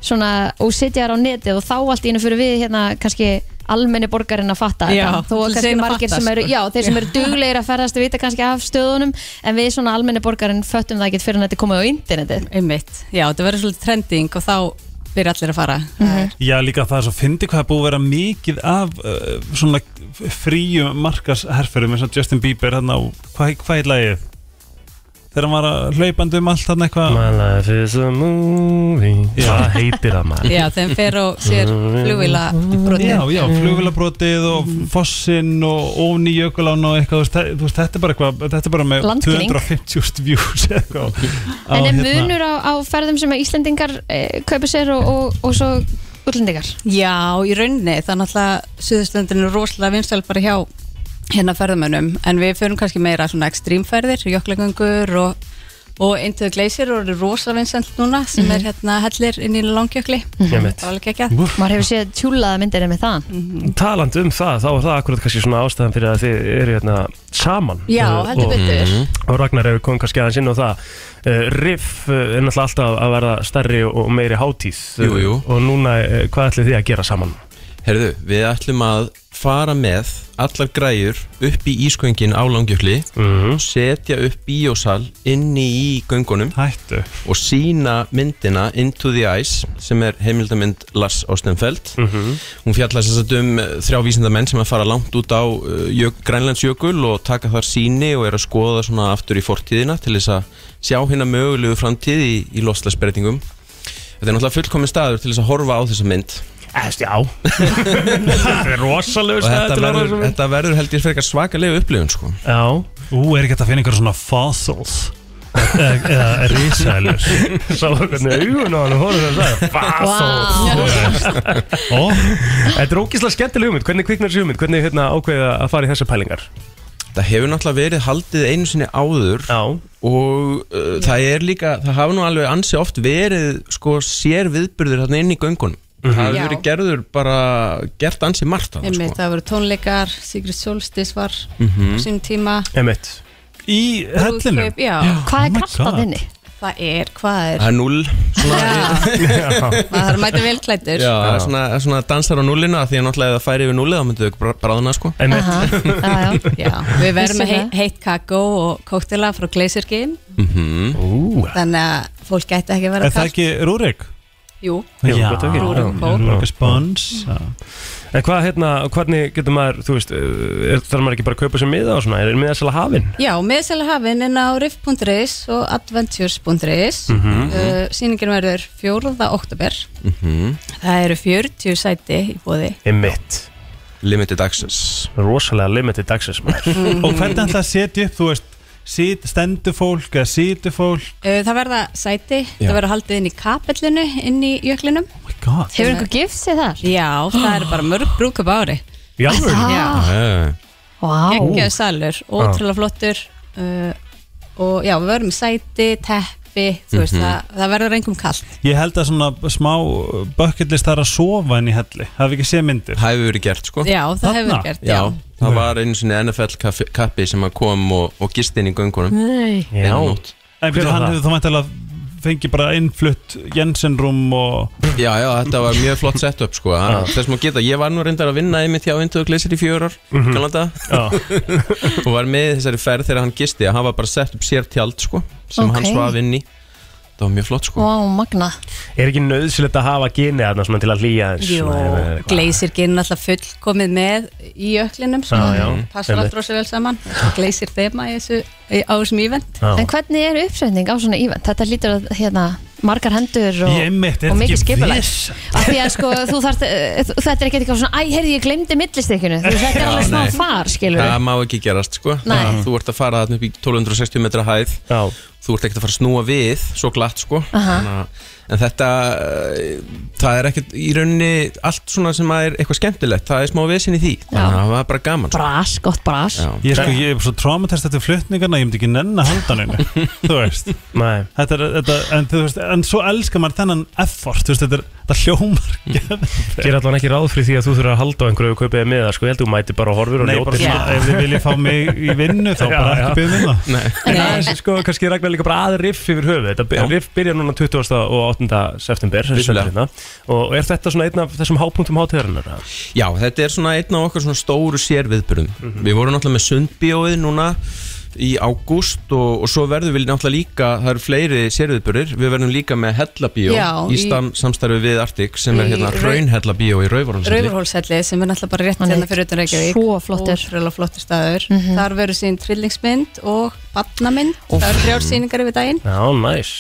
Speaker 2: svona og setja þær á netið og þá allt í einu fyrir við hérna kannski almenni borgarinn að fatta
Speaker 8: Já,
Speaker 2: þetta. þó
Speaker 8: allir
Speaker 2: að kannski
Speaker 8: segir að
Speaker 2: margir
Speaker 8: fatta,
Speaker 2: sem eru
Speaker 8: sko.
Speaker 2: já, þeir sem eru duglegir að ferðast vita kannski af stöðunum en við svona almenni borgarinn föttum það ekki fyrir en þetta er komið á internetið
Speaker 8: Einmitt, já, þetta verður svolítið trending og þá byrja allir að fara mm
Speaker 2: Mhm.
Speaker 8: -hmm.
Speaker 3: Já, líka það er svo fyndi hvað er búið að vera mikið af uh, svona fríum markasherferðum eins og Justin Bieber hann á, hvað, hvað er lagið? þegar hann var að hlaupandi um allt hann eitthvað
Speaker 1: My life is a movie Hvað heitir það maður?
Speaker 8: Já, þeim fer og sér flugvila
Speaker 3: Já,
Speaker 8: brotið
Speaker 3: já, flugvilabrotið og fossinn og óni jökulán og eitthvað, þú veist, þe- þú veist, þetta er bara eitthvað, þetta er bara með
Speaker 2: Landkynning.
Speaker 3: 250.000 views eða eitthvað. á,
Speaker 2: En er
Speaker 3: hérna,
Speaker 2: munur á, á ferðum sem að Íslendingar e, kaupa sér og, og, og svo útlendingar?
Speaker 8: Já, í rauninni, þannig að Suðurslöndin er rosalega vinsæl bara hjá hérna ferðamönnum, en við förum kannski meira svona ekstrímferðir, jöklagöngur og, og Into the Glacier og eru rosalega vinsælt núna, sem er hérna hellir inn í langjökli,
Speaker 1: Einmitt.
Speaker 8: það var alveg ekki að
Speaker 2: Mhm. Maður hefur séð tjúlaða myndir með það
Speaker 1: Taland um það, þá er það akkurat kannski svona ástæðan fyrir að þið eru hérna saman
Speaker 8: Já,
Speaker 1: Uh,
Speaker 8: heldur
Speaker 1: og,
Speaker 8: betur
Speaker 1: og Ragnar hefur komið kannski aðeins inn á það uh, Riff uh, er náttúrulega alltaf að verða stærri og og meiri hátíð uh,
Speaker 7: Jú, jú.
Speaker 1: Og núna, uh, hvað ætlið þið að gera saman?
Speaker 7: Herðu, við ætlum að fara með allar græjur upp í ísköngin á langjökli
Speaker 1: Mhm.
Speaker 7: setja upp bíósal inni í göngunum
Speaker 3: Hættu.
Speaker 7: og sína myndina Into the Ice sem er heimildamind Lars Ástenfeld hún fjallar sem sagt um eh, þrjá vísindamenn sem að fara langt út á eh, jök, Grænlandsjökul og taka þar síni og er að skoða svona aftur í fortíðina til þess að sjá hérna mögulegu framtíð í, í loslasbreytingum þetta er náttúrulega fullkomin staður til þess að horfa á þessa mynd
Speaker 1: Æst, Eh, já Það er rosalegu
Speaker 7: og
Speaker 1: stæð
Speaker 7: þetta verður, þetta verður held ég frekar svakalega upplifun sko.
Speaker 1: Já,
Speaker 3: Ú, er ekki hægt að finna einhver svona fossils? Eða- Eða risælur?
Speaker 1: sá hvernig augun á hann og horfum það sagði Vá, svo
Speaker 3: Ó,
Speaker 1: Þetta er ógislega skemmtileg hugmynd, hvernig kviknar þessi hugmynd, hvernig hérna ákveða að fara í þessar pælingar?
Speaker 7: það hefur náttúrulega verið haldið einu sinni áður
Speaker 1: Já,
Speaker 7: og uh, það er líka það hafa nú alveg ansi oft verið sko sér viðbyrður þarna inn í göngunum það hefur
Speaker 8: Já.
Speaker 7: verið gerður bara gert ansi margt þarna,
Speaker 8: Einmitt,
Speaker 7: sko.
Speaker 8: það voru tónleikar, Sigrid Solstis var á sínum tíma
Speaker 1: emitt
Speaker 7: <laughs>
Speaker 3: í hellinu.
Speaker 8: Brúðkaup, Já,
Speaker 2: Hvað er
Speaker 3: Oh my
Speaker 2: kraftað
Speaker 3: God.
Speaker 2: þinni?
Speaker 8: það er, hvað er
Speaker 7: það er null svona,
Speaker 8: maður þarf að mæta velklættur
Speaker 7: já, það er svona, það er svona dansar á nullinu að því að náttúrulega ef það færi yfir nullið þá myndu þau bráðuna sko
Speaker 1: Emitt,
Speaker 2: Aha, já, já.
Speaker 8: Já, við verðum
Speaker 2: Vissi
Speaker 8: með hei,
Speaker 2: það.
Speaker 8: heitt kakó og kóktela frá Glacier Game
Speaker 1: ú,
Speaker 8: þannig að fólk gæti ekki að vera
Speaker 3: Er það
Speaker 8: kalt
Speaker 3: ekki Rúrik?
Speaker 8: Jú,
Speaker 1: Jú, gott ef ekki.
Speaker 8: Já.
Speaker 3: Rúrik er spons. já.
Speaker 1: En hvað hérna, hvernig getur maður, þú veist, uh, er, þarf maður ekki bara að kaupa sér miða og svona, er miða sérlega hafinn?
Speaker 8: já meðsæla hafinn en á riff.is og adventures.is mm
Speaker 3: Mhm.
Speaker 8: uh, síningin verður 4. oktober það eru 40 sæti í bóði
Speaker 1: Emitt,
Speaker 7: limited access
Speaker 1: rosalega limited access <laughs> maður
Speaker 2: Mhm.
Speaker 3: Og hvernig ætla að setja upp, þú veist, sit, stendu fólk eða situ fólk?
Speaker 8: uh, það verða sæti, það verður haldið inn í kapellinu inn í jöklinum
Speaker 3: Oh my god.
Speaker 2: Hefur einhver gift sér þar?
Speaker 8: já, það eru bara mörg brúkup ári
Speaker 1: Já,
Speaker 2: Ah,
Speaker 8: já
Speaker 7: uh,
Speaker 2: Vá,
Speaker 8: geggjaðu salur,
Speaker 3: Ah.
Speaker 8: ótrúlega flottur uh, og já, við verðum í sæti, teppi þú
Speaker 3: Mhm.
Speaker 8: veist, það, það verður engum kallt
Speaker 3: Ég held að svona smá bökkillist þar að sofa inn í helli. Það hef ekki séð myndir.
Speaker 7: það hefur verið gert sko
Speaker 8: já, það
Speaker 3: Þarna?
Speaker 8: hefur við gert, já,
Speaker 7: Já, það var einu sinni NFL kaffi, kappi sem að kom og, og gist inn í göngunum
Speaker 1: já,
Speaker 7: eina nótt.
Speaker 3: En
Speaker 1: Hver
Speaker 3: byrju,
Speaker 1: var
Speaker 3: hann
Speaker 1: það?
Speaker 3: hefur þá mæntilega fengið bara innflutt Jensenrúm og
Speaker 7: Já, já, þetta var mjög flott setup sko Þess maður geta, ég var nú reyndar að vinna einmitt hjá Indu og Glesir í fjögur ár gamla daga.
Speaker 1: já,
Speaker 7: og var með í þessari ferð þegar hann gisti að hann var bara sett upp sér tjald sko sem
Speaker 2: Ok.
Speaker 7: hann svaf inn í það var mjög flott sko
Speaker 2: vá, magna
Speaker 1: er ekki nöðsilegt að hafa genið þarna svona til að hlýja eins?
Speaker 8: Jó, Glacier gerir náttúrulega fullkomið með í jöklinum sem
Speaker 1: Já, já,
Speaker 8: Mm. passar
Speaker 1: einmitt.
Speaker 8: allt rosa vel saman Glacier þema í þessu, í- á þessum ívent
Speaker 1: Já.
Speaker 2: En hvernig er uppsetning á svona ívent? Þetta lítur að hérna, margar hendur og,
Speaker 3: Ég einmitt, er
Speaker 2: og
Speaker 3: þetta
Speaker 2: mikið
Speaker 3: ekki
Speaker 2: skipulæg
Speaker 3: vesen?
Speaker 2: Af því að sko, þú þarft, eh, þú- þetta er ekki eitthvað svona Æ, heyrði, ég glemdi millistykkinu Þú veist,
Speaker 3: <laughs>
Speaker 2: þetta er
Speaker 7: Já,
Speaker 2: alveg smá
Speaker 7: nei.
Speaker 2: far, skilur
Speaker 7: það má ekki gerast sko
Speaker 2: Nei.
Speaker 7: þú ert að fara þarna upp í 1260 metra hæð
Speaker 1: Já,
Speaker 7: þú ert ekkert að fara að snúa við svo glatt sko
Speaker 2: Aha.
Speaker 7: Þannig að- en þetta eh, það er ekkert í rauninni allt svona sem að er eitthvað skemmtilegt það er smá vesin í því þannig að það var bara gaman sko.
Speaker 2: Bras, gott bras
Speaker 7: Já.
Speaker 3: ég, sko, ég er svo traumatest eftir flutningarna, ég myndi ekki nenn að halda hann þú veist,
Speaker 1: nei,
Speaker 3: þetta er, þetta, en, þú veist en svo elskar maður þennan effort þú veist, þetta, er, þetta hljómar geðveikt.
Speaker 1: ég er allan ekki ráð fyrir því að þú þurfa að halda á einhverju og kaupið miða, sko, ég held að þú mæti bara og horfir og
Speaker 3: Nei, bara
Speaker 1: njótir.
Speaker 3: svona, ef þið viljið fá mig í vinnu <laughs> þá
Speaker 1: Já,
Speaker 3: bara
Speaker 1: já.
Speaker 3: ekki byggðum um það
Speaker 1: En aðeins, sko, kannski ragnar líka bara að riff yfir höfuð Þetta by- riff byrjar núna 20. og 8. september sem
Speaker 7: Vissulega.
Speaker 1: stendur hérna. Og er þetta svona einn af þessum hápunktum hátíðarinnar? eða?
Speaker 7: Já, þetta er svona einn af okkar svona stóru sérviðbyrðum Við vorum náttúrulega með sundbíóið núna í ágúst og, og svo verðum við náttúrulega líka, það eru fleiri sérviðburðir, við verðum líka með Hellabíó
Speaker 8: Já,
Speaker 7: í
Speaker 8: í-
Speaker 7: stam, samstarfi við Artik sem
Speaker 8: Í
Speaker 7: er hérna
Speaker 8: Rau-
Speaker 7: Hraun Hellabíó í Rauvarhalsvelli
Speaker 8: Rauðurhólshelli sem er náttúrulega bara rétt
Speaker 2: Hann er
Speaker 8: hérna fyrir utan Reykjavík
Speaker 2: svo flottur. Mhm.
Speaker 8: Ótrúlega flottur staður Þar verður sín trillingsmynd og badnamynd Það eru þrjár sýningar yfir daginn
Speaker 1: Já, næs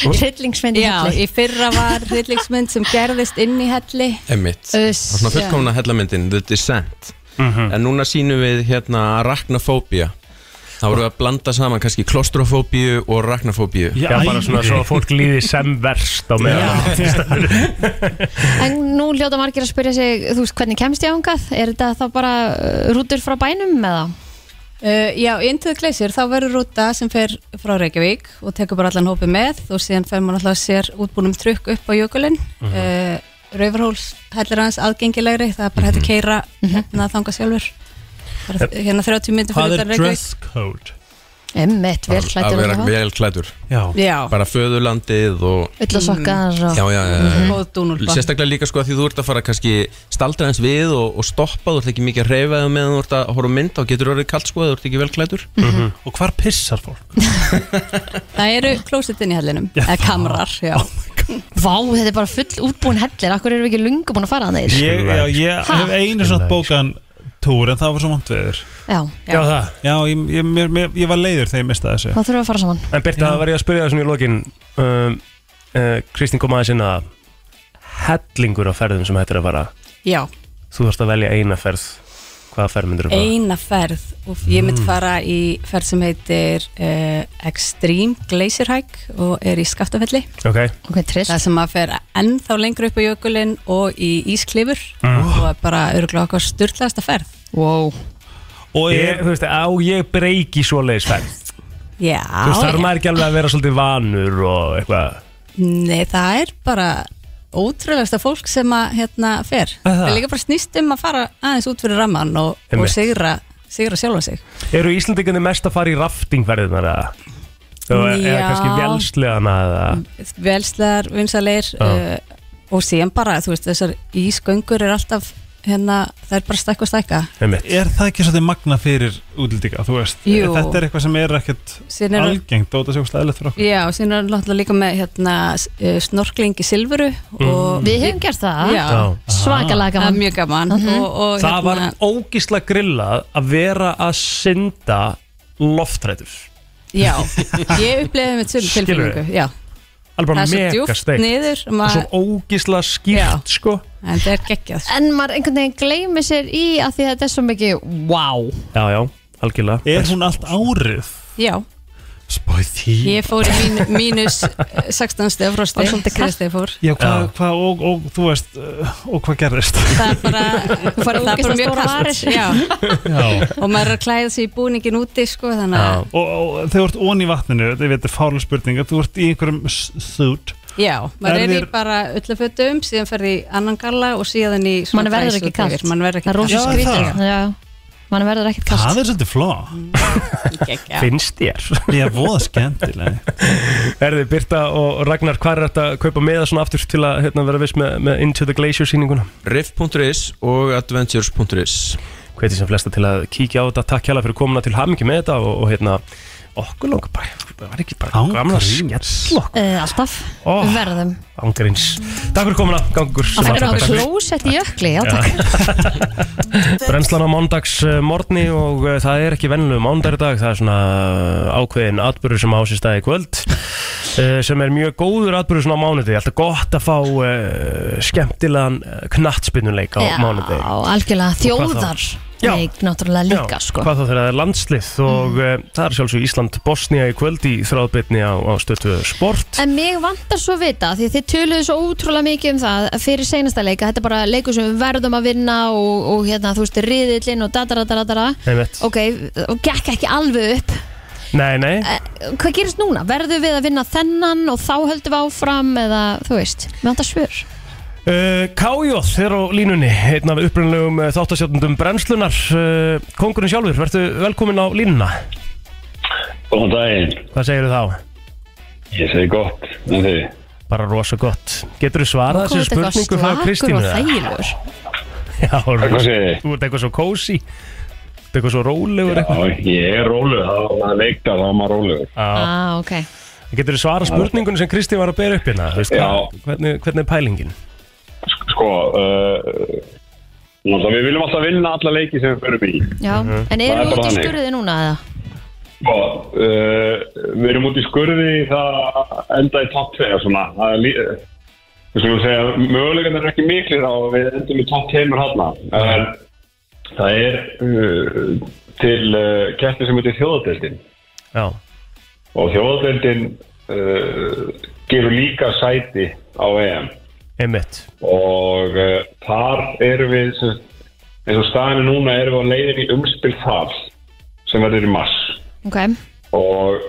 Speaker 2: Hryllingsmynd í
Speaker 8: Já,
Speaker 2: helli
Speaker 8: í fyrra var trillingsmynd sem gerðist inn í helli
Speaker 7: Emmitt, það er
Speaker 2: Uss.
Speaker 7: svona fullkomna hellamyndin The Descent En núna sínum við hérna arachnofóbía Það voru að blanda saman kannski klostrofóbíu og arachnofóbíu
Speaker 1: Já, bara svona svo að fólk líði sem verst á meðan
Speaker 2: En nú hljóta margir að spyrja sig Þú veist, hvernig kemst ég ángað? Er þetta þá bara uh, rútur frá bænum eða?
Speaker 8: Uh, já, intöðu gleysir, þá verður rúta sem fer frá Reykjavík og tekur bara allan hópi með og síðan fer maður alltaf sér útbúnum trukk upp á jökulinn uh
Speaker 3: Mhm.
Speaker 8: -huh. Raufarhóls hellir hans aðgengilegri það er bara hægt að keira hérna þanga sjálfur bara, hérna 30 myndir
Speaker 3: Eh, Hvað er
Speaker 8: fyrir utan Reykjavík
Speaker 3: dress code?
Speaker 2: Emmitt, vel
Speaker 7: Að
Speaker 2: hlættur
Speaker 7: vera vel klætur
Speaker 3: Já,
Speaker 8: Já,
Speaker 7: Bara föðurlandið og
Speaker 2: Ullasokkar og
Speaker 7: Já, já, já,
Speaker 3: Mhm.
Speaker 7: já.
Speaker 8: góð dúnúlpa
Speaker 7: Sérstaklega líka sko að því þú ert að fara kannski staldra eins við og, og stoppa, þú ert ekki mikið að reyfa þig meðan þú ert að horfa á mynd, þá getur þú orðið kalt sko að þú ert ekki vel klætur
Speaker 3: og hvar pissar fólk?
Speaker 8: Það eru klósettinn í hellinum, eða kamrar já.
Speaker 2: Vá, þetta er bara full útbúin hellir Akkur erum við ekki lungu búin að fara að þeir
Speaker 3: Ég, já, ég
Speaker 2: Ha?
Speaker 3: hef einu svona bókan túr en það var svo vant veður
Speaker 2: Já,
Speaker 1: Já, það
Speaker 3: Já, ég, ég, mér, mér, ég var leiður þegar ég mistaði þessu
Speaker 2: þá þurfum við að fara saman
Speaker 1: En Birta,
Speaker 3: Já.
Speaker 1: það var ég að spyrja það svona í lokin um, uh, Kristín kom aðeins inn að hellingur á ferðum sem hættir að fara
Speaker 8: já,
Speaker 1: Þú þarfst að velja eina ferð Hvaða ferð myndir þú fara?
Speaker 8: eina ferð og ég
Speaker 3: Mm.
Speaker 8: mynd fara í ferð sem heitir uh, Extreme Glacier Hike og er í Skaftafelli
Speaker 1: Ok,
Speaker 2: Ok, trist
Speaker 8: Það sem maður fer ennþá lengur upp á jökulinn og í ísklifur
Speaker 1: Ah.
Speaker 8: og er bara örgulega okkar styrlaðasta ferð.
Speaker 2: wow.
Speaker 3: Og
Speaker 1: ég,
Speaker 3: ég,
Speaker 1: þú veist, á ég breyki svoleiðis ferð
Speaker 8: Já.
Speaker 1: Þú veist, þarf maður ekki alveg að vera svolítið vanur og eitthvað
Speaker 8: Nei, það er bara ótrúlegasta fólk sem að hérna
Speaker 3: Er
Speaker 8: fer.
Speaker 3: það?
Speaker 8: Það er líka bara snýst um að fara aðeins út fyrir rammann og, og
Speaker 1: Einmitt.
Speaker 8: sigra, sigra sjálfa sig.
Speaker 1: Eru Íslandingarnir mest að fara í raftingferðinar eða? Þú- Eða
Speaker 8: Já.
Speaker 1: kannski velslegana eða
Speaker 8: Velslegar, vinsalegir
Speaker 1: Já.
Speaker 8: uh, og síðan bara, þú veist, þessar ísköngur er alltaf hérna, það er bara stækka og stækka.
Speaker 1: einmitt
Speaker 3: er það ekki svolítið magna fyrir útlýtinga, þú veist
Speaker 8: Jú.
Speaker 3: Þetta er eitthvað sem er ekkert
Speaker 8: Síðan eru-
Speaker 3: algengt og þetta sé ógstæðilegt fyrir okkur
Speaker 8: Já, og síðan er náttúrulega líka með hérna, s- eh, snorkling í silfuru
Speaker 1: Mm.
Speaker 8: og
Speaker 2: Við hefum gert það
Speaker 8: Já. Ah.
Speaker 1: Já.
Speaker 2: Svakalega
Speaker 8: það er
Speaker 2: gaman Mhm.
Speaker 8: mjög gaman og, og, hérna-
Speaker 1: Það var ógísla grillað að vera að synda loftrætur
Speaker 8: já, ég upplegaði með sömu
Speaker 1: Skilurðu?
Speaker 8: tilfinningu já,
Speaker 1: Alveg
Speaker 8: það
Speaker 1: bara
Speaker 8: er svo
Speaker 1: mega
Speaker 8: djúft
Speaker 1: steikt
Speaker 8: niður
Speaker 1: Og
Speaker 8: maður,
Speaker 1: svo ógísla skýrt
Speaker 8: Já.
Speaker 1: sko
Speaker 8: en það er geggjað sko.
Speaker 2: En maður einhvern veginn gleymir sér í að því að þetta er svo mikið Wow
Speaker 1: Já, já, algjörlega
Speaker 3: Er hún allt árið?
Speaker 8: já,
Speaker 3: Spói því
Speaker 8: ég fór í mín, mínus eh, 16 steg frosti
Speaker 2: Var svolítið kalt.
Speaker 8: síðast þegar ég fór
Speaker 3: Já, hvað,
Speaker 1: Já.
Speaker 3: hvað og, og, þú veist, uh, og hvað gerðist?
Speaker 8: það er bara,
Speaker 2: Þú farið
Speaker 8: það er bara
Speaker 2: ógeðslega
Speaker 8: mjög
Speaker 2: stórar
Speaker 8: kalt
Speaker 2: varir.
Speaker 8: já,
Speaker 3: Já.
Speaker 8: og maður er að klæða sig í búningin úti sko, þannig að,
Speaker 3: Og, og þegar þú ert ón í vatninu, þetta er þetta fála spurning, að þú ert í einhverjum s- suit
Speaker 8: já,
Speaker 3: Er
Speaker 8: maður er í
Speaker 3: þér-
Speaker 8: bara öllafötum, síðan ferði í annan galla og síðan í svona
Speaker 2: Manni verður
Speaker 8: dræs
Speaker 2: ekki
Speaker 8: út yfir.
Speaker 2: kalt.
Speaker 8: mann verður
Speaker 2: Það er rosa
Speaker 3: Já,
Speaker 8: ekki
Speaker 2: skrítið Já, mann verður ekkert kast
Speaker 3: Það er Mm. svolítið fló
Speaker 8: kalt
Speaker 1: Finnst þér <laughs>
Speaker 3: Ég er voða skemmtileg
Speaker 1: Erði Birta og Ragnar, hvað er þetta að kaupa meða svona aftur til að hérna, vera viss með, með Into the Glacier sýninguna?
Speaker 7: Riff.is og Adventures.is
Speaker 1: Hveti sem flesta til að kíkja á þetta Takk hjá fyrir komuna til hamingi með þetta og, og hérna, okkur langar bara það var ekki bara
Speaker 3: <laughs> Án
Speaker 1: gamla
Speaker 3: gríns.
Speaker 1: skell okkur
Speaker 2: Uh, alltaf,
Speaker 1: Ó.
Speaker 2: verðum
Speaker 1: Ángrins Takk fyrir komuna, gangur sem
Speaker 2: Það fyrir
Speaker 1: allra
Speaker 2: á
Speaker 1: best.
Speaker 2: klósett í jökli Já, takk
Speaker 1: Brennslan á mándags morgni og uh, það er ekki venlu mándar í dag, það er svona uh, ákveðin atbyrður sem á sér staði í kvöld uh, sem er mjög góður atbyrður svona á mánuði, alltaf gott að fá uh, skemmtilegan knattspinnuleik á
Speaker 2: Já,
Speaker 1: mánuði
Speaker 2: algjörlega
Speaker 1: hvað þá?
Speaker 2: þjóðar
Speaker 1: Já.
Speaker 2: Leik náttúrulega líka sko
Speaker 1: Hvað þá þegar það er landslið og mm. það er sjálfsög Ísland Bosnia í kvöld í þráðbyrni á, á stötu sport
Speaker 2: En mig vantar svo að vita, því að þið töluðu svo ótrúlega mikið um það fyrir seinasta leika, þetta er bara leikur sem við verðum að vinna og, og hérna, þú veist, riðillinn og dadadadadada,
Speaker 1: Einmitt.
Speaker 2: Eh, ok, og gekk ekki alveg upp.
Speaker 1: Nei, nei,
Speaker 2: Eh, Hvað gerist núna? Verðum við að vinna þennan og þá höldum við áfram eða, þú veist, við vantar svör.
Speaker 1: uh, Kájóð er á línunni einn af upprunnilegum uh, þáttastjóttundum brennslunar uh, Kongurinn sjálfur, verðu velkomin á línuna
Speaker 9: Góðan daginn,
Speaker 1: Hvað segirðu þá?
Speaker 9: ég segi gott með því.
Speaker 1: Bara rosa gott Getur þú svarað þessu
Speaker 2: Hvað er þetta
Speaker 1: spurningu frá
Speaker 2: eitthvað slakur
Speaker 1: Kristínu?
Speaker 2: og
Speaker 1: eða?
Speaker 2: þægilegur?
Speaker 1: Já,
Speaker 9: Hvað segir þið?
Speaker 1: þú ert eitthvað svo kósi ert eitthvað svo rólegur eitthvað.
Speaker 9: Já, ég er rólegur, það var maður leikta, það var maður rólegur.
Speaker 1: Já.
Speaker 2: ah, ok
Speaker 1: Getur þú svara spurningunum sem Kristi var að bera upp hérna? Þú Veist, hvað, hvernig, hvernig er pælingin?
Speaker 9: Sko, uh, náttúrulega, við viljum alltaf vinna alla leiki sem við förum í.
Speaker 2: Já,
Speaker 1: Mhm.
Speaker 2: en
Speaker 9: Það er
Speaker 2: eru þú
Speaker 9: bara
Speaker 2: út í
Speaker 9: þannig.
Speaker 2: skurðið núna eða?
Speaker 9: Sko, uh, við erum út í skurði það að enda í topp 2 svona. Það er lí- eh, Við skulum segja, mögulegan er ekki miklir á að við endum í topp 2 hátna. En það er uh, til uh, keppni sem heitir þjóðadeldin.
Speaker 1: Já,
Speaker 9: Og þjóðadeldin uh, gefur líka sæti á EM.
Speaker 1: einmitt.
Speaker 9: og uh, þar erum við sem, eins og staðinu núna erum við á leiðin í umspil þar sem verður í mars
Speaker 2: Ok,
Speaker 9: og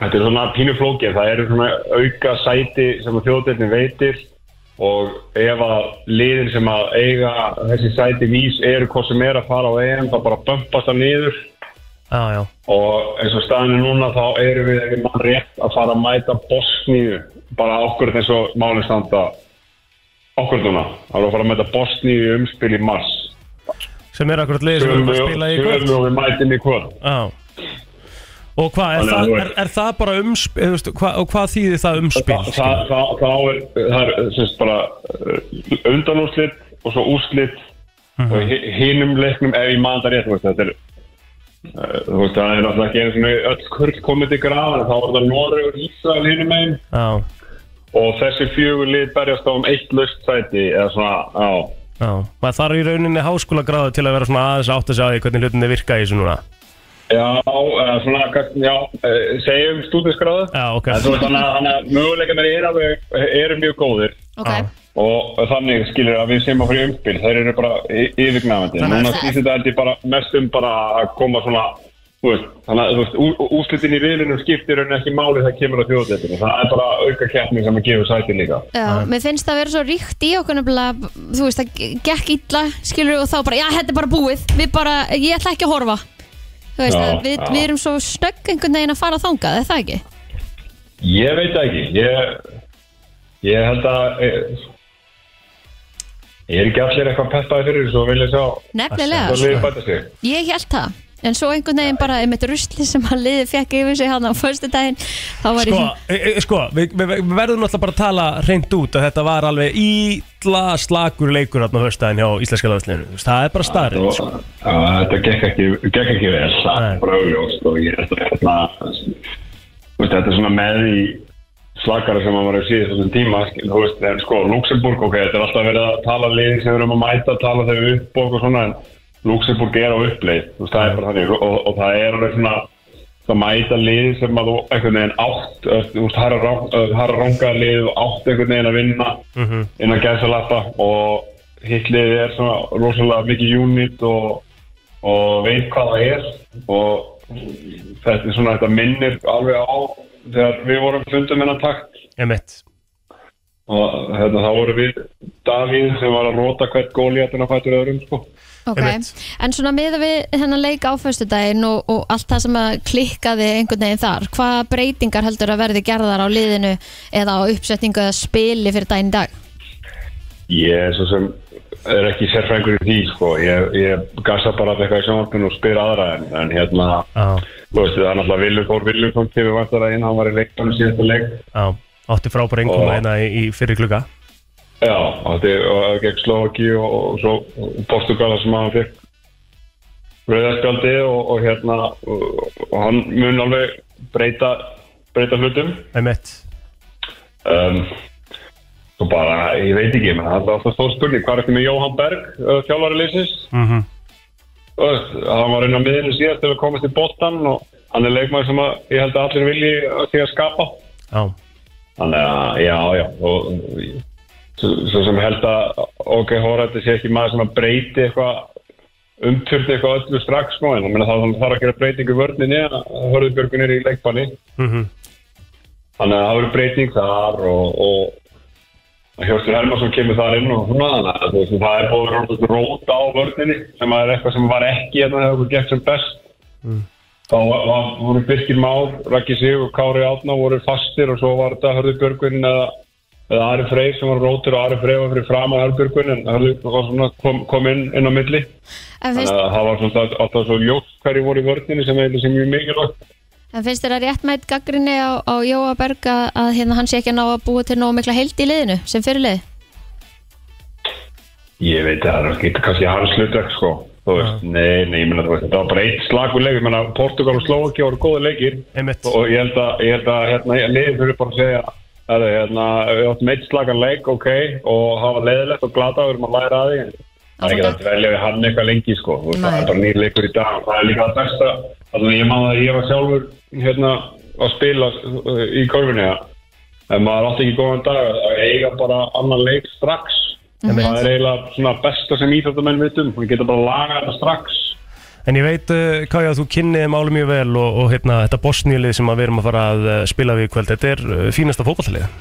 Speaker 9: þetta er svona pínu flókið það eru svona auka sæti sem að þjóðdeildin veitir og ef að liðin sem að eiga þessi sæti vís eru hvað sem er að fara á EM þá bara bömpast það niður
Speaker 1: Já, já.
Speaker 9: og eins og staðinu núna þá erum við ekki mann rétt að fara að mæta Bosníu bara okkur eins og málið standa okkur núna þá erum við að fara að mæta Bosníu í umspil í mars
Speaker 1: Sem er akkurat leiðis sem við erum að spila í
Speaker 9: Sömu-
Speaker 1: kvöld.
Speaker 9: sömu og við mætum í kvöld
Speaker 1: Já. Og hvað, er,
Speaker 9: Þannig að
Speaker 1: það,
Speaker 9: þú
Speaker 1: er,
Speaker 9: veist.
Speaker 1: er það bara umspil, þú veist, hvað, og hvað þýðir það umspil?
Speaker 9: Þa-
Speaker 1: skilur?
Speaker 9: það- það- þá er það er semst bara uh, undanúrslit og svo úrslit
Speaker 1: Mhm.
Speaker 9: og hi- hinum leiknum ef ég man það rétt þú veist, þetta er uh, þú veist, það er alltaf ekki einu sinni öll kurl komið til graf en þá er það Noregur Ísrael hinum einn
Speaker 1: Já,
Speaker 9: og þessi fjögur lið berjast á um eitt löst sæti eða svona, á
Speaker 1: já. Maður þarf í rauninni háskóla gráðu til að vera svona aðeins átt að segja því hvernig hlutinni virka í þessu núna.
Speaker 9: Já, eða svona, kannski- já, eh, segjum stúdinskráðu
Speaker 1: Já, ok.
Speaker 9: Þannig að- þannig að möguleikarnir eru alveg, eru mjög góðir
Speaker 2: ok
Speaker 9: og þannig skilur að við sem að fyrir umspil, þeir eru bara y- yfirgnæfandi
Speaker 1: Þannig að-
Speaker 9: Núna snýst þetta held ég bara mest um bara að koma svona þú veist, Þannig að þú veist, ú- úrslitin í riðlinum skiptir en ekki máli það kemur að þjóðdeildinu Það er bara auka keppni sem að gefa sæti líka
Speaker 2: Já, mér finnst það að vera svo ríkt í okkur nefnilega, þú veist, það gekk illa, skilur og þá bara, já, þetta er bara búið, við bara, ég ætla ekki að horfa. Þú veist,
Speaker 9: Já,
Speaker 2: að við,
Speaker 9: já.
Speaker 2: við erum svo snögg einhvern veginn að fara þangað, er það ekki?
Speaker 9: Ég veit það ekki Ég, ég held að ég, ég er ekki allir eitthvað peppaði fyrir þessu og vilja sjá
Speaker 2: Nefnilega,
Speaker 9: hvað
Speaker 2: sko.
Speaker 9: liðið bæta sig
Speaker 2: Ég held það En svo einhvern veginn bara einmitt rusli sem að liði fekk yfir sig hann á föstu daginn Þá var
Speaker 1: Sko,
Speaker 2: ég
Speaker 1: e, e, sko við, við, við verðum náttúrulega bara að tala reynd út að þetta var alveg ítla slagur leikur þarna á höstæðin hjá Íslenska landsliðinu. Það er bara sko. starrið.
Speaker 9: og, að, Þetta gekk ekki, gekk ekki vel það
Speaker 1: Nei.
Speaker 9: er bara augljóst og ég er þetta hérna þú veist, þetta er svona með í slakara sem að var að síða þessum tíma skil, þú veist, en sko, Luxemburg, ok, þetta er alltaf verið að tala liðin sem við erum að mæta, tala þau upp og eitthvað svona, en Luxemburg er á uppleið þú veist, það er bara þannig og, og, og það er alveg svona það mæta lið sem að þú einhvern veginn átt ö, þú veist, harra rang- ö, harra rangaða lið og átt einhvern veginn að vinna innan gæðsalappa og hitt liðið er svona rosalega mikið unit og, og veit hvað það er og þetta er svona þetta minnir alveg á þegar við vorum fundum innan takt
Speaker 1: Emitt.
Speaker 9: og hérna, þá vorum við Davíð sem var að róta hvert góliðatinn að fætur öðrum sko.
Speaker 2: Ok
Speaker 1: einmitt.
Speaker 2: En svona miða við hennan leik á föstu daginn og, og allt það sem að klikkaði einhvern veginn þar Hvaða breytingar heldur að verði gerðar á liðinu eða á uppsetningu eða spili fyrir daginn í dag?
Speaker 9: Ég er svo sem er ekki sérfræðingur í því sko. ég, ég gasa bara alltaf eitthvað í sjónvarpinu og spyr aðra en, en hérna
Speaker 1: Já,
Speaker 9: þú veist það er náttúrulega Viljum Þór Viljum kom til við vantar að inn, hann var í leikbann síðasta leik
Speaker 1: já. Átti frábæra
Speaker 9: Og-
Speaker 1: einnkoma hérna í, í fyrir klukka.
Speaker 9: já, og þetta er og gegn Slovaki og, og svo Portugala sem hann fekk rauðarspjaldi og, og hérna og, og hann mun alveg breyta breyta hlutum
Speaker 1: Emitt.
Speaker 9: um, svo bara, ég veit ekki menn, það er alltaf stór spurning, hvað er þetta með Jóhann Berg uh, þjálfari leysins mm
Speaker 1: Mhm.
Speaker 9: hann var inn á miðinu síðast til að komast í botan og hann er leikmaður sem að, ég held að allir vilji að því að skapa
Speaker 1: Já.
Speaker 9: þannig að, já, já og svo, svo sem held að ok, Horætti sé ekki maður sem að breyti eitthvað umturði eitthvað öllu strax sko, en ég meina, það þarf að gera breytingu í vörninni að Hörðubjörgun er í leikbanni
Speaker 1: Mhm.
Speaker 9: Þannig að það verður breyting þar og, og að Hjörstur Hermansson kemur þar inn og svona þannig að þú veist, það er búin að vera róta á vörninni sem að er eitthvað sem var ekki hérna þegar okkur gekk sem best. Þá var, var, voru Birkir Már, Raki Sig og Kári Átna voru fastir og svo var þetta Hörður Björgvin eða eða Ari Freyr sem var á rótur og Ari Freyr var fyrir fram að Hörburgun en Hörður var svona, kom, kom inn, inn á milli
Speaker 2: En
Speaker 9: þannig
Speaker 2: finnst,
Speaker 9: að það var svona alltaf svo ljótt hverju voru í vörninni sem er sem mjög mikilvægt
Speaker 2: en finnst þér að réttmætt gaggrinni á, á Jóa Berg að, að hérna, hann sé ekki að ná að búa til nógu mikla heild í liðinu sem fyrirlið?
Speaker 9: ég veit að það er ekki kannski hans hlutverk sko þú veist, nei, nei, ég meina þú veist þetta var bara eitt slagur leik, ég meina Portugal og Slovaki voru góða leikir
Speaker 1: Einmitt.
Speaker 9: og ég held að, ég held að hérna, ég- liðið fyrir bara að segja að hérna, við áttum eitt slagan leik, ok og hafa leiðilegt og glata, við erum að læra að því en það er ekki
Speaker 2: Áfram
Speaker 9: að velja við hann eitthvað lengi sko, þú veist,
Speaker 2: Nei.
Speaker 9: það er bara nýr leikur í dag og það er líka það besta, þannig að ég man að ég var sjálfur hérna að spila uh, í korfinu ja. en maður átti ekki góðan dag að eiga bara annan leik strax það er eiginlega svona besta sem íþjóttamenn vitum, við getum bara að laga þetta strax
Speaker 1: En ég veit, uh, Kaja, að þú kynnið máli mjög vel og, og hérna, þetta bosníulið sem að við erum að fara að uh, spila við í kvöld, þetta er uh, fínasta fótballtalið.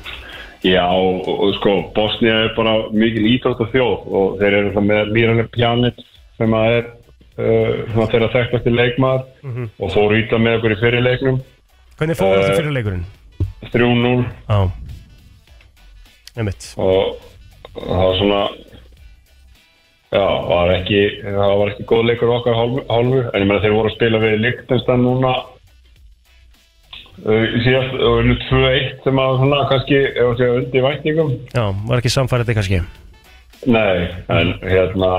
Speaker 9: Já, og, og sko, Bosnia er bara mikil íþrótt og þjóð og þeir eru það með Miralem Pjanic sem að er uh, svona þeirra þekktasti leikmaður og fór í það með okkur í fyrirleiknum
Speaker 1: Hvernig fór
Speaker 9: Eh,
Speaker 1: þetta fyrir leikurinn?
Speaker 9: 3-0
Speaker 1: Á. Einmitt.
Speaker 9: og það var svona já, var ekki það var ekki góð leikur á okkar hálfu, hálfu en ég meina þeir voru að spila við Lichtenstein núna uh, síðast og unnu 2-1 sem að svona kannski, ef að segja undir væntingum
Speaker 1: Já, var ekki samfærið kannski.
Speaker 9: Nei, en hérna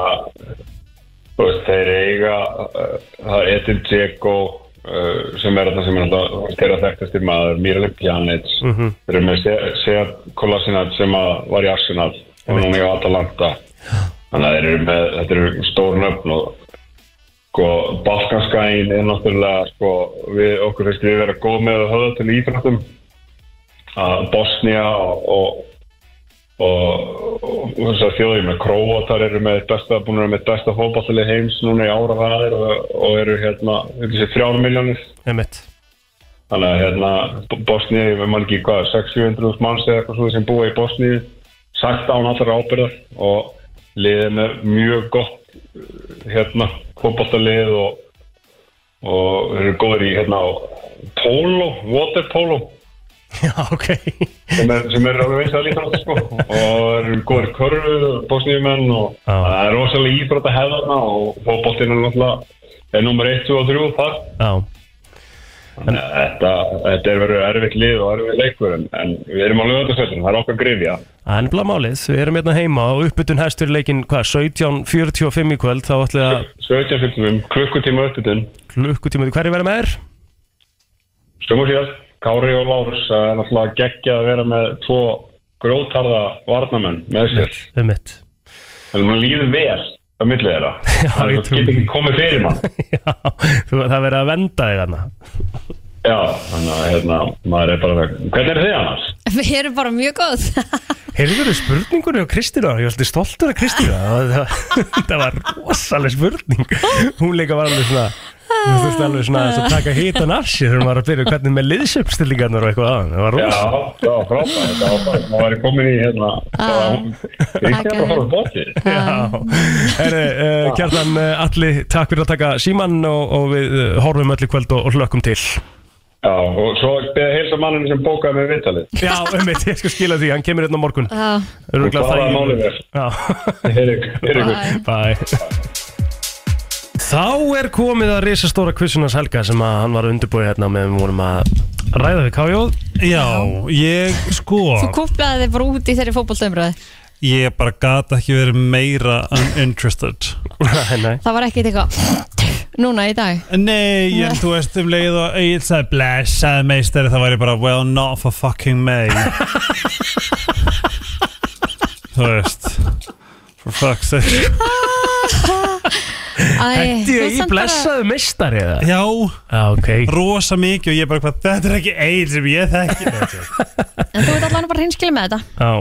Speaker 9: þú veist, þeir eiga uh, það er Edil Dzeko uh, sem er þetta sem er alltaf þeirra þekktastir maður, Miralem Pjanic
Speaker 1: Mhm.
Speaker 9: þeir eru með Sead Kolasinac sem að var í Arsenal og núna í Atalanta þannig að þeir eru með, þetta eru stór nöfn og sko, Balkanskæin er náttúrulega sko, við okkur finnst við vera góð með að höfða til íþrættum að Bosnia og, og og, og þess að þjóði með Króatar eru með eitt besta, búin að vera með eitt besta fótballtalið heims núna í ára hraðir og, og eru hérna, þessi þrjár miljónir
Speaker 1: Einmitt. <laughs>
Speaker 9: þannig að hérna B- Bosníu, ég man ekki hvað, 600-700 manns eða eitthvað svona sem búa í Bosníu sagt án allra ábyrðar og liðið með mjög gott uh, hérna, fótballtalið og, og eru góður í hérna polo, water polo
Speaker 1: Já, ok.
Speaker 9: sem er, sem er alveg veist að líta átt sko. og eru góður körfu bosníumenn og
Speaker 1: Já.
Speaker 9: það er rosalega íþrótt að hefða þarna og fótballtinn er náttúrulega er nummer 1, 2 og 3 þar
Speaker 1: Já,
Speaker 9: Þannig að þetta, þetta er verið erfitt lið og erfitt leikur en, en við erum á lögatarsveitunum, það er okkar grifja
Speaker 1: en blá málið, við erum hérna heima og uppbytun hæstur leikinn, hvað, 17.45 í kvöld, þá ætlum við að
Speaker 9: 17.45, klukkutíma uppbytun
Speaker 1: klukkutíma, hverju verðum er?
Speaker 9: Stömmu síðast, Kári og Lárus það er náttúrulega geggja að vera með tvo grótarða varnamenn með sér
Speaker 1: Einmitt. <laughs>
Speaker 9: en maður líður vel á milli þeirra það
Speaker 1: ég
Speaker 9: er svo-
Speaker 1: trúi
Speaker 9: getur
Speaker 1: því.
Speaker 9: ekki komið fyrir mann
Speaker 1: Já, þú- það verður að venda þig hana.
Speaker 9: Já, þannig að hérna, maður er bara með Hvernig er þið annars?
Speaker 2: <laughs> Við erum bara mjög <laughs> góð
Speaker 1: Heyrður þú spurningunni á Kristina? Ég var alltaf stoltur af Kristina Það- það- Þetta var rosaleg spurning Hún líka var alveg svona Þú þurfti alveg svona aðeins að taka hitan af sér Þegar maður var að byrja hvernig með liðsöpstillingarnar og eitthvað aðan Það var
Speaker 9: Já,
Speaker 1: rosaleg
Speaker 9: það var frábært, þetta var frábært maður er komin í hérna Ég er ekki að fara bóttir
Speaker 1: Ah. Herri, uh, Kjartan uh, Alli, takk fyrir að taka síman og, og við uh, horfum öll í kvöld og, og hlökkum til
Speaker 9: Já, og svo beða heilsa manninu sem bókaði með vittalið
Speaker 1: Já, einmitt, ég skal skila því, hann kemur hérna á morgun
Speaker 2: Já,
Speaker 1: Örugglega
Speaker 9: Bara
Speaker 1: þægilegur.
Speaker 9: málið er
Speaker 1: Já
Speaker 9: Erik, Erik
Speaker 1: Ah, Bye Þá er komið að risastóra kvissunars helga sem að hann var undirbúið hérna með við vorum að ræða við kájóð
Speaker 3: Já, ég sko
Speaker 2: þú kúplaði þig bara út í þeirri fótboltaumröði
Speaker 3: Ég bara gata ekki verið meira uninterested
Speaker 1: Nei, nei
Speaker 2: Það var ekkert eitthvað <laughs> Núna í dag
Speaker 3: Nei, en þú veist um leið og Egil sagði blessað meistari Það væri bara well not for fucking <laughs> me Þú veist For fuck's sake <laughs>
Speaker 2: Æ,
Speaker 1: Þetta
Speaker 2: þú
Speaker 1: er í
Speaker 2: samt bara-
Speaker 1: blessaðu mistari eða?
Speaker 3: Já,
Speaker 1: Já, ok
Speaker 3: rosa mikið og ég bara hvað Þetta er ekki Egil sem ég þekki
Speaker 2: En þú ert allan bara hinskilið með þetta
Speaker 1: Já,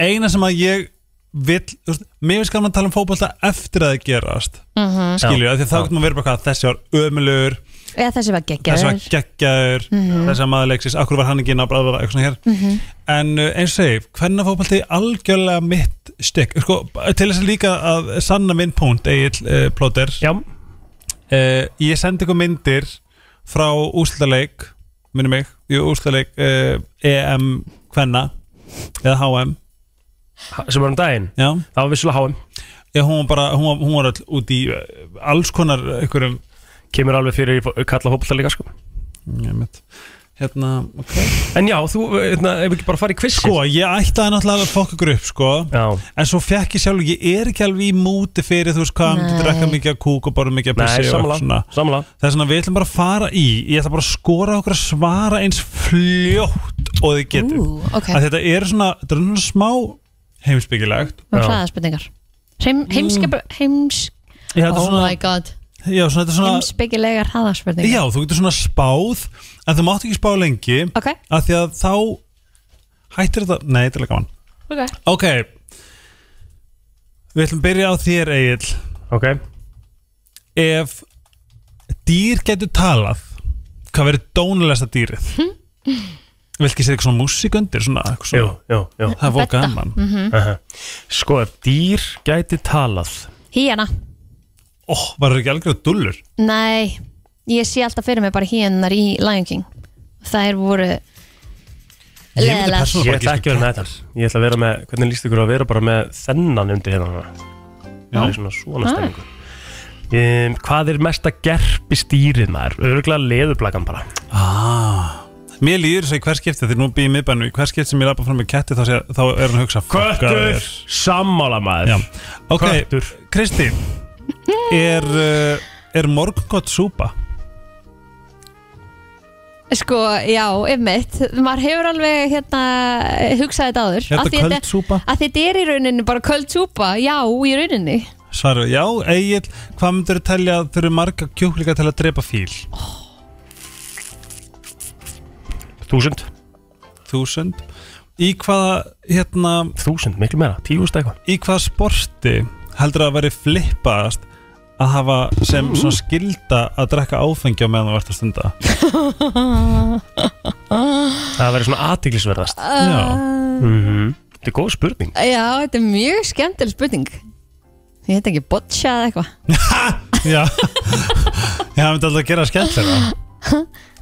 Speaker 3: Eina sem að ég vill þú veist, Mér finnst gaman að tala um fótbolta eftir að það gerast
Speaker 2: Mhm.
Speaker 3: Skilju, af því að þá getur maður verið bara hvað Þessi var ömulegur
Speaker 2: Eða þessi var
Speaker 3: þessi var
Speaker 2: geggjaður
Speaker 3: geggjaður þessi að maður leiksist, akkur var hann ekki inn á bræðvara eitthvað svona hér, en uh, eins og segi hvernig fótbalti algjörlega mitt stygg, sko, til þess að líka að sanna minn punkt, Egil uh, Plóter
Speaker 1: já,
Speaker 3: uh, ég sendi ykkur myndir frá úslaleik minni mig, jú úslaleik uh, EM eh, Kvenna eða HM
Speaker 1: sem var um daginn
Speaker 3: já.
Speaker 1: það var vissulega HM
Speaker 3: Já, hún var bara, hún var, hún var all út í eh, alls konar einhverjum mm,
Speaker 1: kemur alveg fyrir í fó- kalla fótbolta líka sko
Speaker 3: ég veit, hérna, ok
Speaker 1: en já, þú, hérna, ef ekki bara fara í quiz
Speaker 3: Sko, ég ætlaði náttúrulega að fokka ykkur upp, sko
Speaker 1: já,
Speaker 3: En svo fekk ég sjálf, ég er ekki alveg í múti fyrir, þú veist hvað, hann getur drekka mikið að kúk og bara mikið að
Speaker 1: nei,
Speaker 3: pissi og
Speaker 1: samla
Speaker 3: eitthvað svona
Speaker 1: samla,
Speaker 3: Það er svona, við ætlum bara að fara í Ég ætla bara að skora okkur að svara eins fljótt og þið getur
Speaker 2: Ú, ok,
Speaker 3: að Þetta er svona, þetta er svona smá heimsbyggilegt
Speaker 2: það
Speaker 1: já.
Speaker 2: var hraðaspurningar Heim, heimskepar, heims
Speaker 3: Mm. Já, þetta er
Speaker 2: Oh
Speaker 3: svona,
Speaker 2: my god,
Speaker 3: já, svona, þetta er svona
Speaker 2: heimsbyggilegar hraðaspurningar
Speaker 3: Já, þú getur svona spáð En þú mátt ekki spá lengi
Speaker 2: Ok,
Speaker 3: af því að þá hættir þetta, nei, þetta er alveg gaman
Speaker 2: ok
Speaker 3: Ok Við ætlum að byrja á þér, Egil
Speaker 1: ok
Speaker 3: Ef dýr getur talað hvað verður dónulegsta
Speaker 2: <laughs>
Speaker 3: dýrið? Vilt ekki segja eitthvað svona músík undir svona, eitthvað
Speaker 1: jú,
Speaker 3: svona
Speaker 1: jú, jú
Speaker 3: Það er fók
Speaker 2: Bedda. Mhm.
Speaker 3: gaman
Speaker 1: Aha. sko, ef dýr gæti talað
Speaker 2: Híjana,
Speaker 3: Ó, Oh, var það ekki algjörð dullur?
Speaker 2: nei Ég sé alltaf fyrir mig bara híjanar í Lion King Þær voru
Speaker 3: Ég myndi
Speaker 2: Leðilegar.
Speaker 1: ég
Speaker 3: persónulega bara um
Speaker 1: ætla
Speaker 3: giska
Speaker 1: ekki að vera með þetta ég ætla að vera með, hvernig líst ykkur á að vera bara með þennan undir hérna það er svona svona
Speaker 2: Ah.
Speaker 1: stemmingu Um, hvað er mesta gerpistýrið maður? Örgulega leðublakan bara
Speaker 3: Ah. Mér líður þess að í hver skipti, þegar nú býð í miðbænum í hver skipti sem ég lappa fram með ketti þá, sé, þá er hann að hugsa "Fuck, hvað það
Speaker 1: Köttur,
Speaker 3: er."
Speaker 1: sammála maður
Speaker 3: Já. Ok,
Speaker 1: Köttur.
Speaker 3: <laughs> Kristi Er, uh, er morgungott súpa?
Speaker 2: Sko, já, einmitt Maður hefur alveg hérna hugsaði þetta áður
Speaker 3: Er
Speaker 2: Af
Speaker 3: þetta
Speaker 2: því
Speaker 3: Hérna köld súpa?
Speaker 2: Að þetta er í rauninni bara köld súpa Já, í rauninni
Speaker 3: Svaru, já, Egil, hvað myndur þú telja að þurfi marga kjúklinga til að drepa fíl?
Speaker 1: Þúsund,
Speaker 3: Þúsund Í hvaða, hérna,
Speaker 1: þúsund, miklu meira, tíðust eitthvað
Speaker 3: í hvaða sporti heldur að veri flippaðast að hafa sem svona skilda að drekka áfengi á meðan þú vart að stunda?
Speaker 1: Það verður svona aðtiklisverðast
Speaker 2: Ah. Uh.
Speaker 3: Já,
Speaker 1: mm Þetta er góð spurning
Speaker 2: Já, þetta er mjög skemmtileg spurning Ég heit ekki botcha eða eitthvað
Speaker 3: já <laughs> Já, það myndi alltaf að gera skemmt þeirra
Speaker 2: <laughs>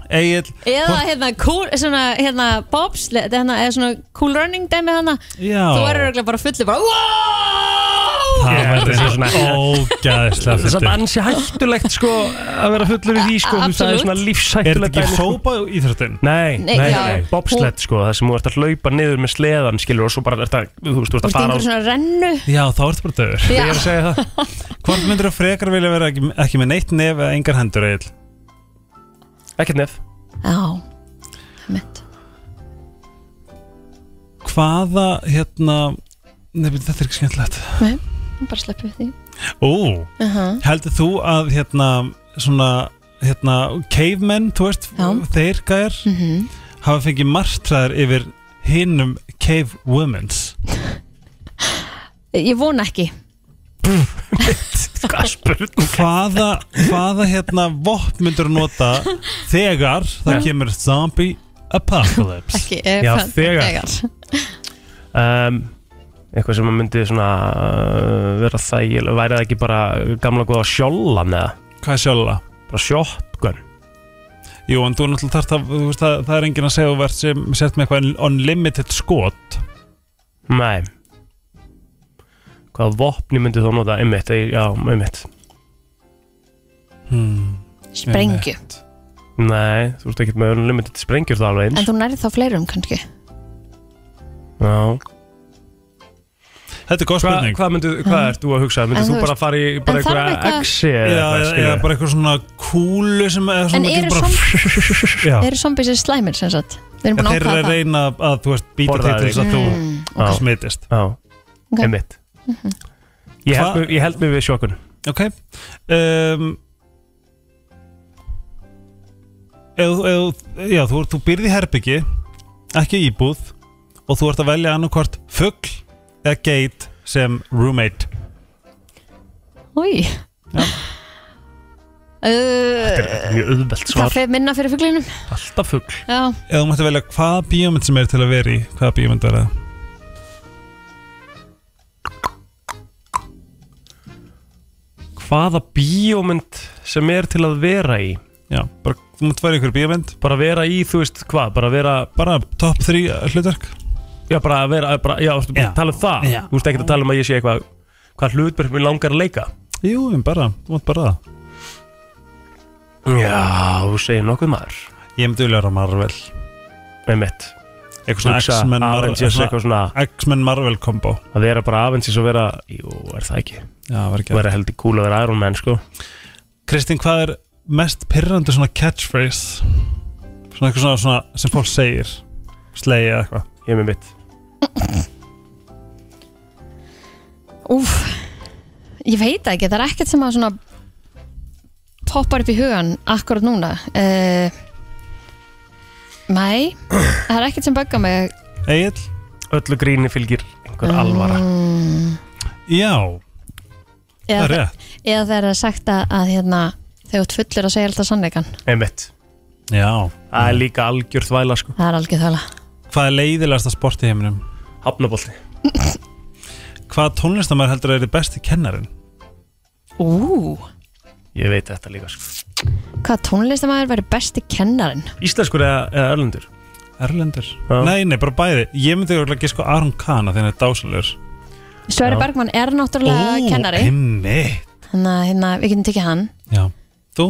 Speaker 3: Egil,
Speaker 2: Eða hérna, cool, svona, hérna, bobs hérna, eða svona cool running dæmi hana
Speaker 3: já
Speaker 2: Þú verður örugglega bara fullu bara wow!
Speaker 3: Það
Speaker 1: Ég held að
Speaker 3: verður
Speaker 1: sé
Speaker 3: svona
Speaker 1: svona-
Speaker 3: ógæðislega
Speaker 1: Það er
Speaker 3: fyndið.
Speaker 1: svona ansi hættulegt sko að vera fullur í því sko þú veist, Það er
Speaker 2: Ah,
Speaker 1: svona
Speaker 2: Absolutt.
Speaker 3: Er þetta
Speaker 1: lífshættulegt
Speaker 3: ekki
Speaker 1: dæmi, sko.
Speaker 3: sópa íþróttin?
Speaker 1: Nei,
Speaker 2: Nei,
Speaker 1: nei, nei,
Speaker 2: já.
Speaker 1: nei. bobsled sko, það sem þú ert að hlaupa niður með sleðan skilur og svo bara ert að, þú veist, þú ert
Speaker 2: Þú
Speaker 1: að
Speaker 2: ert í
Speaker 1: fara á
Speaker 2: einhverju svona rennu
Speaker 3: Já, þá ertu bara döður
Speaker 2: Já,
Speaker 1: Ég er að segja það
Speaker 3: Hvort myndur þú frekar vilja vera ekki, ekki með neitt nef eða engar hendur eil?
Speaker 1: Ekkert nef
Speaker 2: já Einmitt.
Speaker 3: Hvaða, hérna Nei, bíddu, þetta er ekki skemmtilegt
Speaker 2: Bara sleppu því
Speaker 3: Ó,
Speaker 2: uh -huh.
Speaker 3: heldur þú að hérna, svona, hérna cavemen, þú veist,
Speaker 2: Já.
Speaker 3: þeir gæjar
Speaker 2: Mhm.
Speaker 3: hafa fengið martræðar yfir hinnum cave womens
Speaker 2: Ég vona ekki <laughs>
Speaker 1: Hvað spurning
Speaker 3: Hvaða, hvaða hérna vopn myndur þú nota þegar það kemur zombie apocalypse?
Speaker 2: Ekki, eh,
Speaker 1: Já,
Speaker 2: hvað-
Speaker 1: þegar. um, Eitthvað sem að myndi svona uh, vera þægileg Væri það ekki bara gamla góða sjollan eða
Speaker 3: Hvað er sjálfa?
Speaker 1: Bara shotgun
Speaker 3: Jú, en þú er náttúrulega þarft að, þú veist, það, það er enginn að segja að þú verð sem sett með eitthvað unlimited skot
Speaker 1: Nei Hvaða vopni myndi þá nota einmitt Ég- Já, einmitt
Speaker 3: hmm.
Speaker 2: Sprengju
Speaker 1: Nei, þú ert ekkert með unlimited sprengjur það alveg
Speaker 2: En
Speaker 1: eins
Speaker 2: þú nærið þá fleirum kannski
Speaker 1: Já
Speaker 3: Þetta er góð
Speaker 1: Hvað
Speaker 3: spurning
Speaker 1: hva myndu, hvað ert þú að hugsa?
Speaker 2: En
Speaker 1: Myndu þú
Speaker 2: þú
Speaker 1: bara fara í
Speaker 2: en
Speaker 1: bara
Speaker 2: þarf
Speaker 1: einhverja
Speaker 2: eitthvað-
Speaker 1: exi
Speaker 3: Já,
Speaker 1: eða
Speaker 3: eða eða
Speaker 1: eitthvað
Speaker 3: bara eitthvað svona kúlu sem eða
Speaker 2: En
Speaker 3: svona
Speaker 2: eru
Speaker 3: bara, <laughs> Já,
Speaker 2: Eru zombies er slæmir sem sagt Við erum búin að
Speaker 3: en þeir eru
Speaker 2: ákvaða
Speaker 3: að
Speaker 2: það
Speaker 3: reyna að, þú veist, býta
Speaker 1: Borða
Speaker 3: þig til þess að þú
Speaker 2: Mm,
Speaker 1: Já.
Speaker 3: smitist
Speaker 1: Já,
Speaker 2: ok.
Speaker 1: einmitt Ég held mig- Ég held mig við sjokkun
Speaker 3: Ok um, eð, eð, Já, þú, þú byrði herbyggi ekki íbúð og þú ert að velja annarkvort fugl eða geit sem roommate
Speaker 2: Új uh,
Speaker 1: Mjög auðvelt
Speaker 2: Það
Speaker 1: svar
Speaker 2: fer minna fyrir fuglinum
Speaker 1: Alltaf fugl
Speaker 2: Já,
Speaker 3: eða þú mætti velja hvaða bíómynd sem er til að vera í hvaða bíómynd verða það?
Speaker 1: Hvaða bíómynd sem er til að vera í
Speaker 3: Já, bara, þú mátt vera í einhverju bíómynd
Speaker 1: Bara vera í, þú veist, hvað, bara vera
Speaker 3: Bara top 3 hlutverk
Speaker 1: Já, bara að vera, bara, já, þú
Speaker 3: Já.
Speaker 1: veist, tala um það
Speaker 3: Já.
Speaker 1: Þú veist ekki að tala um að ég sé eitthvað Hvað hlutverk mér langar að leika
Speaker 3: Jú, en bara, þú mátt bara það
Speaker 1: Já, þú segir nokkuð maður
Speaker 3: Ég myndi vilja vera Marvel
Speaker 1: Með mitt
Speaker 3: Eitthvað svona
Speaker 1: Hugsa,
Speaker 3: X-Men Marvel
Speaker 1: Avengers, eitthvað svona-
Speaker 3: X-Men Marvel kombo
Speaker 1: Að vera bara aðvendsins og vera Jú, er það ekki
Speaker 3: Já, það var ekki
Speaker 1: Þú vera heldur kúl að vera Iron Man, sko
Speaker 3: Kristín, hvað er mest pyrrandi svona catchphrase? Svona eitthvað svona, svona sem fólk segir Slegi eða eitthvað
Speaker 1: Ég er með mitt
Speaker 2: Úf, ég veit það ekki, það er ekkert sem að svona poppar upp í hugan akkurat núna uh, Nei, það er ekkert sem böggar mig
Speaker 3: Egil?
Speaker 1: Öllu gríni fylgir einhver alvara
Speaker 3: Já, það
Speaker 2: eða,
Speaker 3: er rétt
Speaker 2: eða þegar það er sagt að, að hérna, þegar þú ert fullur að segja alltaf sannleikan
Speaker 1: Með mitt
Speaker 3: Já
Speaker 1: Það er líka algjörð væla, sko
Speaker 2: Það er algjör þvæla
Speaker 3: Hvað er leiðilegasta sport í heiminum?
Speaker 1: Hafnabolti
Speaker 3: Hvað tónlistamæður heldur að er besti kennarin?
Speaker 2: Ú,
Speaker 1: Ég veit þetta líka, sko
Speaker 2: hvað tónlistamæður væri besti kennarin?
Speaker 1: Íslenskur eða, eða Örlundur
Speaker 3: Erlendur?
Speaker 1: Já.
Speaker 3: Nei, nei, bara bæði Ég myndi örgulega giska á Aron Kahn að þeirna er dásalur
Speaker 2: Sverri Bergmann er náttúrulega kennari
Speaker 3: einmitt
Speaker 2: Þannig að hérna, við getum tekið hann
Speaker 3: Já, þú?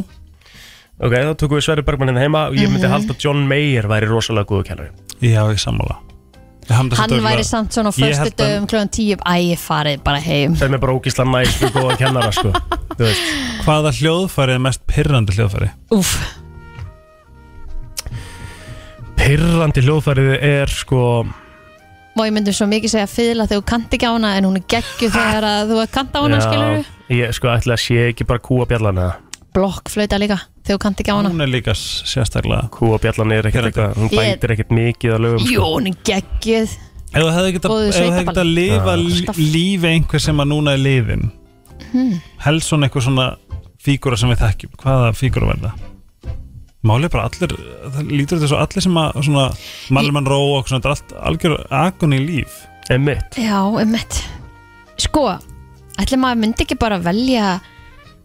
Speaker 1: Ok, þá tökum við Sverri Bergmann hérna heima og ég
Speaker 2: Mhm.
Speaker 1: myndi halda að John Mayer væri rosalega góðu kennari
Speaker 3: Já, ég sammála Ég hamna
Speaker 2: Hann
Speaker 3: samt
Speaker 2: væri
Speaker 3: örugglega-
Speaker 2: samt svona á
Speaker 3: Ég held
Speaker 2: föstu dögum kljóðan tíu Æ, ég farið bara heim
Speaker 1: Það er mér bara ógíslan næst og góða kennara, sko Þú veist
Speaker 3: Hvaða hljóðfæri er mest pyrrandi hljóðfæri?
Speaker 2: Úf,
Speaker 1: Pirrandi hljóðfærið er, sko
Speaker 2: og ég myndi svo mikið segja fyrla þegar þú kanti ekki á hana en hún er geggju þegar að þú kanti á hana skilur
Speaker 1: Ég, sko, ætla að sé ekki bara kúa bjallan eða
Speaker 2: blokkflauta líka þegar þú kanti ekki á hana
Speaker 3: Hún er líka s- sérstaklega
Speaker 1: Kúa bjallan er ekkert
Speaker 3: Pirrandi.
Speaker 1: eitthvað Hún
Speaker 2: Ég-
Speaker 1: bætir ekkert mikið að lögum,
Speaker 2: Jú,
Speaker 1: sko
Speaker 2: hún er geggjuð
Speaker 3: Ef þú hefði getað
Speaker 2: Góður
Speaker 3: ef þú hefði
Speaker 2: sveitaball.
Speaker 3: getað lifa
Speaker 2: Alltaf.
Speaker 3: lí- lífi einhver sem að núna er lifin helst svona eitthvað svona fígúra sem við þekkjum, hvaða fígúra verða? Málið er bara allir það lítur þetta svo allir sem að svona Malman Ró og svona, þetta er allt algjör agun í líf.
Speaker 1: Emmitt
Speaker 2: Já, ummitt Sko, ætli maður myndi ekki bara velja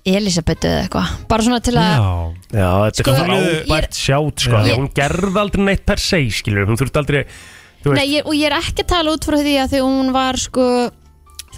Speaker 2: Elisabetu eða eitthvað bara svona til að
Speaker 3: Já.
Speaker 1: Já,
Speaker 2: Sko,
Speaker 1: þetta er
Speaker 2: ég-
Speaker 1: frábært sjátt, sko
Speaker 3: Já.
Speaker 1: Því að hún gerði aldrei neitt per se, skilur Hún þurfti aldrei þú
Speaker 2: Nei, ég, og ég er ekki að tala út frá því að þegar hún var sko,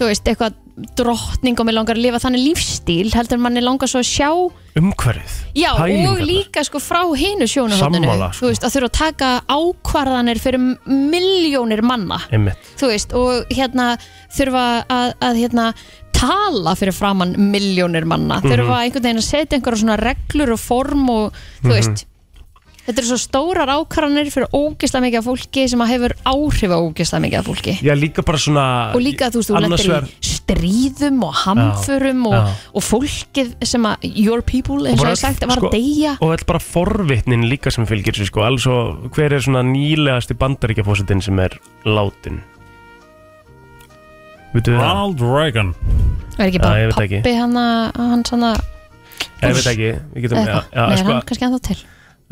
Speaker 2: þú veist, eitthvað drottning og mér langar að lifa þannig lífstíl heldur manni langar svo að sjá
Speaker 1: umhverfið
Speaker 2: Já, og
Speaker 1: pælingarnar.
Speaker 2: líka sko frá hinu sjónahotninu
Speaker 1: Sammála, sko.
Speaker 2: Þú veist, að þurfa að taka ákvarðanir fyrir miljónir manna
Speaker 1: Einmitt,
Speaker 2: Þú veist, og hérna þurfa að, að hérna tala fyrir framann miljónir
Speaker 1: Mhm.
Speaker 2: manna þurfa einhvern veginn að setja einhverja svona reglur og form og þú
Speaker 1: Mhm.
Speaker 2: veist Þetta eru svo stórar ákvarðanir fyrir ógisla mikið af fólki sem að hefur áhrif á ógisla mikið af fólki
Speaker 1: já líka bara svona
Speaker 2: og líka þú veist, þú
Speaker 1: annars
Speaker 2: lendir
Speaker 1: vegar-
Speaker 2: í stríðum og hamförum
Speaker 1: Já,
Speaker 2: og,
Speaker 1: já.
Speaker 2: og fólkið sem að your people, eins og
Speaker 1: bara
Speaker 2: ég sagt,
Speaker 1: öll,
Speaker 2: var
Speaker 1: sko,
Speaker 2: að deyja
Speaker 1: og þetta bara forvitnin líka sem fylgir þessu sko, alls og hver er svona nýlegasti bandaríkjafósitin sem er látin veitum við það?
Speaker 3: Ronald Reagan
Speaker 2: Er ekki
Speaker 1: Já, ég
Speaker 2: bara
Speaker 1: veit ekki.
Speaker 2: pappi hann að hann svona
Speaker 1: Ég veit ekki, við getum
Speaker 2: eða
Speaker 1: ja,
Speaker 2: eitthvað?
Speaker 1: ja,
Speaker 2: Nei,
Speaker 1: sko,
Speaker 2: hann kannski ennþá til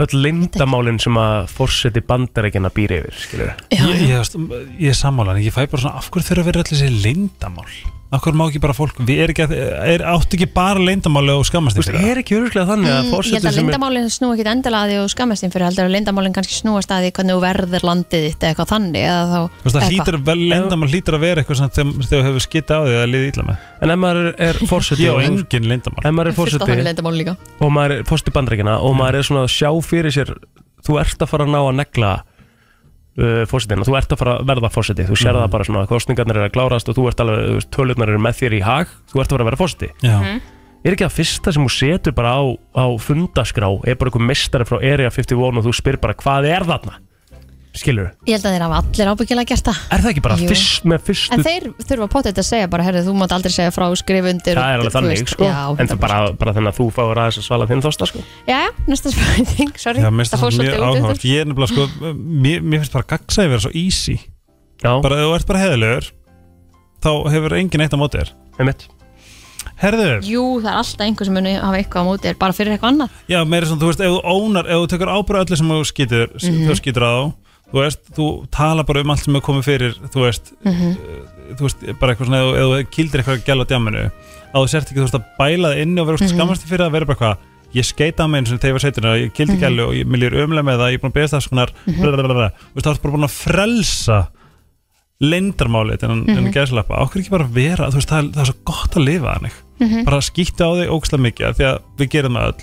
Speaker 1: öll lindamálin sem að fórseti bandaríkjana býr yfir skilur.
Speaker 2: Já,
Speaker 3: ég, ég, veist, ég er sammálan, ég fæ bara svona af hverju þurfa að vera allir sér leyndamál af hverju má ekki bara fólk, við er ekki að, er, áttu ekki bara leyndamál og skammast
Speaker 1: Þú
Speaker 3: þig
Speaker 1: veist,
Speaker 3: fyrir það?
Speaker 1: er ekki öruglega þannig að
Speaker 2: Mm, ég held
Speaker 1: fórseti
Speaker 2: að
Speaker 1: sem er
Speaker 2: lindamálinn snú ekkit endilega að því og skammast þín fyrir heldur að lindamálinn kannski snúast að því hvernig þú verður landið þitt eða eitthvað þannig eða þá
Speaker 3: Þú veist, það
Speaker 2: eða
Speaker 3: hlýtur, vel, leyndamál hlýtur að vera eitthvað sem þegar þegar þú hefur skita á því að liði illa með
Speaker 1: en ef maður er- er fórseti
Speaker 3: Ég á
Speaker 1: og- ef
Speaker 3: engin leyndamál
Speaker 1: maður er
Speaker 2: fullt af
Speaker 1: fórseti
Speaker 2: þannig lindamálinn líka
Speaker 1: og maður er fórstu bandaríkina og maður er svona að sjá fyrir sér þú ert að fara að ná að negla uh, fórsetina, þú ert að fara að verða fórseti þú sér það bara svona, kostningarnir er að klárast og þú ert alveg, þú veist, tölurnar eru með þér í hag þú ert að fara að verða fórseti
Speaker 3: Já,
Speaker 2: Mhm.
Speaker 1: er ekki að fyrsta sem þú setur bara á, á fundaskrá, er bara einhver mestari frá Area 51 og þú spyr bara hvað er þarna skilur,
Speaker 2: Ég held að þeir hafa allir ábyggilega gert það
Speaker 1: er það ekki bara
Speaker 2: Jú.
Speaker 1: fyrst, með
Speaker 2: En
Speaker 3: Hm.
Speaker 1: fyrstu
Speaker 2: þeir þurfa potið að segja bara, herri, þú mátt aldrei segja frá skrifundir
Speaker 1: það er alveg þannig sko, en það bara, bara þannig að þú fáir aðeins að svala þinn þósta sko
Speaker 2: Já, já, næsta spurning, sorry
Speaker 3: já mér finnst
Speaker 2: fór
Speaker 3: það
Speaker 2: svolítið
Speaker 3: mjög
Speaker 2: út um undan.
Speaker 3: áhugavert Ég er nefnilega sko, mér, mér finnst bara gagsaði vera svo easy
Speaker 1: já,
Speaker 3: Bara ef þú ert bara heðilegur þá hefur engin eitt á móti þér
Speaker 1: einmitt
Speaker 3: Herðu,
Speaker 2: Jú, það er alltaf einhver sem muni hafa eitthvað á móti þér, bara fyrir eitthvað annað
Speaker 3: já, meira svona, þú veist, ef þú ónar ef þú tekur ábyrðu öllu sem þú skýtur
Speaker 2: Mhm.
Speaker 3: þú skýtur á þá, þú veist, þú tala bara um allt sem hefur komið fyrir, þú veist
Speaker 2: Mhm.
Speaker 3: uh, þú veist, bara eitthvað svona ef
Speaker 2: Mhm.
Speaker 3: þú- ef þú kildir eitthvað gæla á djáminu, að þú sért ekki þú veist að bæla það inni og vera mm -hmm. skammast fyrir að vera bara eitthvað ég skeita á mig eins og þegar ég var seitin að ég gildi ekki
Speaker 2: Mhm.
Speaker 3: alveg og ég, mér líður ömulega með það ég er búin að beðast afskunar
Speaker 2: Mhm.
Speaker 3: blablabla. Þú veist, það er bara búin að frelsa leyndarmálið en, mm -hmm. en
Speaker 2: Mhm.
Speaker 3: gæslappa, okkur ekki bara vera þú veist, það, er, það er svo gott að lifa þannig
Speaker 2: Mhm.
Speaker 3: bara skýtti á þig ógstlega mikið af því að við gerum það öll,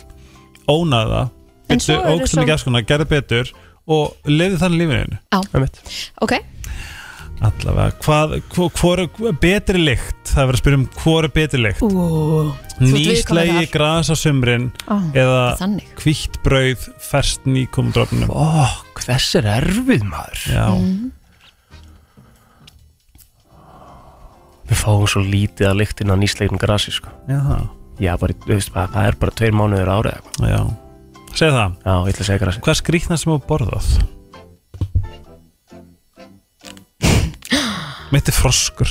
Speaker 3: ónaða það
Speaker 2: En svo
Speaker 3: byttu
Speaker 2: eru
Speaker 3: ógstlega mikið
Speaker 2: svo-
Speaker 3: afskunar, gerði betur og lifið þannig lífinu
Speaker 2: ok,
Speaker 3: allavega, hvað, hvað, hvað, hvað betri lykt, það er verið að spyrja um hvað er betri lykt
Speaker 2: Ú, þú ert viðkomandi
Speaker 3: nýslegi
Speaker 2: þar.
Speaker 3: gras á sumrin
Speaker 2: Ó,
Speaker 3: eða
Speaker 2: þannig.
Speaker 3: hvítt brauð ferst nýkomundröfnum
Speaker 1: Ó, hvers er erfið maður
Speaker 3: Já,
Speaker 2: Mm.
Speaker 1: Við fáum svo lítið að lyktin að nýsleginum grasi sko.
Speaker 3: já,
Speaker 1: Já, bara, þú veist, bara, það er bara tveir mánuður árið eitthvað.
Speaker 3: já Segð það,
Speaker 1: Já, ég ætla að segja grasi
Speaker 3: hvað skrýtna sem þú borðað? Mitt er froskur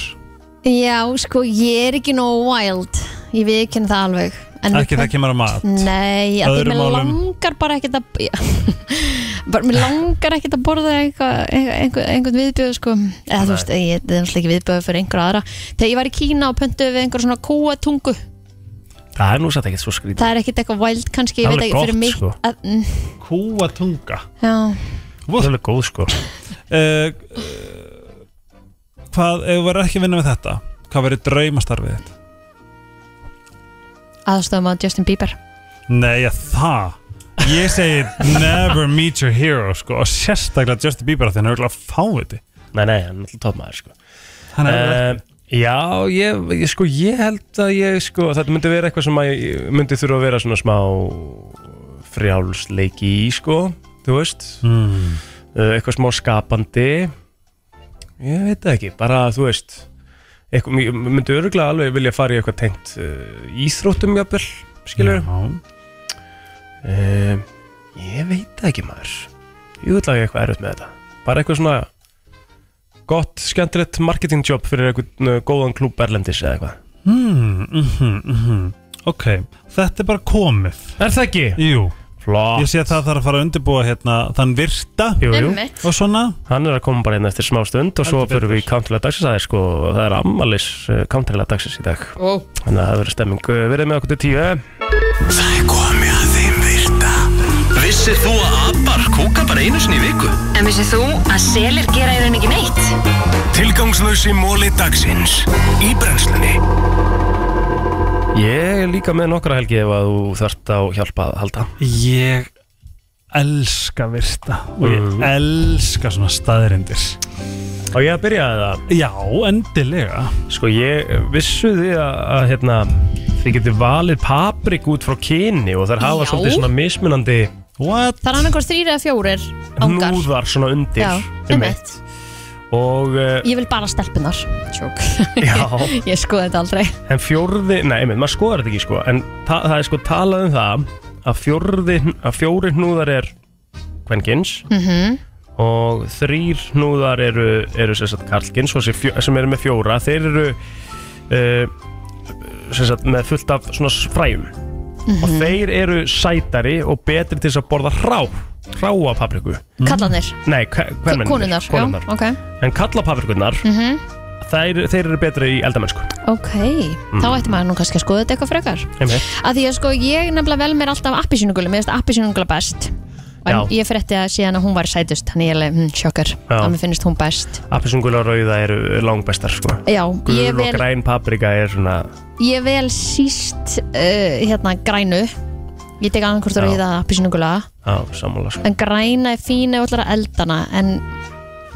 Speaker 2: já, sko, ég er ekki nóg wild ég viðkynna það Mm. alveg En
Speaker 3: Ekki
Speaker 2: mér-
Speaker 3: það kemur að mat
Speaker 2: Nei, að því
Speaker 3: Öðrum
Speaker 2: mér
Speaker 3: málum.
Speaker 2: langar bara ekkert að <laughs> bara, mér langar ekkert að borða eitthvað- einhver- einhvern viðbjöð sko. eða þú veist, ég, það er náttúrulega ekki viðbjöð fyrir einhver aðra þegar ég var í Kína og pöntuði við einhver svona kúatungu
Speaker 1: Það er nú satt ekkert svo skrítið
Speaker 2: það er ekkert eitthvað wild kannski, ég
Speaker 1: Það er
Speaker 2: veit
Speaker 1: alveg
Speaker 2: ekki fyrir
Speaker 1: gott,
Speaker 2: mig
Speaker 1: sko.
Speaker 2: að, mm,
Speaker 3: Kúatunga
Speaker 2: já,
Speaker 1: Það er alveg góð sko
Speaker 3: uh, Hvað, ef þú verður ekki að vinna með þetta Hvað verður draumastarfið þitt?
Speaker 2: aðstofum að Justin Bieber
Speaker 3: Nei, já, það Ég segi never meet your hero sko, og sérstaklega Justin Bieber af því hann er auðvitað fáviti
Speaker 1: Nei, nei, hann er alltaf topmaður sko
Speaker 3: Hann er
Speaker 1: Eh, Já, ég, ég, sko, ég held að ég, sko, þetta myndi vera eitthvað sem að ég myndi þurfa að vera svona smá frjálsleiki í, sko, þú veist,
Speaker 3: mm,
Speaker 1: uh, eitthvað smá skapandi, ég veit það ekki, bara, þú veist, eitthvað, ég myndi öruglega alveg vilja fara í eitthvað tengt uh, íþróttum, jafnvel, skilur,
Speaker 3: Já,
Speaker 1: uh, ég veit það ekki, maður, ég vil að ég eitthvað erfitt með þetta, bara eitthvað svona gott, skemmtilegt marketing job fyrir eitthvað góðan klúb erlendis eða eitthvað.
Speaker 3: mm, mm, mm, mm. Ok, þetta er bara komið
Speaker 1: Er það ekki?
Speaker 3: Jú,
Speaker 1: Flott
Speaker 3: ég sé að það þarf að fara að undirbúa hérna þann virta
Speaker 1: Jú, jú,
Speaker 2: Einmitt.
Speaker 3: og svona
Speaker 1: hann er að koma bara inn eftir smá stund og svo
Speaker 3: Heldur
Speaker 1: fyrir við í
Speaker 3: betur.
Speaker 1: countrilega dagsins aðeins sko, og það er ammalis countrilega dagsins í dag
Speaker 2: Ó.
Speaker 1: Þannig að það verður stemming Uh, verið með okkur til tíu
Speaker 6: Það er komið að þeim virta Vissir þú að abar kúka bara einu sinni í viku?
Speaker 5: En vissið þú að selir gera í raun ekki neitt?
Speaker 6: Tilgangslösi móli dagsins Í brennslunni
Speaker 1: Ég er líka með nokkra helgi ef að þú þarft á hjálpa að halda
Speaker 3: Ég elska virta og ég
Speaker 1: Mm.
Speaker 3: elska svona staðirindir
Speaker 1: Og ég að byrja að það
Speaker 3: Já, endilega
Speaker 1: Sko ég vissu því að, að hérna, þið getur valið paprik út frá kyni og þær hafa
Speaker 2: Já.
Speaker 1: svolítið svona mismunandi
Speaker 3: What?
Speaker 2: það er annað hvort þrýr eða fjórir ángar
Speaker 1: hnúðar svona undir
Speaker 2: já, um eitt,
Speaker 1: Og uh,
Speaker 2: ég vil bara stelpunar Sjók.
Speaker 1: <laughs> já
Speaker 2: <laughs> ég skoði þetta aldrei
Speaker 1: En fjórði, nei, einmitt, maður skoðar þetta ekki sko En ta, það er sko talað um það Að, fjórði, að fjóri hnúðar er kvenkins
Speaker 2: Mhm.
Speaker 1: Og þrýr hnúðar eru, eru sem sagt karlkins Og sem, fjó, sem eru með fjóra Þeir eru uh, sem sagt með fullt af svona fræjum Og
Speaker 2: Mhm.
Speaker 1: þeir eru sætari og betri til þess að borða rá Ráa papriku
Speaker 2: kallanir,
Speaker 1: Nei, hvernig
Speaker 2: konunnar já, ok, Mhm.
Speaker 1: En kalla paprikunar þeir, þeir eru betri í eldamennsku
Speaker 2: ok þá
Speaker 1: Mm.
Speaker 2: ætti maður nú kannski að skoða þetta eitthvað frekar
Speaker 1: Einmitt
Speaker 2: að því að sko ég nefnilega vel mér alltaf appisínugulu, mér finnst appisínugula best en
Speaker 1: Já.
Speaker 2: ég frétti að síðan að hún var sætust þannig ég er alveg, hm, sjokkar,
Speaker 1: Já.
Speaker 2: að mér finnst hún best
Speaker 1: Appisungula og rauða eru langbestar sko.
Speaker 2: já, ég
Speaker 1: Gul og
Speaker 2: vel,
Speaker 1: græn paprika er svona
Speaker 2: ég vel síst uh, hérna grænu ég tek annað hvort
Speaker 1: Já.
Speaker 2: að ríða appisínugula
Speaker 1: á sammála sko.
Speaker 2: en græna er fín ef allar að eldana en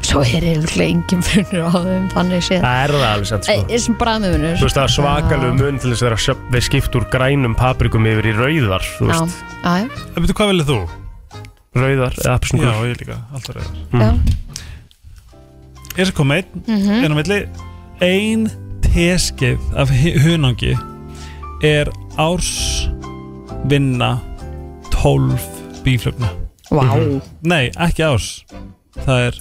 Speaker 2: svo er yfirlega engin munur á þeim þannig séð
Speaker 1: Það er það alveg satt
Speaker 2: Ei,
Speaker 1: sko.
Speaker 2: er sem bræðmið munur
Speaker 1: Þú veist það er svakalegu mun til þess að þeirra við skipt úr grænum paprikum yfir í rauðar Þú
Speaker 2: já,
Speaker 1: veist,
Speaker 2: já,
Speaker 3: En Eh, veitu hvað velið þú?
Speaker 1: rauðar eða
Speaker 3: Já,
Speaker 1: appisungula
Speaker 3: ég líka, alltaf reyðar
Speaker 2: já.
Speaker 3: Ég skal koma einn
Speaker 1: Mhm.
Speaker 2: Mm
Speaker 3: er á milli ein teskeið af hi- hunangi er árs vinna 12 bíflögna
Speaker 2: Vá,
Speaker 3: nei, ekki árs það er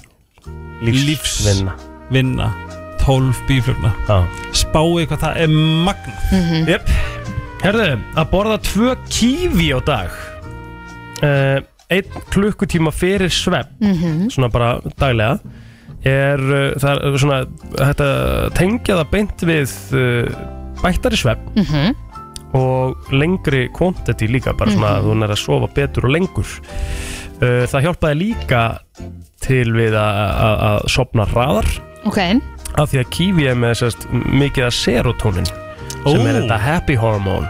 Speaker 1: Lífsvinna
Speaker 3: vinna 12 bíflögna
Speaker 1: Já.
Speaker 3: spáið hvað það er magna
Speaker 1: Jöp Herðu, að borða tvö kífi á dag uh, Einn klukkutíma fyrir svepp Svona bara daglega Er, uh, það er svona Þetta tengja það beint við uh, eh, Bættari svepp
Speaker 2: mhm,
Speaker 1: og lengri quantity líka bara svona að hún er að sofa betur og lengur uh, það hjálpaði líka til við að- að að sofna hraðar
Speaker 2: Ok,
Speaker 1: af því að kífi er með sérst, mikið að serotonin sem er
Speaker 3: Ó.
Speaker 1: þetta happy hormone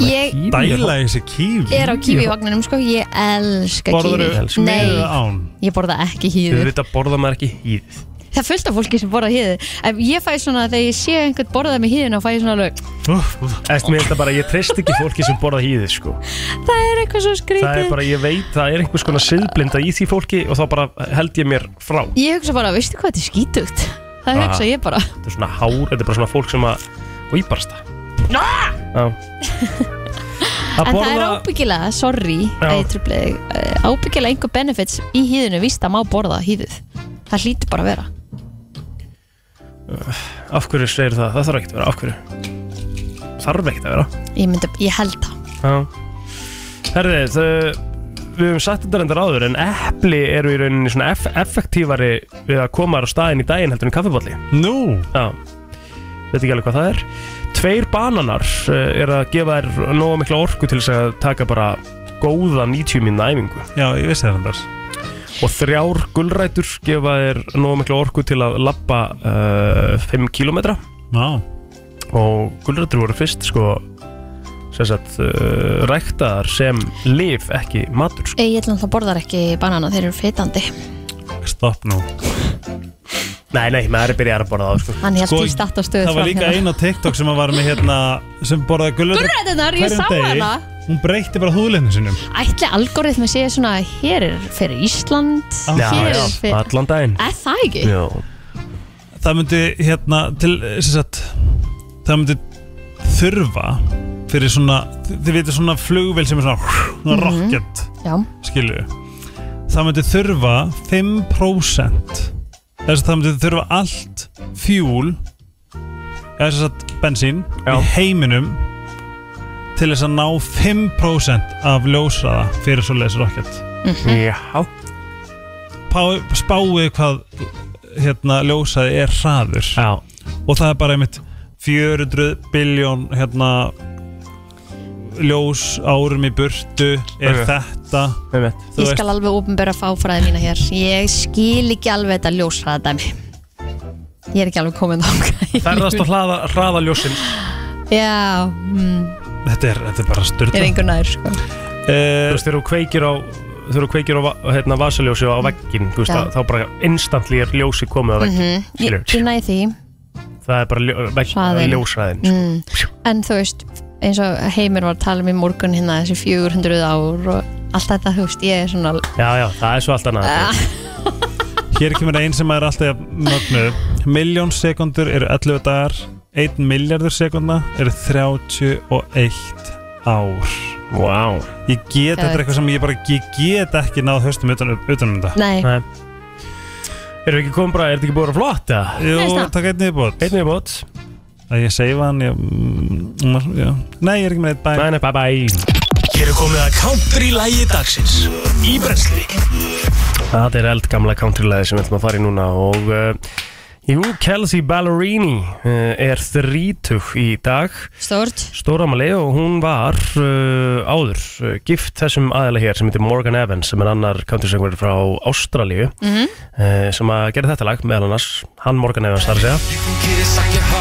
Speaker 2: ég
Speaker 3: Dæla í þessi kífi
Speaker 2: er á kífi vagninum sko, ég elska
Speaker 3: Borðarðu
Speaker 2: kífi
Speaker 3: með eða
Speaker 2: Nei,
Speaker 3: án?
Speaker 2: ég borða ekki
Speaker 1: Þú
Speaker 2: hýður
Speaker 1: veit að borða maður ekki hýð
Speaker 2: Það er fullt af fólki sem borða hýður En ég fæ svona, þegar ég sé einhvern borðað með hýðina fæ ég svona alveg,
Speaker 1: Eftir mér þetta bara, ég treyst ekki fólki sem borða hýði sko.
Speaker 2: það er eitthvað
Speaker 1: Það
Speaker 2: svo
Speaker 1: er
Speaker 2: skrítið
Speaker 1: bara, ég veit, það er einhvers konar siðblinda í því fólki og þá bara held ég mér frá
Speaker 2: Ég hugsa bara, veistu hvað þetta er skítugt Það
Speaker 1: Ah.
Speaker 2: hugsa ég bara
Speaker 1: Þetta er svona hár, þetta er bara svona fólk sem að og ég barasta Já.
Speaker 2: <laughs>
Speaker 1: Að
Speaker 2: En það er
Speaker 1: borða
Speaker 2: ábyggilega, sorry
Speaker 1: Já.
Speaker 2: að ég trufli þig, eh, ábyggilega einhver benefits í hýðinu, víst að má borða hýðuð Það hlýtur bara að vera
Speaker 1: Af hverju segir það, það þarf ekkert að vera, af hverju Þarf ekkert að vera
Speaker 2: Ég, myndi, ég held það
Speaker 1: Já Herði, þau, við höfum sagt þetta reyndar áður en epli eru í rauninni svona eff effektífari við að koma þér á staðin í daginn heldur en kaffibolli
Speaker 3: Nú,
Speaker 1: Já, veit ekki alveg hvað það er Tveir bananar uh, er að gefa þér nóga mikla orku til þess að taka bara góða 90 minna æfingu
Speaker 3: já, ég vissi það endars
Speaker 1: og þrjár gulrætur gefa þér nóga mikla orku til að lappa uh, 5 km
Speaker 3: Já,
Speaker 1: og gulrætur voru fyrst sko sem sagt uh, ræktaðar sem lif ekki matur sko.
Speaker 2: Ég ætla að það borðar ekki banana, þeir eru fitandi
Speaker 3: stopp nú
Speaker 1: Nei, nei, maður er byrjað að borða það sko.
Speaker 2: Hann held
Speaker 3: Sko,
Speaker 2: í statt og stöð
Speaker 3: Það var líka eina TikTok sem var með hérna sem borðaði gulrötur
Speaker 2: Gulrætunar, ég sá hana
Speaker 3: Hún breytti bara húðleinu sinum
Speaker 2: Ætli algoritmi sé svona Hér er fyrir Ísland
Speaker 3: Já,
Speaker 1: Ah,
Speaker 2: hér
Speaker 1: Já,
Speaker 2: er
Speaker 1: já,
Speaker 2: fyrir
Speaker 1: allan daginn
Speaker 2: Er það ekki?
Speaker 1: Já,
Speaker 3: Það myndi hérna til, sem sagt, það myndi þurfa fyrir svona, þi- þið veitir svona flugvél sem er svona, svona rocket
Speaker 2: Mhm. Já,
Speaker 3: skilju það myndi þurfa 5% þess að það myndi þurfa allt fjúl eða þess að bensín
Speaker 1: Já.
Speaker 3: í heiminum til þess að ná 5% af ljósraða fyrir svo leiðis rocket
Speaker 1: já
Speaker 3: Pá- spáið hvað hérna ljósaði er hraður
Speaker 1: Já,
Speaker 3: og það er bara einmitt 400 biljón hérna ljós árum í burtu er
Speaker 1: Ok.
Speaker 3: þetta
Speaker 1: með mitt
Speaker 2: ég
Speaker 3: þú veist-
Speaker 2: skal alveg ofinbera fáfræði mína hér Ég skil ekki alveg þetta ljósræða dæmi Ég er ekki alveg komin þá
Speaker 1: Ferðast og hraða, hraða ljósin
Speaker 2: Já, mm,
Speaker 3: þetta er, þetta er bara
Speaker 2: ég er
Speaker 3: styrla
Speaker 2: einhver nær sko.
Speaker 1: Þú
Speaker 3: eh,
Speaker 1: veist, þegar þú kveikir á þegar þú kveikir á va- hérna, vasaljósi á veggin þú veist,
Speaker 2: Mm. Já.
Speaker 1: að, þá bara instantly er ljósi komið á veggin
Speaker 2: Mhm. Ég,
Speaker 1: Skilur.
Speaker 2: ég næði því
Speaker 1: það er bara ljó, vegg,
Speaker 2: Mm. Hraðinn.
Speaker 1: ljósræðin sko.
Speaker 2: mm. En þú veist, eins og Heimir var að tala um í morgun hérna þessi 400 ár og allt þetta, þú veist, ég er svona
Speaker 1: Já, já, það er svo allt annað
Speaker 2: Ah.
Speaker 3: hér kemur einn sem er alltaf mögnu miljón sekundur eru 11 dagar 1 miljardur sekunda eru 31 ár
Speaker 1: Vá wow.
Speaker 3: ég get, þetta er eitthvað sem ég bara ég get ekki náð höstum utan, utan um þetta
Speaker 2: Nei,
Speaker 1: Erum við ekki komin bara, er þetta ekki búin að vera flott? eða?
Speaker 3: Jú,
Speaker 2: Nei, snakk.
Speaker 3: takk einnig í bótt
Speaker 1: Einnig er bótt
Speaker 3: að ég seifa hann ég, mm, já. nei, ég er ekki með eitt bæ
Speaker 1: Nei, nei, bye bye
Speaker 6: Hér er komið að country lægi dagsins Í brensli
Speaker 1: Það er eldgamla countrylæði sem við ætlum að fara í núna og uh, Jú, Kelsey Ballerini uh, er þrítug í dag
Speaker 2: stort
Speaker 1: Stóramali og hún var uh, áður uh, gift þessum aðeila hér sem heitir Morgan Evans sem er annar countrysöngverður frá Ástralíu uh, sem að gera þetta lag meðal annars hann Morgan Evans þar að segja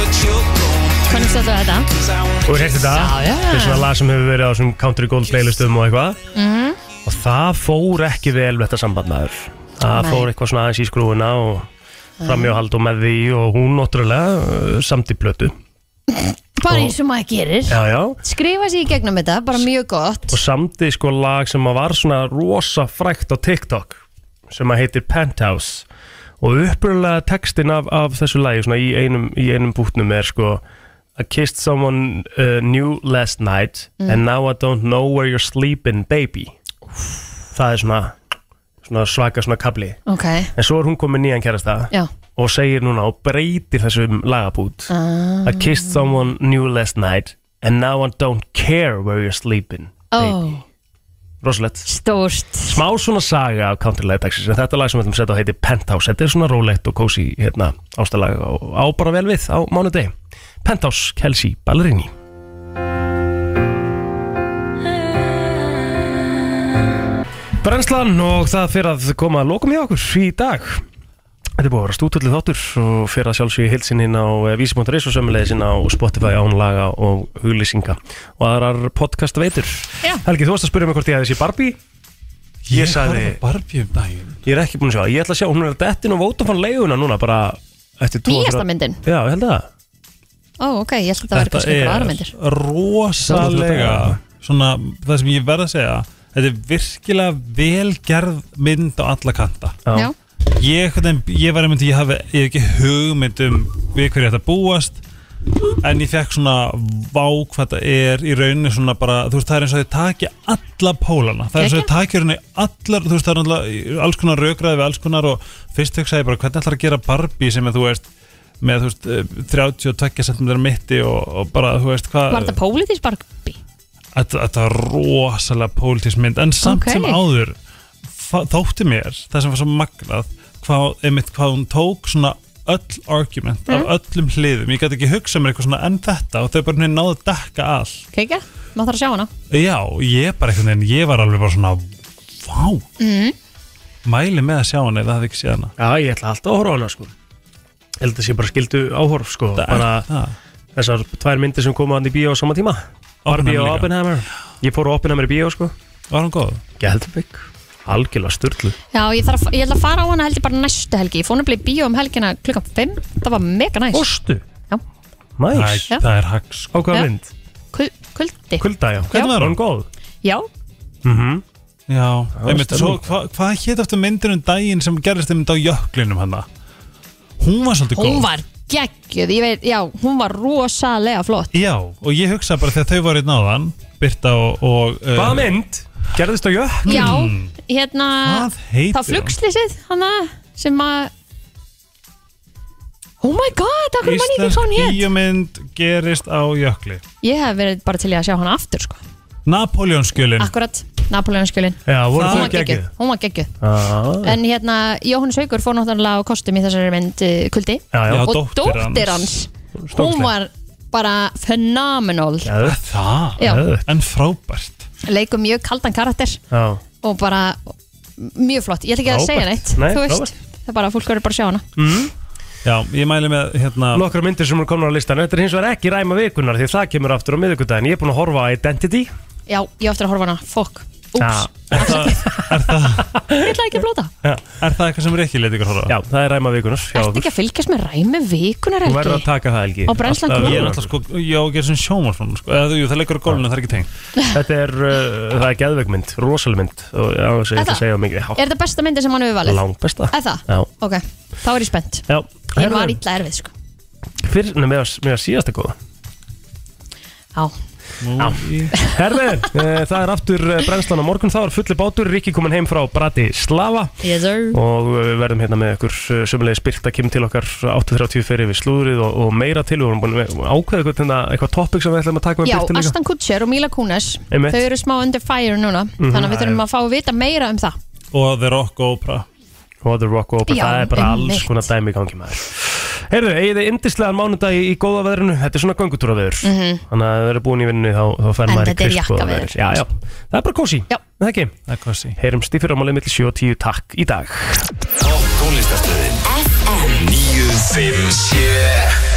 Speaker 2: Hvernig stöðu þetta?
Speaker 1: og við heyrti þetta
Speaker 2: Já, já.
Speaker 1: þetta er svona lag sem hefur verið á svona country gold playlistum og eitthvað
Speaker 2: Mhm.
Speaker 1: og það fór ekki vel við þetta samband maður það
Speaker 2: Nei.
Speaker 1: fór eitthvað svona aðeins í skrúfuna og framjóhald og með því og hún náttúrulega uh, samt í plötu
Speaker 2: Bara
Speaker 1: Og-
Speaker 2: eins og maður gerir
Speaker 1: já já
Speaker 2: Skrifa sér í gegnum þetta, bara mjög gott
Speaker 1: og samdi sko lag sem að var svona rosa frækt á TikTok sem að heitir Penthouse og uppröðlega textin af, af þessu lagi svona í einum, í einum bútnum er sko I kissed someone uh, new last night and now I don't know where you're sleeping baby það er svona, svona svaka svona kabli
Speaker 2: Ok,
Speaker 1: en svo er hún komin nýjan kærasta
Speaker 2: já
Speaker 1: og segir núna og breytir þessum lagabút
Speaker 3: Ah.
Speaker 1: I kissed
Speaker 2: Oh.
Speaker 1: someone new last night and now I don't care where you're sleeping baby
Speaker 2: Ó,
Speaker 1: rosalegt
Speaker 2: Stórt
Speaker 1: Smá svona saga af countrylæði dagsins en þetta lag sem við ætlum að setja á heiti Penthouse Þetta er svona rólegt og kósi hérna, ástalag og á bara vel við á mánudegi Penthouse, Kelsey Ballerini Brennslan og það fyrir að koma að lokum hjá okkur í dag Þetta er búið að vera stútullið þáttur og fyrir að sjálfsögja hilsin inn á vísi.is og sömulegis inn á Spotify ánlaga og huglýsinga og aðrar podcast veitur
Speaker 2: Já.
Speaker 1: Helgi, þú varst að spyrja mig hvort ég hefði sé Barbie Ég,
Speaker 3: Ég
Speaker 1: sagði,
Speaker 3: horfði á Barbie um daginn
Speaker 1: ég er ekki búin að sjá það. Ég ætla að sjá, hún er að dettin og vóta fann leiguna núna bara eftir tvo
Speaker 2: Nýjasta myndin
Speaker 1: Já, ég held að það.
Speaker 2: Ó, ok, ég held að það var kannski einhver aðra myndir
Speaker 3: rosalega svona, það sem ég verð að segja þetta er virkilega velgerð mynd á alla kanta
Speaker 2: Já,
Speaker 3: ég, einhvern veginn- ég var einmitt, ég hef, ég hef ekki hugmynd um við hverju þetta búast en ég fekk svona vák hvað það er í rauninu svona bara þú veist það er eins og þau taki alla pólana það er eins og þau taki rauninni allar þú veist það er náttúrulega alls konar rökraði við alls konar og fyrst hugsaði ég bara hvernig ætlar að gera Barbie sem er þú veist með þú veist eh, 32 cm mitti og, og bara þú veist hvað
Speaker 2: var þetta pólitísk Barbie?
Speaker 3: Þetta þetta var rosalega pólitísk mynd en samt
Speaker 2: Ok.
Speaker 3: sem áður fa- þótti mér það sem var svo magnað hvað, einmitt, hvað hún tók svona öll argument
Speaker 2: Mm.
Speaker 3: af öllum hliðum ég gæti ekki hugsað mér eitthvað svona enn þetta og þau bara henni náðu að dekka all
Speaker 2: Kekja, maður þarf að sjá hana
Speaker 3: já, ég bara einhvern veginn, ég var alveg bara svona vá
Speaker 2: mm.
Speaker 3: mæli með að sjá hana eða það hef ekki séð hana
Speaker 1: Já, ég ætla alltaf að horfa á hana sko Ég held að sé bara skildu áhorf sko
Speaker 3: Það er
Speaker 1: bara
Speaker 3: það.
Speaker 1: þessar tvær myndir sem koma hann í bíó á sama tíma Barbie og
Speaker 3: Oppenheimer líka.
Speaker 1: Oppenheimer Ég fór á Oppenheimer í bíó sko
Speaker 3: var hann góð?
Speaker 1: Gældbygg Algjörlega sturglu
Speaker 2: Já, ég, þarf, að- ég held að fara á hana held ég bara næstu helgi Ég fór nefnilega í bíó um helgina klukkan 5 Það var mega næs
Speaker 1: Óstu
Speaker 2: Já.
Speaker 1: Næs
Speaker 3: það, er- það er hags
Speaker 1: Á hvaða
Speaker 2: Já.
Speaker 1: mynd?
Speaker 2: Kul- Kuldi
Speaker 1: Kulda, já
Speaker 3: Hvernig var
Speaker 1: Var
Speaker 3: hún?
Speaker 1: hún góð?
Speaker 2: Já,
Speaker 1: Mhm
Speaker 3: Já, einmitt, svo,
Speaker 1: stemning.
Speaker 3: hva, hvað hétt eftir myndin um daginn sem gerðist einmitt á jöklinum hana? Hún var svolítið góð
Speaker 2: hún var geggjöð Ég veit, já, hún var rosalega flott
Speaker 3: Já, og ég hugsa bara þegar þau var einn áðan Birta og, og uh,
Speaker 1: Hvaða mynd? Gerðist á jökk?
Speaker 2: Já, hérna
Speaker 3: Hmm. Hvað heitir
Speaker 2: Það flugslýsið, hana sem að Oh my god, akkur mann ég ekki um hvað
Speaker 3: Íslensk
Speaker 2: hún hétt
Speaker 3: bíómynd gerist á jökli
Speaker 2: Ég hef verið bara til í að sjá hana aftur sko.
Speaker 3: Napoleonskjölin
Speaker 2: Akkurat, Napoleonskjölin
Speaker 1: Já, Mm. voru
Speaker 2: Hún
Speaker 3: Það
Speaker 1: það
Speaker 2: var geggjöð,
Speaker 1: geggjuð?
Speaker 2: hún var geggjöð
Speaker 1: Já,
Speaker 2: En hérna, Jóhannes Haugur fór náttúrulega á kostum í þessari mynd eh, kuldi
Speaker 1: já, já
Speaker 3: Já,
Speaker 2: og
Speaker 3: dóttir
Speaker 2: dóttir, hans, hún
Speaker 1: Stórkostleg.
Speaker 2: var bara phenomenal
Speaker 1: Geðveikt.
Speaker 3: Það?
Speaker 2: Já.
Speaker 1: Geðveikt.
Speaker 3: En frábært
Speaker 2: leikur mjög kaldan karakter
Speaker 1: Já
Speaker 2: og bara mjög flott ég ætla ekki að
Speaker 1: Frábært.
Speaker 2: segja neitt,
Speaker 1: Nei,
Speaker 2: þú veist
Speaker 1: frábært. Mm.
Speaker 2: það er bara, fólk verður bara að sjá hana
Speaker 3: Já, ég mæli með hérna
Speaker 1: Nokkra myndir sem eru komin á listan Þetta er hins vegar ekki ræma vikunar Því það kemur aftur á miðvikudaginn Ég er búin að horfa á Identity
Speaker 2: já, ég á eftir að horfa á hana, fokk, úps
Speaker 1: Já.
Speaker 3: Er það, er það,
Speaker 2: ég ætla ekki að blóta,
Speaker 3: er það eitthvað sem er ekki leit ykkur horfa? á?
Speaker 1: Já, það er ræma vikunar Já,
Speaker 2: ertu ekki að fylgjast með ræmi vikunar
Speaker 1: Þú verður að
Speaker 2: helgi,
Speaker 1: taka það, Helgi
Speaker 2: Á brennslan
Speaker 1: Alltaf-
Speaker 2: kúl.
Speaker 3: Ég er náttúrulega sko, já, ég er sem sjómarfram sko. Eða, jú, Það leikur á gólfinu, það er ekki tengt
Speaker 1: Þetta er, uh, það er geðvegmynd, rosalmynd og já, þess að ég ætla að
Speaker 2: Er
Speaker 1: um segja mikið
Speaker 2: er þetta besta myndi sem hann hefur valið?
Speaker 1: Langt besta
Speaker 2: er það?
Speaker 1: Já,
Speaker 2: ok, þá er ég spennt
Speaker 1: já
Speaker 2: ég var
Speaker 1: Herðu,
Speaker 2: illa erfið sko
Speaker 1: Fyrr, nei, með, með að síðasta góða
Speaker 2: já,
Speaker 1: Herðu, <laughs> uh, það er aftur uh, brennslan á morgun Þá er fulli bátur, Rikki komin heim frá Bratislava
Speaker 2: yes sir
Speaker 1: og við verðum hérna með ykkur sömulegis Birta kemur til okkar 8.30 fyrir við slúðrið og, og meira til og við erum búin að ákveða eitthvað, hérna, eitthvað topic sem við ætlum að taka með
Speaker 2: Já,
Speaker 1: Birta líka
Speaker 2: Aston Kutcher og Mila Kunis
Speaker 1: Einmitt.
Speaker 2: Þau eru smá under fire núna Þannig að við þurfum að fá að vita meira um það
Speaker 3: Og The Rock og Oprah
Speaker 1: og The Rock og Opera,
Speaker 2: Já,
Speaker 1: það er bara alls
Speaker 2: einmitt.
Speaker 1: konar dæmi í gangi maður Heyrðu, eigið þið yndislegan mánudag í, í góða veðrinu, þetta er svona göngutúraveður Þannig að það eru búin í vinnu þá, þá fer
Speaker 2: Mhm.
Speaker 1: maður í
Speaker 2: En þetta er
Speaker 1: kristgóða
Speaker 2: jakkaveður.
Speaker 1: veður Já, já, það er bara kósi,
Speaker 2: Já.
Speaker 1: það ekki
Speaker 3: Það er kossi
Speaker 1: Heyrum stífur ámálið millir 7 og 10, takk í dag
Speaker 6: Topp tónlistarstöðin 957